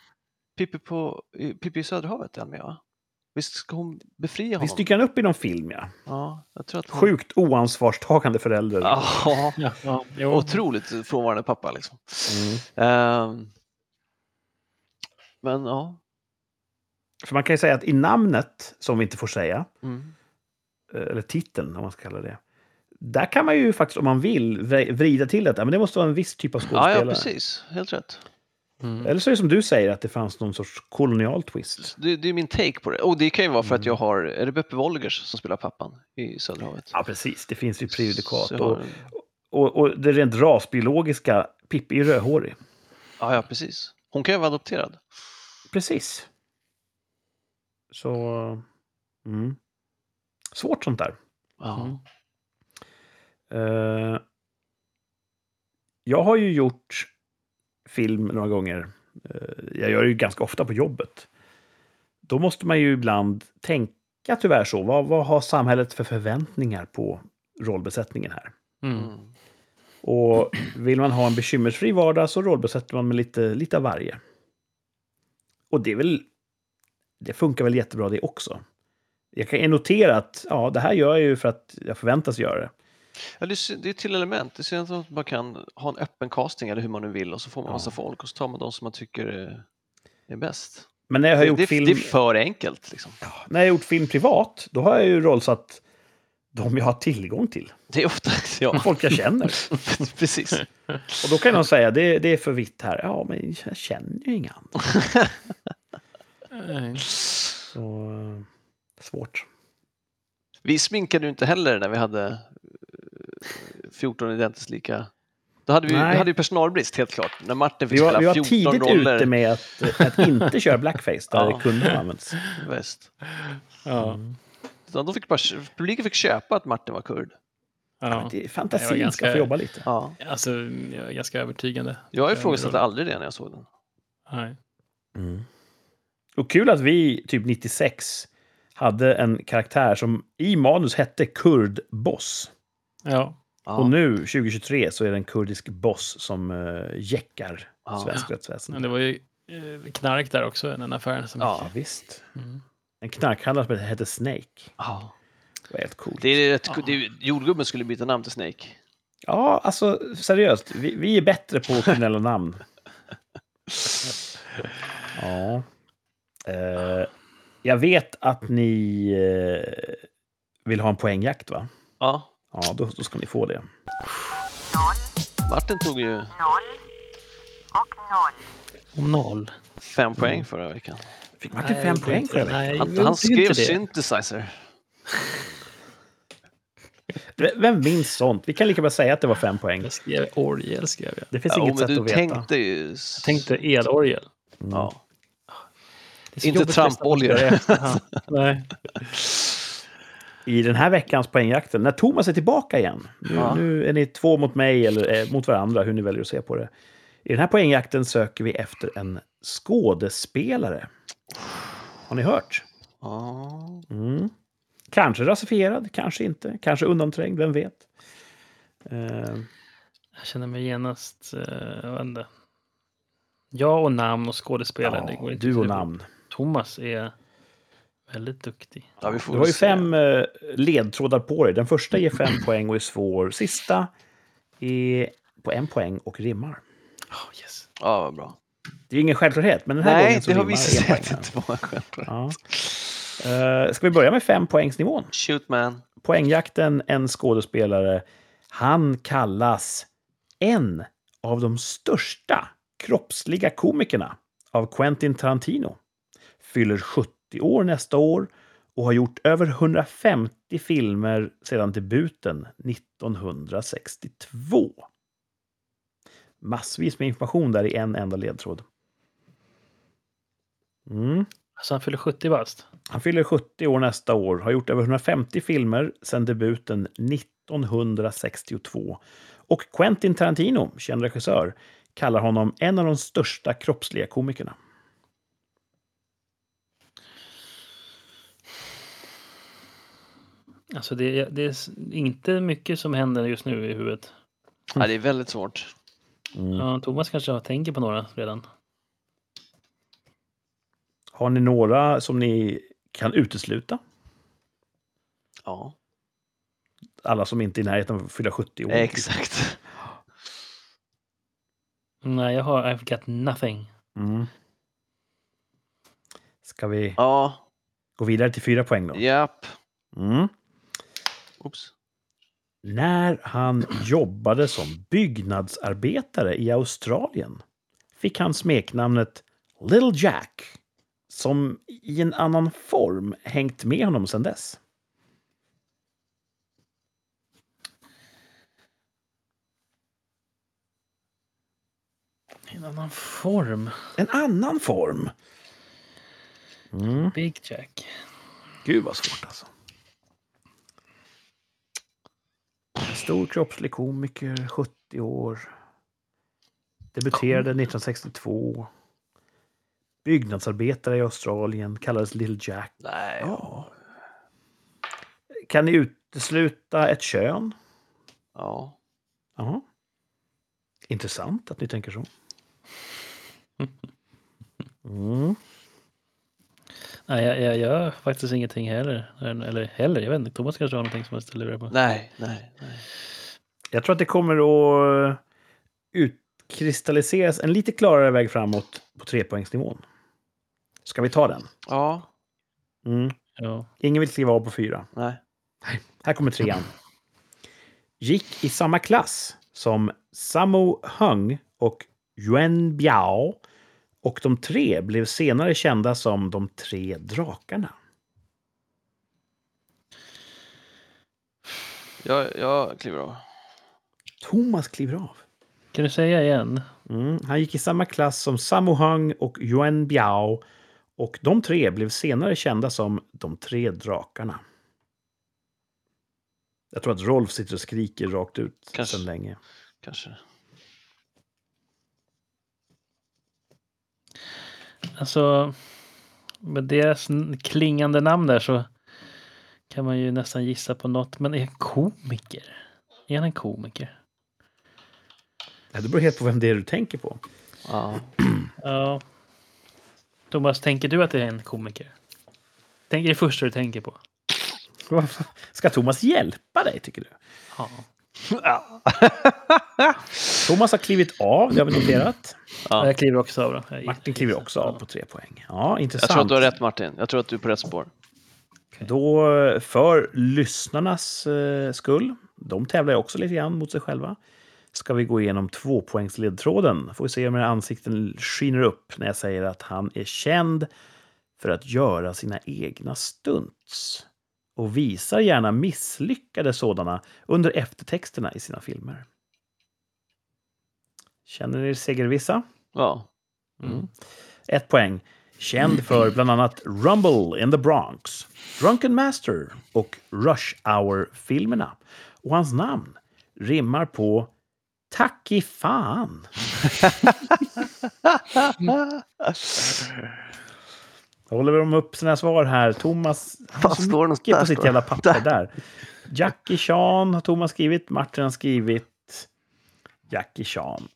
Speaker 2: Pippi, på, i Pippi i Söderhavet? Är han med, va? Visst ska hon befria honom?
Speaker 3: Visst dyker han upp i någon film,
Speaker 2: Mm.
Speaker 3: ja.
Speaker 2: Ja, jag tror att hon...
Speaker 3: Sjukt oansvarstagande förälder.
Speaker 2: Ja, *laughs*
Speaker 1: Ja, ja, jo.
Speaker 2: otroligt frånvarande pappa liksom.
Speaker 3: Mm.
Speaker 2: Ehm, men ja.
Speaker 3: För man kan ju säga att i namnet, som vi inte får säga,
Speaker 2: Mm.
Speaker 3: eh, eller titeln om man ska kalla det. Där kan man ju faktiskt, om man vill, vri- vrida till det. Men det måste vara en viss typ av
Speaker 2: Ja,
Speaker 3: skådespelare.
Speaker 2: ja, precis. Helt rätt.
Speaker 1: Mm.
Speaker 3: Eller så är det som du säger, att det fanns någon sorts kolonial twist.
Speaker 2: Det, det är min take på det. Och det kan ju vara för att
Speaker 3: Mm.
Speaker 2: jag har... Är det Beppe Wolgers som spelar pappan i Söderhavet?
Speaker 3: Ja, precis. Det finns ju
Speaker 2: Så
Speaker 3: prejudikat.
Speaker 2: jag har
Speaker 3: Och,
Speaker 2: en-
Speaker 3: och, och det rent rasbiologiska, Pippi är rödhårig.
Speaker 2: Ja, ja, precis. Hon kan ju vara adopterad.
Speaker 3: Precis. Så... Mm. Svårt sånt där.
Speaker 2: Ja.
Speaker 1: Mm.
Speaker 3: Eh, jag har ju gjort film några gånger. Eh, jag gör det ju ganska ofta på jobbet. Då måste man ju ibland tänka tyvärr så. Vad, vad har samhället för förväntningar på rollbesättningen här?
Speaker 1: Mm.
Speaker 2: Mm.
Speaker 3: Och vill man ha en bekymmersfri vardag så rollbesätter man med lite, lite av varje. Och det är väl... Det funkar väl jättebra det också. Jag kan notera att ja, det här gör jag ju för att jag förväntas göra det.
Speaker 2: Ja, det, är sy- det är till element. Det ser ut som att man kan ha en öppen casting eller hur man nu vill och så får man
Speaker 3: Ja.
Speaker 2: massa folk och så tar man de som man tycker är, är bäst.
Speaker 3: Men när jag har
Speaker 2: Det,
Speaker 3: gjort
Speaker 2: det,
Speaker 3: film...
Speaker 2: det är för enkelt. Liksom.
Speaker 3: när jag gjort film privat, då har jag ju rollsatt de jag har tillgång till.
Speaker 2: Det är ofta... *laughs* Ja,
Speaker 3: *laughs* Folk jag känner.
Speaker 2: precis.
Speaker 3: Och då kan de säga, det, det är för vitt här. Ja, men jag känner ju inga andra.
Speaker 1: Nej.
Speaker 3: Så, eh, svårt.
Speaker 2: Vi sminkade ju inte heller när vi hade eh, 14 identiskt lika. Då hade vi, vi
Speaker 3: Nej.
Speaker 2: hade ju personalbrist helt klart. När Martin fick
Speaker 3: Vi var, vi
Speaker 2: spela
Speaker 3: var
Speaker 2: 14
Speaker 3: tidigt
Speaker 2: roller.
Speaker 3: ute med att, eh, att inte köra blackface där
Speaker 2: *laughs* Ja.
Speaker 3: kunderna används.
Speaker 2: Bäst.
Speaker 1: Ja.
Speaker 2: Utan Då fick bara, publiken fick köpa att Martin var kurd.
Speaker 1: Ja.
Speaker 3: Det är
Speaker 1: Det var
Speaker 3: fantasin
Speaker 1: ganska-
Speaker 3: ska få jobba lite.
Speaker 2: Ja.
Speaker 1: Alltså, jag är ganska övertygande.
Speaker 2: Jag ifrågasatte aldrig det när jag såg den.
Speaker 1: Nej.
Speaker 3: Och kul att vi, typ 96, hade en karaktär som i manus hette Kurd-boss.
Speaker 1: Ja.
Speaker 2: Ja.
Speaker 3: Och nu, 2023, så är det en kurdisk boss som uh, jäckar
Speaker 2: Ja.
Speaker 3: svensk
Speaker 1: Men
Speaker 3: rättsväsende.
Speaker 1: det var ju eh, knark där också, i den affären. Som...
Speaker 2: Ja.
Speaker 3: Ja, visst.
Speaker 1: Mm.
Speaker 3: En knarkhandlare som hette Snake.
Speaker 2: Ja.
Speaker 3: Det var helt coolt.
Speaker 2: Det är rätt,
Speaker 1: Ja.
Speaker 2: det är, jordgubben skulle byta namn till Snake.
Speaker 3: Ja, alltså seriöst. Vi, vi är bättre på kriminella namn. *laughs* Ja. Eh, jag vet att ni eh, vill ha en poängjakt, va?
Speaker 2: Ja,
Speaker 3: Ja, då, då ska ni få det.
Speaker 2: Martin tog ju
Speaker 1: Noll.
Speaker 2: fem poäng förra veckan.
Speaker 3: Fick Martin fem poäng för Mm. det?
Speaker 1: Nej,
Speaker 2: Han,
Speaker 1: jag
Speaker 2: han
Speaker 1: tycker
Speaker 2: skrev
Speaker 1: inte det.
Speaker 2: synthesizer.
Speaker 3: V- Vem minns sånt? Vi kan lika bra säga att det var fem poäng.
Speaker 1: Jag skrev orgel, skrev jag.
Speaker 3: Det finns
Speaker 2: Ja,
Speaker 3: inget
Speaker 2: men
Speaker 3: sätt
Speaker 2: du
Speaker 3: att veta. Mm.
Speaker 2: tänkte ju... s-
Speaker 1: Jag tänkte elorgel.
Speaker 2: Ja.
Speaker 1: Det är så
Speaker 2: Inte
Speaker 1: jobbigt att lyssna på
Speaker 2: trampolja.
Speaker 1: det i *laughs* efterhand. Nej.
Speaker 3: I den här veckans poängjakten, när Thomas är tillbaka igen. Nu,
Speaker 2: Ja.
Speaker 3: nu är ni två mot mig eller eh, mot varandra, hur ni väljer att se på det. I den här poängjakten söker vi efter en skådespelare. Har ni hört?
Speaker 2: Ja.
Speaker 3: Mm. Kanske rasifierad, kanske inte. Kanske undanträngd, vem vet? Eh,
Speaker 1: Jag känner mig genast... eh, Jag vet inte. Ja och namn och skådespelare. det går
Speaker 3: ja,
Speaker 1: inte
Speaker 3: du och
Speaker 1: till.
Speaker 3: namn.
Speaker 1: Thomas är väldigt duktig.
Speaker 2: Ja, vi får
Speaker 3: Du har ju
Speaker 2: väl se.
Speaker 3: fem eh, ledtrådar på dig. Den första ger
Speaker 2: *clears throat*
Speaker 3: fem poäng och är svår. Sista är på en poäng och rimmar.
Speaker 1: Oh, yes.
Speaker 2: Ja, vad bra.
Speaker 3: Det är ju ingen självklarhet, men den här
Speaker 2: Nej,
Speaker 3: gången så
Speaker 2: det har
Speaker 3: rimmar
Speaker 2: vi
Speaker 3: enpoängaren.
Speaker 2: sett inte vara självklart.
Speaker 3: Ja. Eh, ska vi börja med fempoängsnivån?
Speaker 2: Shoot man.
Speaker 3: Poängjakten, en skådespelare. Han kallas en av de största kroppsliga komikerna av Quentin Tarantino. Fyller 70 år nästa år och har gjort över 150 filmer sedan debuten 1962. Massvis med information där i en enda ledtråd. Mm.
Speaker 1: Alltså han fyller 70 bast.
Speaker 3: Han fyller 70 år nästa år, har gjort över 150 filmer sedan debuten 1962. Och Quentin Tarantino, känd regissör, kallar honom en av de största kroppsliga komikerna.
Speaker 1: Alltså det, är- det är s- inte mycket som händer just nu i huvudet.
Speaker 2: Ja, det är väldigt svårt.
Speaker 3: Mm.
Speaker 2: Mm.
Speaker 1: Ja, Thomas kanske har- tänker på några redan.
Speaker 3: Har ni några som ni kan utesluta?
Speaker 2: Ja,
Speaker 3: Alla som inte är i närheten av att fylla 70 år.
Speaker 2: exakt.
Speaker 1: Nej, jag har I've got nothing.
Speaker 3: Mm. Ska vi
Speaker 2: Ja,
Speaker 3: gå vidare till fyra poäng då?
Speaker 2: japp.
Speaker 3: Mm.
Speaker 2: Oops.
Speaker 3: När han jobbade som byggnadsarbetare i Australien fick han smeknamnet Little Jack som i en annan form hängt med honom sedan dess.
Speaker 1: I en annan form.
Speaker 3: En annan form! Mm.
Speaker 1: Big Jack.
Speaker 3: Gud vad svårt alltså. En stor kroppslig komiker, 70 år. Debuterade 1962. Byggnadsarbetare i Australien, kallades Little Jack.
Speaker 2: Nej,
Speaker 3: Ja. Kan ni utesluta ett kön?
Speaker 2: ja.
Speaker 3: Jaha. Intressant att ni tänker så. Mm.
Speaker 1: Nej, jag, jag gör faktiskt ingenting heller. Eller heller, jag vet inte. Thomas kanske har någonting som jag ställer på.
Speaker 2: Nej, nej, nej.
Speaker 3: Jag tror att det kommer att utkristalliseras en lite klarare väg framåt på trepoängsnivån. Ska vi ta den?
Speaker 2: Ja,
Speaker 3: Mm.
Speaker 1: Ja.
Speaker 3: Ingen vill kliva av på fyra.
Speaker 2: nej.
Speaker 3: Här kommer trean. Gick i samma klass som Sammo Hung och Yuan Biao och de tre blev senare kända som de tre drakarna.
Speaker 2: Jag, jag kliver av.
Speaker 3: Thomas kliver av.
Speaker 1: Kan du säga igen?
Speaker 3: Mm. Han gick i samma klass som Sammo Hung och Yuan Biao och de tre blev senare kända som de tre drakarna. Jag tror att Rolf sitter och skriker rakt ut
Speaker 2: Kanske.
Speaker 3: sedan länge.
Speaker 2: Kanske.
Speaker 1: Alltså, med deras n- klingande namn där så kan man ju nästan gissa på något. Men är han komiker? Är han en komiker?
Speaker 3: Ja, Det beror helt på vem det är du tänker på.
Speaker 2: Ja.
Speaker 1: Ja. Thomas, tänker du att det är en komiker? Tänk det första du tänker på.
Speaker 3: Vad fan? Ska Thomas hjälpa dig, tycker du?
Speaker 1: Ja.
Speaker 2: Ja.
Speaker 3: Thomas har klivit av, det har vi noterat.
Speaker 2: Ja.
Speaker 1: Jag kliver också av. Då. Jag-
Speaker 3: Martin kliver också av på tre poäng. Ja,
Speaker 2: Jag
Speaker 3: intressant.
Speaker 2: tror att du har rätt Martin. Jag tror att du är på rätt spår.
Speaker 3: Då för lyssnarnas eh, skull, de tävlar ju också lite grann mot sig själva, ska vi gå igenom tvåpoängsledtråden. Får vi se om era ansikten skiner upp när jag säger att han är känd för att göra sina egna stunts och visar gärna misslyckade sådana under eftertexterna i sina filmer. Känner ni er segervissa?
Speaker 2: Ja.
Speaker 3: Mm. Ett poäng. Känd för bland annat Rumble in the Bronx, Drunken Master och Rush Hour-filmerna. Och hans namn rimmar på Tack i fan. Då håller de upp sina svar här. Thomas... han har
Speaker 2: Fan,
Speaker 3: så
Speaker 2: står det något
Speaker 3: mycket
Speaker 2: där,
Speaker 3: på sitt
Speaker 2: står det?
Speaker 3: jävla papper där. Jackie Chan har Thomas skrivit. Martin har skrivit Jackie Chan.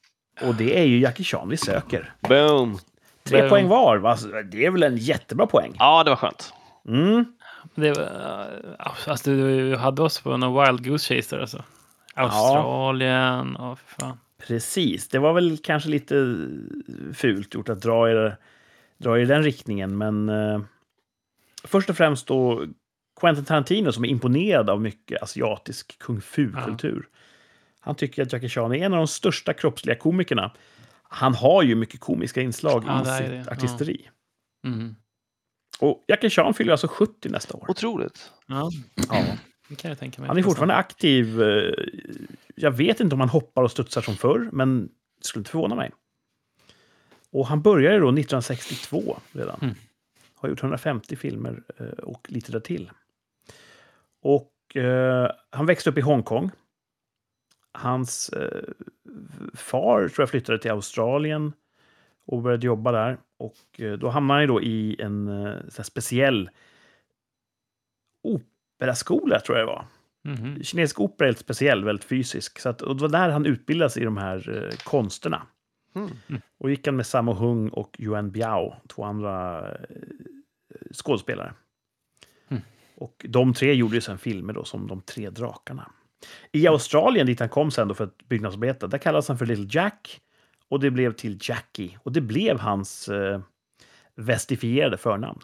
Speaker 3: Och det är ju Jackie Chan vi söker.
Speaker 2: Boom!
Speaker 3: Tre
Speaker 1: Boom.
Speaker 3: poäng var. va? Alltså, Det är väl en jättebra poäng?
Speaker 2: Ja, det var skönt.
Speaker 3: Mm.
Speaker 1: Det, var- alltså, du hade oss på någon Wild Goose Chaser alltså. Australien och fan.
Speaker 3: Precis. Det var väl kanske lite eh, fult gjort att dra i, dra i den riktningen, men eh, först och främst då Quentin Tarantino som är imponerad av mycket asiatisk kung fu-kultur. Han tycker att Jackie Chan är en av de största kroppsliga komikerna. Han har ju mycket komiska inslag
Speaker 1: Ja,
Speaker 3: i
Speaker 1: det är
Speaker 3: sitt
Speaker 1: det. Ja.
Speaker 3: artisteri.
Speaker 1: Mm.
Speaker 3: Och Jackie Chan fyller alltså 70 nästa år.
Speaker 2: Otroligt.
Speaker 1: Ja,
Speaker 3: Ja.
Speaker 1: det kan jag tänka mig.
Speaker 3: Han är fortfarande aktiv. eh, Jag vet inte om han hoppar och studsar som förr, men det skulle inte förvåna mig. Och han började då 1962 redan.
Speaker 1: Mm.
Speaker 3: Har gjort 150 filmer eh, och lite därtill. Och eh, han växte upp i Hongkong. Hans eh, far tror jag flyttade till Australien och började jobba där. Och eh, då hamnade han ju då i en eh, sån här speciell operaskola, tror jag det var
Speaker 1: Mhm.
Speaker 3: kinesisk opera är helt speciell, väldigt fysisk. Så att, och det var där han utbildades i de här eh, konsterna.
Speaker 2: Mm.
Speaker 3: Och gick han med Sammo Hung och Yuan Biao, två andra eh, skådespelare.
Speaker 1: Mm.
Speaker 3: Och de tre gjorde ju sen filmer då, som De tre drakarna. I Australien, dit han kom sen då för att byggnadsarbeta, där kallades han för Little Jack. Och det blev till Jackie. Och det blev hans eh, vestifierade förnamn.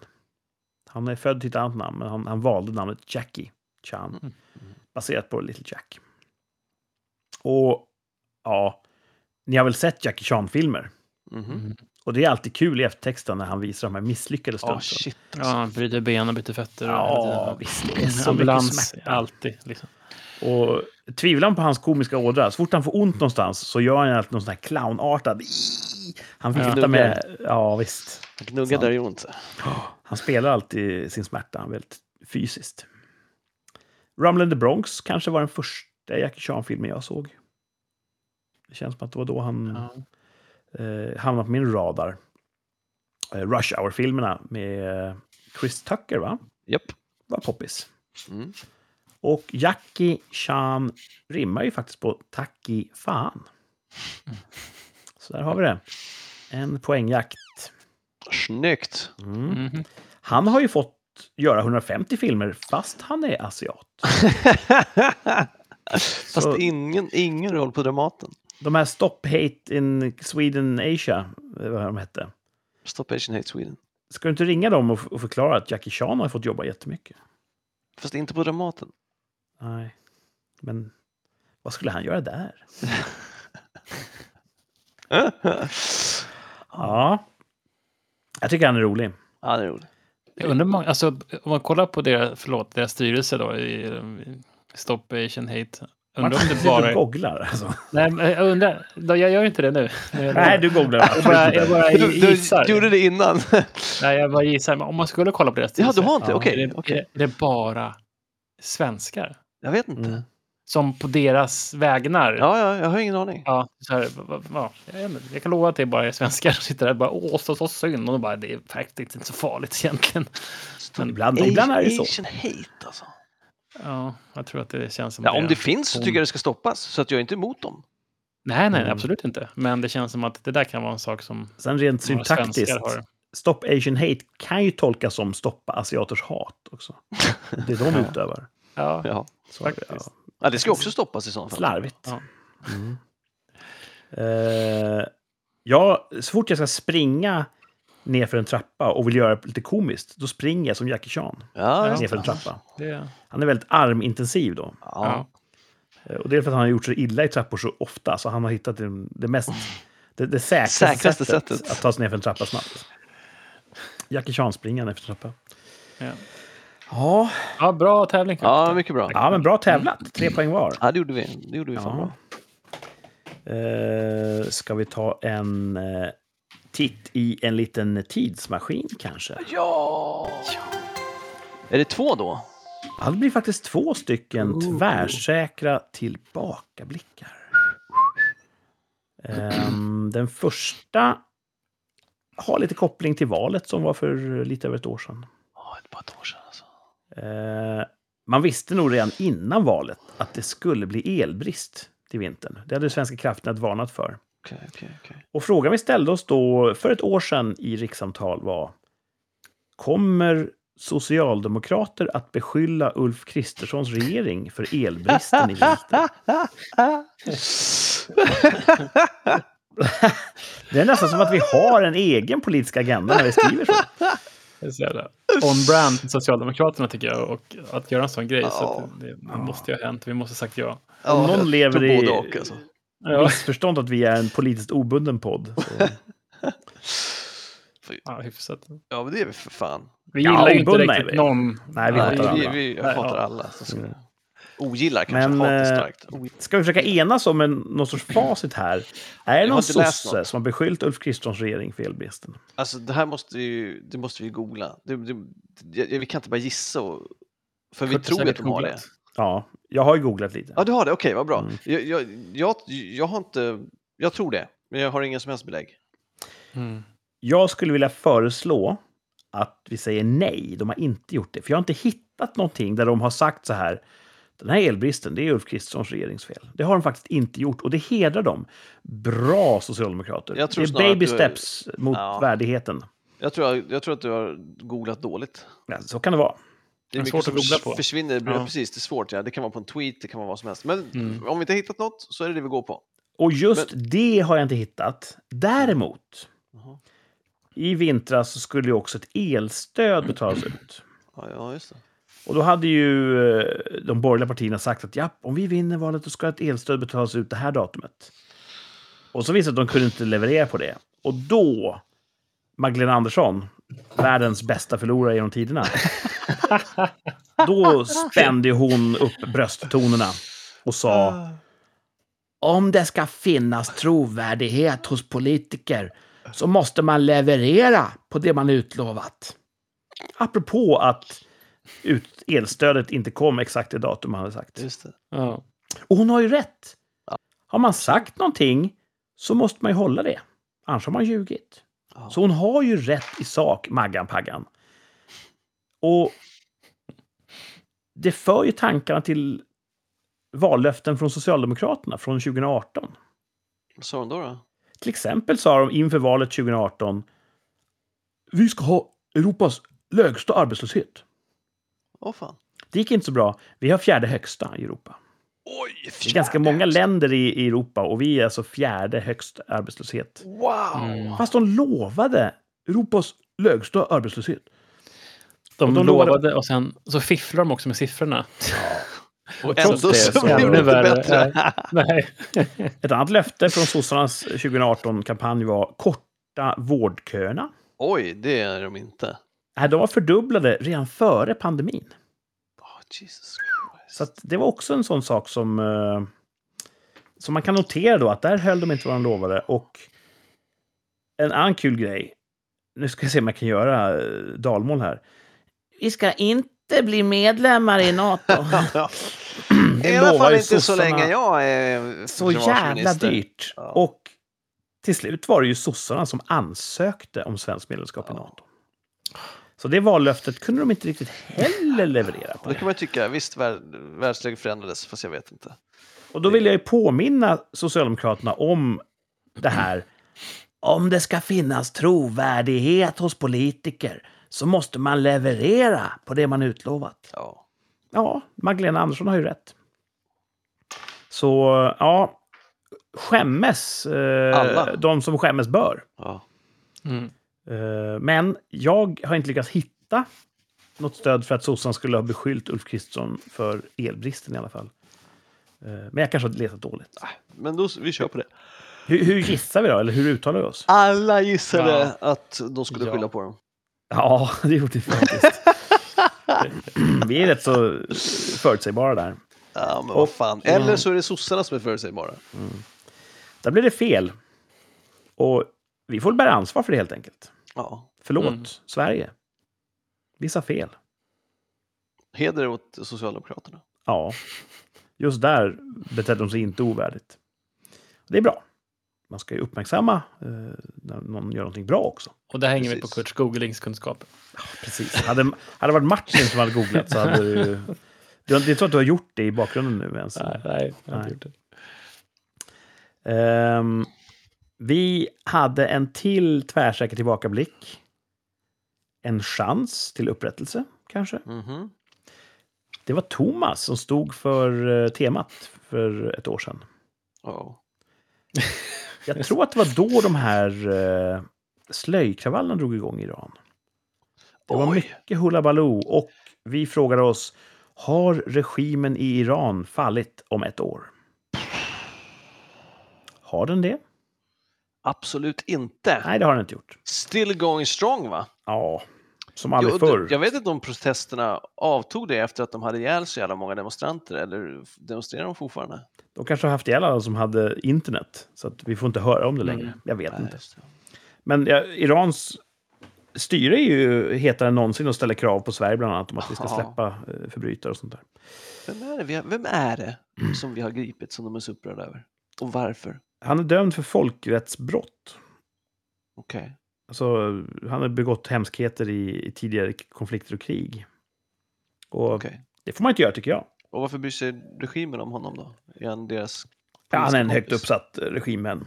Speaker 3: Han är född till ett annat namn, men han, han valde namnet Jackie Chan.
Speaker 1: Mm.
Speaker 3: Baserat på Little Jack. Och ja, ni har väl sett Jackie Chan-filmer?
Speaker 2: Mhm.
Speaker 1: Mhm.
Speaker 3: Och det är alltid kul i eftertexten när han visar de här misslyckade
Speaker 2: Ja,
Speaker 3: stunten.
Speaker 2: shit.
Speaker 1: Ja, han bryter ben och byter fötter. och-
Speaker 3: ja visst. Det är
Speaker 1: En
Speaker 3: så mycket
Speaker 1: ambulans
Speaker 3: smärta.
Speaker 1: alltid. Liksom.
Speaker 3: Och tvivlar man på hans komiska ådra, så fort han får ont någonstans så gör han alltid någon sån här clownartad... Han
Speaker 1: Ja.
Speaker 3: viftar med... Ja, visst.
Speaker 2: Gnugga
Speaker 3: Sant.
Speaker 2: där gör ont.
Speaker 3: Han spelar alltid sin smärta väldigt fysiskt. Rumble in the Bronx kanske var den första Jackie Chan-filmen jag såg. Det känns som att det var då han
Speaker 1: Ja.
Speaker 3: eh, hamnade på min radar. Eh, Rush Hour-filmerna med eh, Chris Tucker, va?
Speaker 2: Japp.
Speaker 3: Var poppis.
Speaker 2: Mm.
Speaker 3: Och Jackie Chan rimmar ju faktiskt på Taki fan. Så där har vi det. En poängjakt.
Speaker 2: Snyggt.
Speaker 3: Mm.
Speaker 1: Mhm.
Speaker 3: Han har ju fått göra 150 filmer fast han är asiat.
Speaker 2: Fast
Speaker 3: Så-
Speaker 2: ingen, ingen roll på Dramaten.
Speaker 3: De här Stop Hate in Sweden Asia, eh, vad de hette.
Speaker 2: Stop Asian Hate Sweden.
Speaker 3: Ska du inte ringa dem och f- och förklara att Jackie Chan har fått jobba jättemycket?
Speaker 2: Fast inte på *laughs* Dramaten.
Speaker 3: Nej. Men vad skulle han göra där? Ja. Jag tycker han är rolig.
Speaker 2: ja, det är roligt.
Speaker 1: Jag undrar hur många, alltså, om man kollar på deras, förlåt, deras styrelse då i i Stop Asian Hate. Undrar om det bara
Speaker 3: Du googlar alltså.
Speaker 1: Nej, men jag undrar. Då, jag gör inte det nu. Nu-
Speaker 3: *laughs* Nej, du googlar
Speaker 1: Jag
Speaker 3: absolut
Speaker 1: bara,
Speaker 3: inte.
Speaker 1: jag bara
Speaker 2: Du, du
Speaker 1: gissar.
Speaker 2: gjorde det innan.
Speaker 1: Nej, jag bara gissar. Men om man skulle kolla på deras
Speaker 2: *laughs* Ja, du har
Speaker 3: Ja.
Speaker 2: inte? Okej.
Speaker 1: är,
Speaker 2: okej.
Speaker 1: det- är det bara svenskar?
Speaker 2: Jag vet inte.
Speaker 3: Mm.
Speaker 1: Som på deras vägnar?
Speaker 2: Ja, ja, jag har ingen aning.
Speaker 1: Ja, så här, va- va- ja, jag vet inte. jag kan lova att det är bara är svenskar som sitter där och bara åh, så, så synd. Och de bara, det är faktiskt inte så farligt egentligen. Men,
Speaker 3: Ibland, ibland är det så.
Speaker 2: Asian hate alltså.
Speaker 1: ja, jag tror att det känns som
Speaker 2: Ja, om
Speaker 1: är-
Speaker 2: det finns så
Speaker 1: Hon-
Speaker 2: tycker jag det ska stoppas. Så att jag är inte emot dem.
Speaker 1: Nej, nej,
Speaker 3: Mm.
Speaker 1: absolut inte. Men det känns som att det där kan vara en sak som
Speaker 3: Sen rent
Speaker 1: några
Speaker 3: syntaktiskt.
Speaker 1: svenskar har.
Speaker 3: Stop Asian Hate kan ju tolkas som stoppa asiaters hat också. Det de utövar.
Speaker 1: *laughs* Ja,
Speaker 2: Ja.
Speaker 3: Så,
Speaker 1: Faktiskt.
Speaker 2: Ja, det ska också stoppas i så fall.
Speaker 3: Slarvigt.
Speaker 1: Ja.
Speaker 3: Mm. Eh, ja, så fort jag ska springa ner för en trappa och vill göra det lite komiskt, då springer jag som Jackie Chan
Speaker 2: Ja,
Speaker 1: Ja.
Speaker 2: just
Speaker 3: ner för
Speaker 2: det.
Speaker 3: en trappa.
Speaker 1: Det,
Speaker 3: Han är väldigt armintensiv då.
Speaker 2: Ja.
Speaker 3: Eh, Och det är för att han har gjort så illa i trappor så ofta, så han har hittat det, det mest... Det, det säkraste,
Speaker 2: Säkraste
Speaker 3: sättet,
Speaker 2: sättet.
Speaker 3: att ta sig ner för en trappa snabbt. Jackie Chan springer ner för en trappa.
Speaker 1: ja.
Speaker 3: Ja,
Speaker 1: ja, bra tävling.
Speaker 2: ja, mycket bra.
Speaker 3: ja men bra tävlat. Tre poäng var.
Speaker 2: Ja, det gjorde vi. Det gjorde vi fan
Speaker 3: Ja.
Speaker 2: bra.
Speaker 3: Eh, ska vi ta en eh, titt i en liten tidsmaskin kanske?
Speaker 2: Ja! Är det två då?
Speaker 3: Ja, det blir faktiskt två stycken tvärsäkra tillbakablickar. Ehm, den första har lite koppling till valet som var för lite över ett år sedan.
Speaker 2: Ja, det är bara ett år sedan alltså.
Speaker 3: Eh, man visste nog redan innan valet att det skulle bli elbrist till vintern. Det hade Svenska kraftnät varnat för.
Speaker 2: Okej, okej, okej.
Speaker 3: Och frågan vi ställde oss då för ett år sedan i rikssamtal var Kommer socialdemokrater att beskylla Ulf Kristerssons regering för elbristen i vinter? Det är nästan som att vi har en egen politisk agenda när vi skriver så.
Speaker 1: Det är så jävla On-brand till Socialdemokraterna tycker jag. Och att göra en sån grej. Så
Speaker 2: Ja.
Speaker 1: att det, det måste ju ha hänt. Vi måste ha sagt ja.
Speaker 2: Ja,
Speaker 3: Om någon
Speaker 2: jag
Speaker 3: lever
Speaker 2: tror
Speaker 3: i-
Speaker 2: Både och, alltså.
Speaker 1: Ja,
Speaker 3: Missförstånd att vi är en politiskt obunden podd. Så.
Speaker 1: ja hyfsat.
Speaker 2: Ja, men det är vi för fan.
Speaker 1: Vi
Speaker 3: Ja,
Speaker 1: gillar ju inte
Speaker 3: obundna är
Speaker 1: riktigt
Speaker 3: vi.
Speaker 1: någon.
Speaker 3: Nej,
Speaker 2: Nej,
Speaker 3: vi hatar
Speaker 2: vi,
Speaker 3: alla.
Speaker 2: vi, jag
Speaker 1: Nej,
Speaker 2: hatar
Speaker 1: ja.
Speaker 2: alla. Så ska
Speaker 3: Mm.
Speaker 2: jag- Ogillar kanske,
Speaker 3: Men,
Speaker 2: hatar
Speaker 3: eh,
Speaker 2: starkt. Ogillar.
Speaker 3: Ska vi försöka enas om en, någon sorts facit här? Är det
Speaker 2: Jag har
Speaker 3: någon
Speaker 2: inte läst
Speaker 3: sosse
Speaker 2: något.
Speaker 3: som har beskyllt Ulf Kristerssons regering för elbristen?
Speaker 2: Alltså det här måste, ju, det måste vi ju googla. Det, det, det, vi kan inte bara gissa. Och, för vi
Speaker 1: Kurt har
Speaker 2: tror ju att
Speaker 1: säkert
Speaker 2: de har det.
Speaker 1: googlat.
Speaker 3: Ja, jag har ju googlat lite.
Speaker 2: Ja, du har det? Okej, vad bra.
Speaker 3: Mm.
Speaker 2: Jag, jag, jag, jag har inte... Jag tror det, men jag har ingen som helst belägg.
Speaker 1: Mm.
Speaker 3: Jag skulle vilja föreslå att vi säger nej. De har inte gjort det. För jag har inte hittat någonting där de har sagt så här. Den här elbristen, det är Ulf Kristerssons regeringsfel. Det har de faktiskt inte gjort och det hedrar dem. Bra socialdemokrater.
Speaker 2: Jag tror
Speaker 3: det
Speaker 2: snarare
Speaker 3: är baby
Speaker 2: att du-
Speaker 3: steps mot
Speaker 2: Ja.
Speaker 3: värdigheten.
Speaker 2: Jag tror, jag tror att du har googlat dåligt.
Speaker 3: Ja, så kan det vara.
Speaker 2: Det
Speaker 1: Men
Speaker 2: mycket
Speaker 1: svårt
Speaker 2: som
Speaker 1: att googla på.
Speaker 2: Försvinner,
Speaker 1: Ja.
Speaker 2: Precis, det är svårt. Ja. Det kan vara på en tweet, det kan vara vad som helst. Men
Speaker 1: Mm.
Speaker 2: om vi inte har hittat något så är det det vi går på.
Speaker 3: Och just det har jag inte hittat. Däremot,
Speaker 2: Jaha.
Speaker 3: i vintras så skulle ju också ett elstöd betalas ut.
Speaker 2: Ja, ja just det.
Speaker 3: Och då hade ju eh, de borgerliga partierna sagt att japp, om vi vinner valet då ska ett elstöd betalas ut det här datumet. Och så visade det att de kunde inte leverera på det. Och då, Magdalena Andersson, världens bästa förlorare genom tiderna, då spände hon upp brösttonerna och sa om det ska finnas trovärdighet hos politiker så måste man leverera på det man utlovat. Apropå att ut, elstödet inte kom exakt i datum man hade sagt.
Speaker 2: Just det.
Speaker 1: Ja.
Speaker 3: Mm. Och hon har ju rätt.
Speaker 2: Ja.
Speaker 3: Har man sagt någonting så måste man ju hålla det. Annars har man ljugit.
Speaker 2: Ja.
Speaker 3: Så hon har ju rätt i sak, Maggan Paggan. Och det för ju tankarna till vallöften från Socialdemokraterna från 2018.
Speaker 2: Vad sa de då? då?
Speaker 3: Till exempel sa de inför valet 2018 Vi ska ha Europas lägsta arbetslöshet.
Speaker 2: Åh fan.
Speaker 3: Det gick inte så bra. Vi har fjärde högsta i Europa.
Speaker 2: Oj,
Speaker 3: Det är ganska många länder i, i Europa och vi är alltså fjärde högst arbetslöshet.
Speaker 2: Wow!
Speaker 1: Mm.
Speaker 3: Fast de lovade Europas lägsta arbetslöshet.
Speaker 1: De,
Speaker 3: de lovade-
Speaker 1: lovade och sen så fifflar de också med
Speaker 3: *laughs*
Speaker 1: siffrorna.
Speaker 2: Och
Speaker 3: trots
Speaker 2: ändå
Speaker 3: det
Speaker 2: så
Speaker 3: så-
Speaker 2: blev det
Speaker 1: Ännu
Speaker 2: inte
Speaker 1: värre.
Speaker 2: bättre.
Speaker 1: *laughs* Nej.
Speaker 3: Ett annat löfte från sossarnas 2018-kampanj var korta vårdköerna.
Speaker 2: Oj, det är de inte.
Speaker 3: Nej, De var fördubblade redan före pandemin.
Speaker 2: Oh, Jesus
Speaker 3: Så att det var också en sån sak som, eh, som man kan notera då att där höll de inte vad de lovade. Och en annan kul grej. Nu ska jag se om jag kan göra eh, dalmål här. Vi ska inte bli medlemmar i *clears throat* Nato. *laughs*
Speaker 2: Christ.
Speaker 3: Det
Speaker 2: I alla
Speaker 3: lovar
Speaker 2: fall
Speaker 3: ju
Speaker 2: inte så
Speaker 3: sossarna
Speaker 2: länge jag är
Speaker 3: Så jävla
Speaker 2: försvarsminister.
Speaker 3: dyrt.
Speaker 2: Ja.
Speaker 3: Och till slut var det ju sossarna som ansökte om svenskt medlemskap i
Speaker 2: Ja.
Speaker 3: Nato. Så det vallöftet kunde de inte riktigt heller leverera på.
Speaker 2: Och det kan man ju tycka, visst värld, världsläget förändrades, fast jag vet inte.
Speaker 3: Och då vill jag ju påminna Socialdemokraterna om det här. Om det ska finnas trovärdighet hos politiker så måste man leverera på det man utlovat.
Speaker 2: Ja.
Speaker 3: Ja, Magdalena Andersson har ju rätt. Så ja, skämmes eh,
Speaker 2: Alla.
Speaker 3: de som skämmes bör.
Speaker 2: Ja.
Speaker 1: Mm.
Speaker 3: Eh, men jag har inte lyckats hitta något stöd för att sossarna skulle ha beskyllt Ulf Kristersson för elbristen i alla fall. Eh, men jag kanske har letat dåligt.
Speaker 2: Men då, vi kör på det.
Speaker 3: Hur, hur gissar vi då? Eller hur uttalar vi oss?
Speaker 2: Alla gissade
Speaker 1: Ja.
Speaker 2: att de skulle
Speaker 1: Ja.
Speaker 2: skylla på dem.
Speaker 3: Ja, *laughs* det gjorde vi faktiskt. *clears throat* vi är rätt så förutsägbara där.
Speaker 2: Ja, men vad fan.
Speaker 3: Mm.
Speaker 2: Eller så är det sossarna som är förutsägbara.
Speaker 3: Där blev det fel. Och vi får bära ansvar för det helt enkelt.
Speaker 2: Ja.
Speaker 3: Förlåt,
Speaker 1: Mm.
Speaker 3: Sverige. Vi sa fel.
Speaker 2: Heder åt Socialdemokraterna.
Speaker 3: Ja, just där betedde de sig inte ovärdigt. Det är bra. Man ska ju uppmärksamma eh, när någon gör någonting bra också.
Speaker 1: Och det hänger vi på
Speaker 2: Precis.
Speaker 1: Kurts googlingskunskap.
Speaker 3: Precis. Hade, hade det varit Martin som hade googlat så hade *laughs* du ju... Du, jag tror att du har gjort det i bakgrunden nu ens.
Speaker 1: nej,
Speaker 3: har inte gjort Ehm, vi hade en till tvärsäker tillbakablick. En chans till upprättelse, kanske.
Speaker 2: Mhm.
Speaker 3: Det var Thomas som stod för eh, temat för ett år sedan.
Speaker 2: Ja.
Speaker 3: Jag tror att det var då de här eh, slöjkravallerna drog igång i Iran. Det var
Speaker 2: Oj.
Speaker 3: mycket hullabaloo och vi frågade oss har regimen i Iran fallit om ett år? Har den det?
Speaker 2: Absolut inte.
Speaker 3: Nej, det har den inte gjort.
Speaker 2: Still going strong, va?
Speaker 3: Ja, som aldrig
Speaker 2: jag,
Speaker 3: förr.
Speaker 2: jag vet inte om protesterna avtog det efter att de hade ihjäl så jävla många demonstranter, eller demonstrerar de fortfarande?
Speaker 3: De kanske har haft ihjäl alla som hade internet, så att vi får inte höra om det
Speaker 1: Mm.
Speaker 3: längre. Jag vet
Speaker 2: Nej,
Speaker 3: inte.
Speaker 2: just det.
Speaker 3: Men ja, Irans styre är ju hetare än någonsin och ställer krav på Sverige bland annat om att vi ska
Speaker 2: Ja.
Speaker 3: släppa eh, förbrytare och sånt där.
Speaker 2: Vem är det, vi har, vem är det som vi har gripit som de är så upprörda över? Och varför?
Speaker 3: Han är dömd för folkrättsbrott.
Speaker 2: Okej.
Speaker 3: Alltså, han har begått hemskheter i, i tidigare k- konflikter och krig. Och
Speaker 2: okej.
Speaker 3: det får man inte göra, tycker jag.
Speaker 2: Och varför bryr sig regimen om honom då? Är han deras...
Speaker 3: Ja, han är en
Speaker 2: poliskompis?
Speaker 3: högt uppsatt eh, regimmen.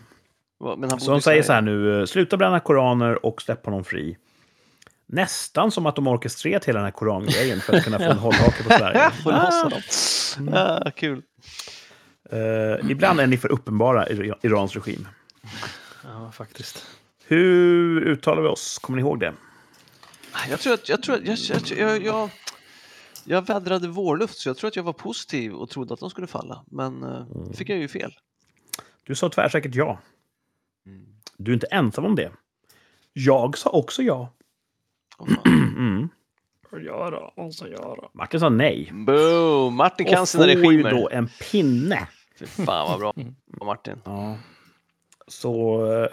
Speaker 2: Va- Men han
Speaker 3: Så
Speaker 2: bodde i
Speaker 3: de
Speaker 2: Sverige.
Speaker 3: säger så här nu, eh, sluta bränna koraner och släpp honom fri. Nästan som att de har orkestrerat hela den här korangrejen för att kunna *laughs* få en hållhake på Sverige.
Speaker 2: Får
Speaker 3: *laughs*
Speaker 2: loss honom. Ah, kul.
Speaker 3: Eh, ibland är ni för uppenbara i Ira- Irans regim.
Speaker 1: Ja, faktiskt.
Speaker 3: Hur uttalar vi oss? Kommer ni ihåg det?
Speaker 2: Ah, Jag tror att jag, tror att, jag, jag, jag, jag, jag vädrade vårluft så jag tror att jag var positiv och trodde att de skulle falla. Men eh,
Speaker 3: Mm.
Speaker 2: fick jag ju fel.
Speaker 3: Du sa tvärsäkert ja. Du är inte ensam om det. Mm. Jag sa också ja.
Speaker 2: Åh, fan.
Speaker 3: Mm.
Speaker 1: Ja då, vad ska jag då?
Speaker 3: Martin sa nej.
Speaker 2: Boom! Martin kan
Speaker 3: Och
Speaker 2: sina
Speaker 3: får ju
Speaker 2: regimer.
Speaker 3: då Mm. en pinne.
Speaker 2: Fy fan vad bra Martin.
Speaker 3: Ja. Så eh,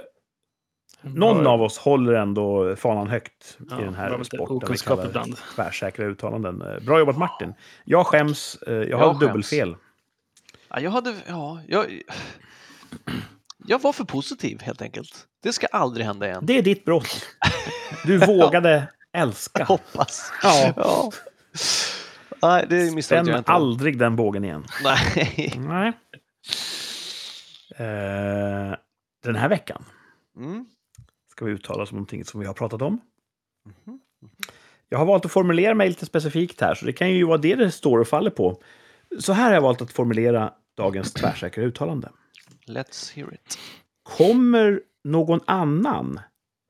Speaker 3: någon av oss håller ändå fanan högt
Speaker 1: Ja,
Speaker 3: i den
Speaker 1: bra
Speaker 3: här
Speaker 1: med lite
Speaker 3: sporten. vi
Speaker 1: okunskap
Speaker 3: kallar
Speaker 1: ibland.
Speaker 3: Tvärsäkra uttalanden. Eh, Bra jobbat Martin. Jag skäms. eh, Jag
Speaker 2: Jag
Speaker 3: har
Speaker 2: skäms.
Speaker 3: dubbelfel.
Speaker 2: Ja, jag hade... Ja, jag... Jag var för positiv helt enkelt. Det ska aldrig hända igen.
Speaker 3: Det är ditt brott. Du vågade
Speaker 2: *laughs*
Speaker 3: älska.
Speaker 2: Hoppas.
Speaker 3: Ja.
Speaker 2: Ja. Nej, det misstänkte jag
Speaker 3: Spänn
Speaker 2: inte.
Speaker 3: aldrig den bågen igen.
Speaker 2: Nej.
Speaker 3: Nej. Eh, den här veckan
Speaker 2: Mm.
Speaker 3: ska vi uttala oss om någonting som vi har pratat om.
Speaker 2: Mhm.
Speaker 3: Jag har valt att formulera mig lite specifikt här, så det kan ju vara det det står och faller på. Så här har jag valt att formulera dagens tvärsäkra uttalande.
Speaker 2: Let's hear it.
Speaker 3: Kommer någon annan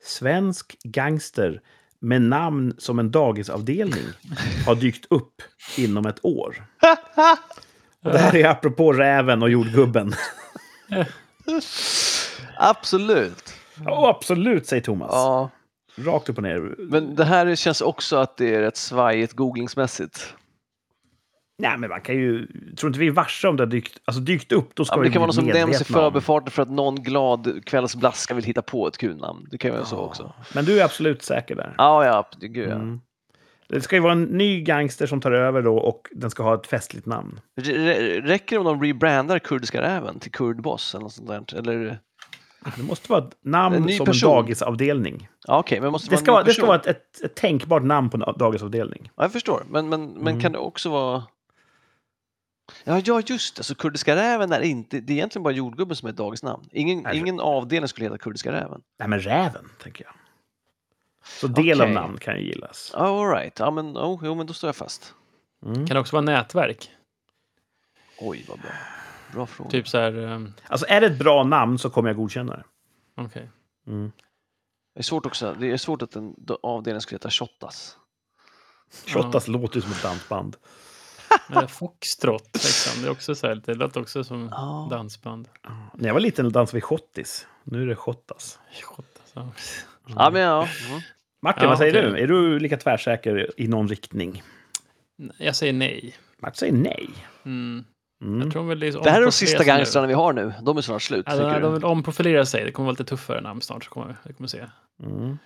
Speaker 3: svensk gangster med namn som en dagisavdelning ha dykt upp inom ett år? Och det här är apropå räven och jordgubben. *laughs*
Speaker 2: Absolut.
Speaker 3: Ja, absolut, säger Thomas.
Speaker 2: Ja.
Speaker 3: Rakt upp och ner.
Speaker 2: Men det här känns också att det är rätt svajigt googlingsmässigt.
Speaker 3: Nej, men man kan ju... Tror inte vi är varse om det har dykt, alltså dykt upp? Då ska
Speaker 2: Ja, men
Speaker 3: vi
Speaker 2: det kan vara något som nämns i
Speaker 3: medvetna om.
Speaker 2: förbifarten för att någon glad kvällsblaska vill hitta på ett kul namn. Det kan ju vara så också.
Speaker 3: Men du är absolut säker där.
Speaker 2: Ja, ja, det- gud ja.
Speaker 3: Mm. Det ska ju vara en ny gangster som tar över då och den ska ha ett festligt namn.
Speaker 2: Rä- rä- Räcker det om de rebrandar Kurdiska räven till Kurdboss eller något sånt där? Eller,
Speaker 3: Det måste vara ett namn
Speaker 2: En ny
Speaker 3: som
Speaker 2: person.
Speaker 3: en dagisavdelning.
Speaker 2: ja, okej, men måste
Speaker 3: Det
Speaker 2: vara en
Speaker 3: ska,
Speaker 2: ny
Speaker 3: vara- det ska
Speaker 2: person?
Speaker 3: vara ett, ett, ett tänkbart namn på en dagisavdelning.
Speaker 2: Ja, jag förstår, men, men, men
Speaker 3: Mm.
Speaker 2: kan det också vara... Ja, ja, just det, så Kurdiska räven är inte... Det är egentligen bara jordgubben som är ett dagisnamn. Ingen,
Speaker 3: Nej, för-
Speaker 2: ingen avdelning skulle heta Kurdiska räven.
Speaker 3: Nej, men räven, tänker jag. Så del av
Speaker 2: Okej.
Speaker 3: namn kan ju gillas.
Speaker 2: Ja, all right. Ja, men, oh, jo, men då står jag fast.
Speaker 3: Mm.
Speaker 1: Kan det också vara nätverk?
Speaker 2: Oj, vad bra. Bra fråga.
Speaker 1: Typ så här... ehm,
Speaker 3: Alltså är det ett bra namn så kommer jag godkänna det.
Speaker 1: Okej.
Speaker 3: Mm.
Speaker 2: Det är svårt också. Det är svårt att en avdelning skulle heta Shottaz.
Speaker 3: Shottaz låter ju som ett dansband.
Speaker 1: Eller foxtrot, liksom. det är också så här, det lät också som
Speaker 2: Ja.
Speaker 1: dansband.
Speaker 3: När jag var liten dansade vi schottis. Nu är det schottas.
Speaker 1: Shot, alltså.
Speaker 2: Ja, men ja. Mm.
Speaker 3: Martin,
Speaker 1: Ja,
Speaker 3: vad säger
Speaker 1: okej.
Speaker 3: du? Är du lika tvärsäker i någon riktning?
Speaker 1: Jag säger nej.
Speaker 3: Martin säger nej.
Speaker 1: Mm.
Speaker 3: Mm.
Speaker 1: Jag tror väl det, är
Speaker 2: Det här är de
Speaker 1: omprofileras
Speaker 2: sista
Speaker 1: nu.
Speaker 2: gangstrarna vi har nu. De är snart slut.
Speaker 1: Ja, de,
Speaker 2: tycker
Speaker 1: de
Speaker 2: du?
Speaker 1: vill omprofilera sig. Det kommer vara lite tuffare namn snart. Så kommer, vi- vi kommer se.
Speaker 3: Mm.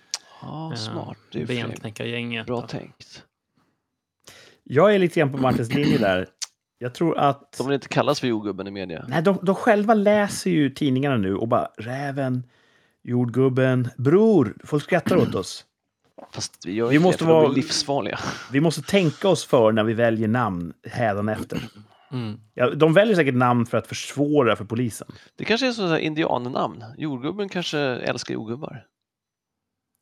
Speaker 2: Ja,
Speaker 1: Ja,
Speaker 2: smart. Det är ju för sig
Speaker 1: Benknäckargänget.
Speaker 2: bra
Speaker 1: då.
Speaker 2: tänkt.
Speaker 3: Jag är lite grann på Martins linje där. Jag tror att...
Speaker 2: De vill inte kallas för jordgubben i media.
Speaker 3: Nej, de, de själva läser ju tidningarna nu och bara räven, jordgubben, bror. Folk skrattar åt oss.
Speaker 2: Fast vi gör
Speaker 3: Vi
Speaker 2: ju
Speaker 3: måste
Speaker 2: det, för de
Speaker 3: vara-
Speaker 2: är livsfarliga.
Speaker 3: Vi måste tänka oss för när vi väljer namn hädanefter.
Speaker 1: Mm.
Speaker 3: Ja, de väljer säkert namn för att försvåra för polisen.
Speaker 2: Det kanske är sådana här indiannamn. Jordgubben kanske älskar jordgubbar.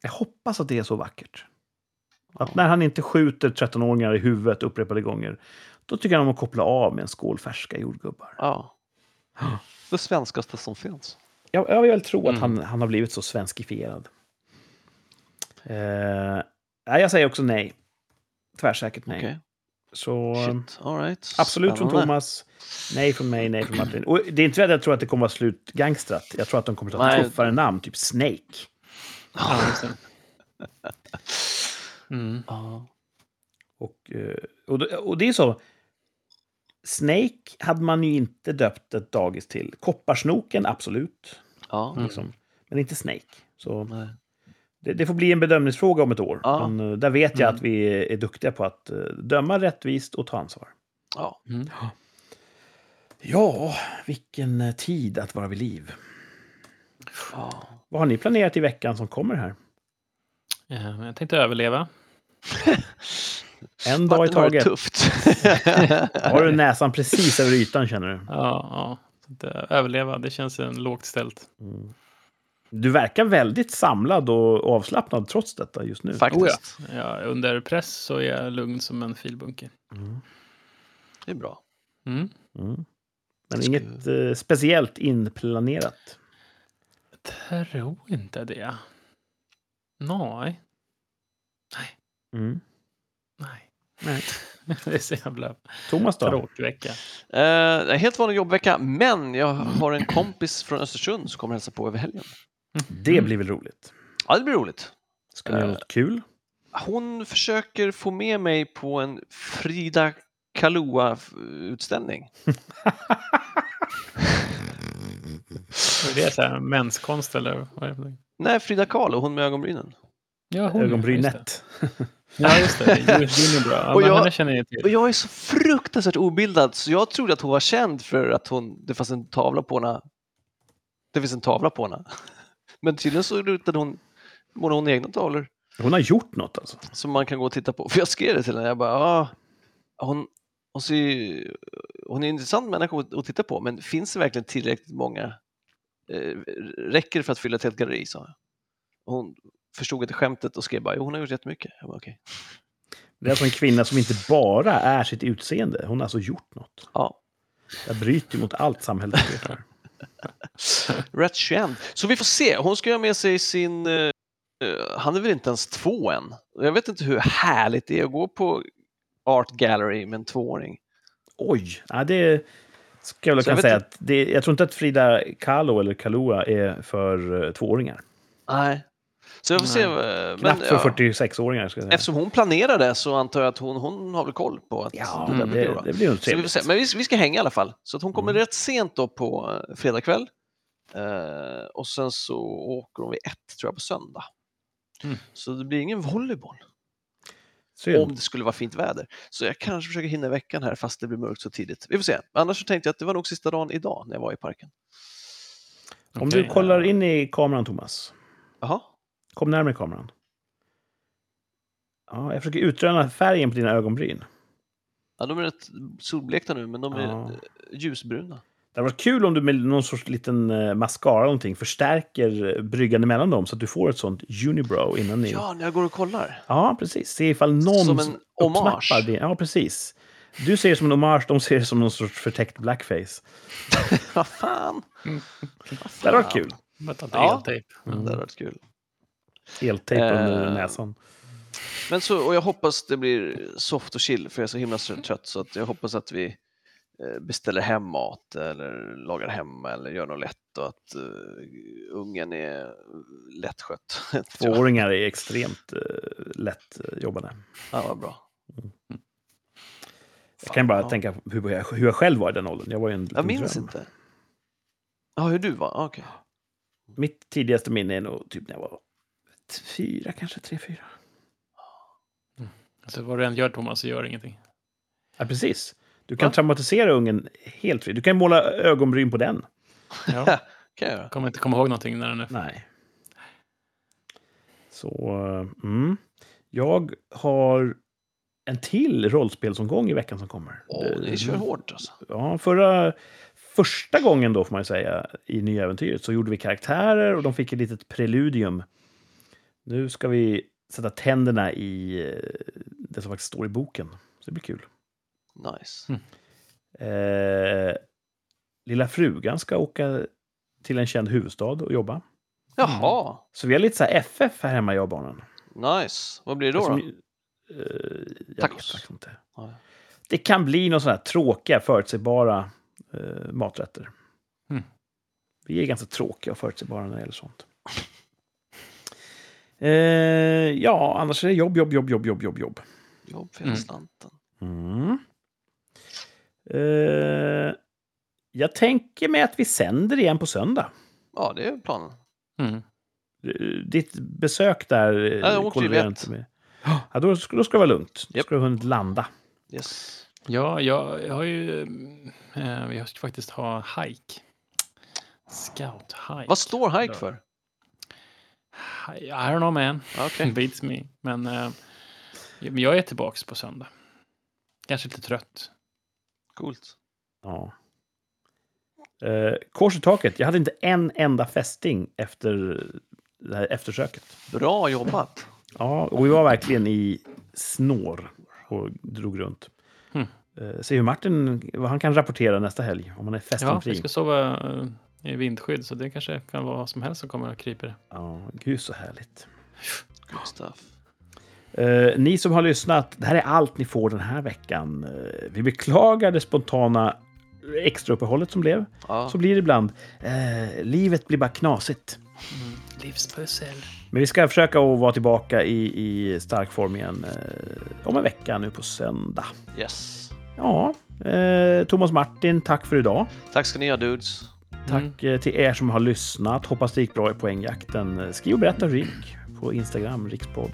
Speaker 3: Jag hoppas att det är så vackert. Att när han inte skjuter 13-åringar i huvudet upprepade gånger, då tycker han om att koppla av med en skål färska jordgubbar. *gasps*
Speaker 2: Ja. Det svenskaste som finns.
Speaker 3: Jag, jag vill tro att
Speaker 1: Mm.
Speaker 3: han, han har blivit så svenskifierad. Eh, nej, jag säger också nej. Tvärsäkert nej.
Speaker 2: Okej,
Speaker 3: Så
Speaker 2: shit. All right.
Speaker 3: absolut från
Speaker 2: Spännande.
Speaker 3: Thomas, nej från mig, nej från Martin. Och det är inte för att jag tror att det kommer vara slut gangstrat. Jag tror att de kommer ta
Speaker 2: Nej.
Speaker 3: tuffare namn, typ Snake.
Speaker 1: Ja, just
Speaker 2: *laughs*
Speaker 1: det. Mm.
Speaker 2: Ja.
Speaker 3: Och, eh, och, det- och det är så. Snake hade man ju inte döpt ett dagis till. Kopparsnoken, absolut.
Speaker 2: Ja. eh,
Speaker 1: Mm.
Speaker 3: Liksom. Men inte Snake. Så
Speaker 2: Nej.
Speaker 3: det, det får bli en bedömningsfråga om ett år.
Speaker 2: Ja.
Speaker 3: Men eh, där vet jag
Speaker 1: Mm.
Speaker 3: att vi är duktiga på att eh, döma rättvist och ta ansvar.
Speaker 2: Ja.
Speaker 1: Mm.
Speaker 3: Ja, vilken eh, tid att vara vid liv.
Speaker 2: ja.
Speaker 3: Vad har ni planerat i veckan som kommer här?
Speaker 1: Eh, men Jag tänkte överleva.
Speaker 3: En dag i
Speaker 2: Martin har det
Speaker 3: taget. *laughs*
Speaker 2: tufft. *laughs*
Speaker 3: Har du näsan precis över ytan känner du?
Speaker 1: Ja, ja. Så att, eh, Överleva, det känns eh, lågt ställt.
Speaker 3: Mm. Du verkar väldigt samlad och avslappnad trots detta just nu.
Speaker 1: Oh
Speaker 2: Faktiskt.
Speaker 3: Oh
Speaker 1: Ja, under press så är jag lugn som en filbunke.
Speaker 3: Mm.
Speaker 2: Det är bra.
Speaker 1: Mm.
Speaker 3: Mm. Men
Speaker 2: Ska-
Speaker 3: inget eh, speciellt inplanerat.
Speaker 1: Jag tror inte det. Nej.
Speaker 3: Mm.
Speaker 1: Nej. *laughs*
Speaker 3: Nej.
Speaker 1: det är så jävla
Speaker 3: Thomas då?
Speaker 1: tråkig vecka.
Speaker 2: Eh, en helt vanlig jobbvecka, men jag har en kompis från Östersund som kommer hälsa på över helgen.
Speaker 3: Det
Speaker 1: Mm.
Speaker 3: blir väl roligt?
Speaker 2: Ja, det blir roligt.
Speaker 3: Ska ni göra
Speaker 2: Eh,
Speaker 3: något kul?
Speaker 2: Hon försöker få med mig på en Frida eh, Kahloa-utställning.
Speaker 1: Vad Är det så här menskonst eller vad är det? för någonting?
Speaker 2: Nej, Frida Kahlo, hon med ögonbrynen.
Speaker 1: Ja, hon, just
Speaker 3: Ögonbrynet.
Speaker 1: det. Ja, just det. Judith Ginnerbra. Ja,
Speaker 2: Och
Speaker 1: men
Speaker 2: jag-
Speaker 1: Henne känner jag
Speaker 2: Och
Speaker 1: till.
Speaker 2: jag är så fruktansvärt obildad så jag trodde att hon var känd för att hon, det fanns en tavla på henne. Det finns en tavla på henne. Men tydligen så är det ut att hon målar hon egna tavlor.
Speaker 3: Hon har gjort något alltså.
Speaker 2: som man kan gå och titta på. *laughs* För jag skrev det till henne, jag bara, ah, hon, hon, ser ju, hon är en intressant människa att att titta på, men finns det verkligen tillräckligt många? Eh, räcker det för att fylla ett helt galleri? sa jag. Hon förstod inte skämtet och skrev bara, jo hon har gjort jättemycket. Jag bara, okej.
Speaker 3: Det är alltså en kvinna som inte bara är sitt utseende. Hon har alltså gjort något.
Speaker 2: Ja,
Speaker 3: Jag bryter mot allt samhället vetar.
Speaker 2: rätt känd. Så vi får se, hon ska ha med sig sin, eh, eh, han är väl inte ens två än. Jag vet inte hur härligt det är att gå på Art Gallery med en tvååring.
Speaker 3: Oj! Ja, det ska jag väl
Speaker 2: Så jag
Speaker 3: kunna
Speaker 2: vet
Speaker 3: säga. Att det, jag tror inte att Frida Kahlo eller Kahloa är för eh, tvååringar.
Speaker 2: Nej. Så jag får se.
Speaker 1: Nej.
Speaker 2: eh, men,
Speaker 3: Knappt för
Speaker 2: ja.
Speaker 3: 46-åringar. Ska jag säga.
Speaker 2: Eftersom hon planerar det så antar jag att hon, hon har väl koll på att
Speaker 3: Ja,
Speaker 2: Mm, det där blir
Speaker 3: det,
Speaker 2: bra.
Speaker 3: det blir nog
Speaker 2: Så vi får
Speaker 3: trevligt.
Speaker 2: se. Men vi, vi ska hänga i alla fall. Så att hon kommer
Speaker 3: Mm.
Speaker 2: rätt sent då på eh, fredag kväll. Eh, och sen så åker hon vid ett tror jag på söndag.
Speaker 1: Mm.
Speaker 2: Så det blir ingen volleyboll
Speaker 3: Synd.
Speaker 2: om det skulle vara fint väder. Så jag kanske försöker hinna i veckan här fast det blir mörkt så tidigt. Vi får se. Annars så tänkte jag att det var nog sista dagen idag när jag var i parken.
Speaker 3: Om
Speaker 1: Okej.
Speaker 3: du kollar in i kameran, Thomas.
Speaker 2: Jaha,
Speaker 3: Kom närmare kameran. Ja, jag försöker utröna färgen på dina ögonbryn.
Speaker 2: ja, de är rätt solblekta nu men de är
Speaker 3: Ja.
Speaker 2: eh, ljusbruna.
Speaker 3: Det var kul om du med någon sorts liten eh, mascara eller någonting förstärker eh, bryggan emellan dem så att du får ett sånt unibrow innan ni...
Speaker 2: Ja, när jag går och kollar.
Speaker 3: Ja, precis. Se ifall någon
Speaker 2: Som en hommage.
Speaker 3: uppsnappar det. Ja, precis. Du ser det som en hommage, de ser det som någon sorts förtäckt blackface.
Speaker 2: Vad fan? Vad
Speaker 3: Det hade
Speaker 2: fan?
Speaker 3: varit kul.
Speaker 1: Man tar inte
Speaker 2: Ja.
Speaker 1: eltejp.
Speaker 2: Det hade varit kul.
Speaker 3: Eltejp under
Speaker 2: Eh.
Speaker 3: näsan.
Speaker 2: Men så, och jag hoppas det blir soft och chill för jag är så himla trött så att jag hoppas att vi eh, beställer hem mat eller lagar hemma eller gör något lätt och att eh, ungen är lättskött. *laughs* Tror jag.
Speaker 3: Tvååringar är extremt uh, lätt eh, jobbande.
Speaker 2: Ja, vad bra.
Speaker 3: Jag kan bara
Speaker 2: ja.
Speaker 3: tänka på hur jag, hur jag själv var i den åldern. Jag var ju en
Speaker 2: Jag
Speaker 3: liten
Speaker 2: minns
Speaker 3: dröm.
Speaker 2: inte. Ja, hur du var? Ah, Okej.
Speaker 3: Mitt tidigaste minne är nog typ när jag var ett fyra, kanske tre, fyra.
Speaker 1: Alltså, vad du än gör Thomas så gör ingenting.
Speaker 3: Ja, precis. Du kan
Speaker 2: Va?
Speaker 3: traumatisera ungen helt fritt. Du kan måla ögonbryn på den.
Speaker 2: *laughs*
Speaker 1: Ja,
Speaker 2: kan jag göra.
Speaker 1: kommer inte komma ihåg någonting när den är...
Speaker 3: Nej. Så, eh, mm. Jag har en till rollspelsomgång i veckan som kommer.
Speaker 2: Åh, ni kör hårt alltså.
Speaker 3: Ja, förra, första gången då, får man ju säga, i Nya Äventyret så gjorde vi karaktärer och de fick ett litet preludium. Nu ska vi sätta tänderna i eh, det som faktiskt står i boken. Så det blir kul.
Speaker 2: Nice.
Speaker 3: Eh, lilla frugan ska åka till en känd huvudstad och jobba.
Speaker 2: Jaha,
Speaker 3: Så vi har lite så här FF här hemma, jag och barnen.
Speaker 2: nice. Vad blir det då?
Speaker 3: Som,
Speaker 2: då?
Speaker 3: Alltså, eh, jag
Speaker 2: Tacos.
Speaker 3: vet faktiskt inte.
Speaker 2: Ja.
Speaker 3: Det kan bli några sådana här tråkiga, förutsägbara eh, maträtter.
Speaker 1: Mm.
Speaker 2: Hmm.
Speaker 3: Vi är ganska tråkiga och förutsägbara när det gäller sånt. *laughs* Eh, ja, annars är det jobb, jobb, jobb, jobb, jobb, jobb, jobb.
Speaker 2: Jobb för
Speaker 1: Mm.
Speaker 2: hela slanten.
Speaker 3: Mm. Eh, jag tänker mig att vi sänder igen på söndag.
Speaker 2: Ja, det är planen.
Speaker 1: Mm.
Speaker 3: Eh, Ditt besök där... eh,
Speaker 2: Ja, jag åkte ju
Speaker 3: kollar jag
Speaker 2: vet.
Speaker 3: inte med. Ja, då, ska- då ska det vara lugnt. Då
Speaker 2: Japp.
Speaker 3: ska du ha hunnit landa.
Speaker 2: Yes.
Speaker 1: Ja, jag, jag har ju... Eh, vi ska faktiskt ha hike. Scout hike.
Speaker 2: Vad står hike för?
Speaker 1: Hi- I don't know man.
Speaker 2: Ja,
Speaker 1: *laughs*
Speaker 2: Okej.
Speaker 1: Beats me. Men eh, men jag är tillbaks på söndag. Kanske lite trött.
Speaker 2: Coolt.
Speaker 3: Ja. Eh, kors i taket. Jag hade inte en enda fästing efter det här eftersöket.
Speaker 2: Bra jobbat.
Speaker 3: Ja, och vi var verkligen i snår och drog runt.
Speaker 1: Hmm.
Speaker 3: Eh, se hur Martin vad han kan rapportera nästa helg, om han är
Speaker 1: Ja,
Speaker 3: fästingfri.
Speaker 1: vi
Speaker 3: Ja,
Speaker 1: ska sova eh, i vindskydd så det kanske kan vara vad som helst som kommer och kryper.
Speaker 3: gud så härligt.
Speaker 2: Good stuff.
Speaker 3: Eh, ni som har lyssnat, det här är allt ni får den här veckan. Eh, vi beklagar det spontana extrauppehållet som blev.
Speaker 2: Ja.
Speaker 3: Så blir det ibland. Eh, livet blir bara knasigt.
Speaker 1: Livspussel.
Speaker 3: Men vi ska försöka att vara tillbaka i, i stark form igen eh, om en vecka nu på söndag.
Speaker 2: Yes.
Speaker 3: Ja, eh, Thomas Martin, tack för idag.
Speaker 2: Tack ska ni ha dudes.
Speaker 3: Tack eh, till er som har lyssnat. Hoppas det gick bra i poängjakten. Eh, Skriv och berätta hur det gick på Instagram, rikspodd.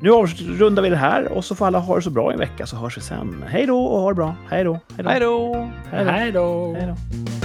Speaker 3: Nu avrundar vi det här och så får alla ha det så bra i en vecka så hörs vi sen. Hej då och ha det bra. Hej då. Hej då.
Speaker 2: Hej då!
Speaker 1: Hej då!
Speaker 3: Hej då.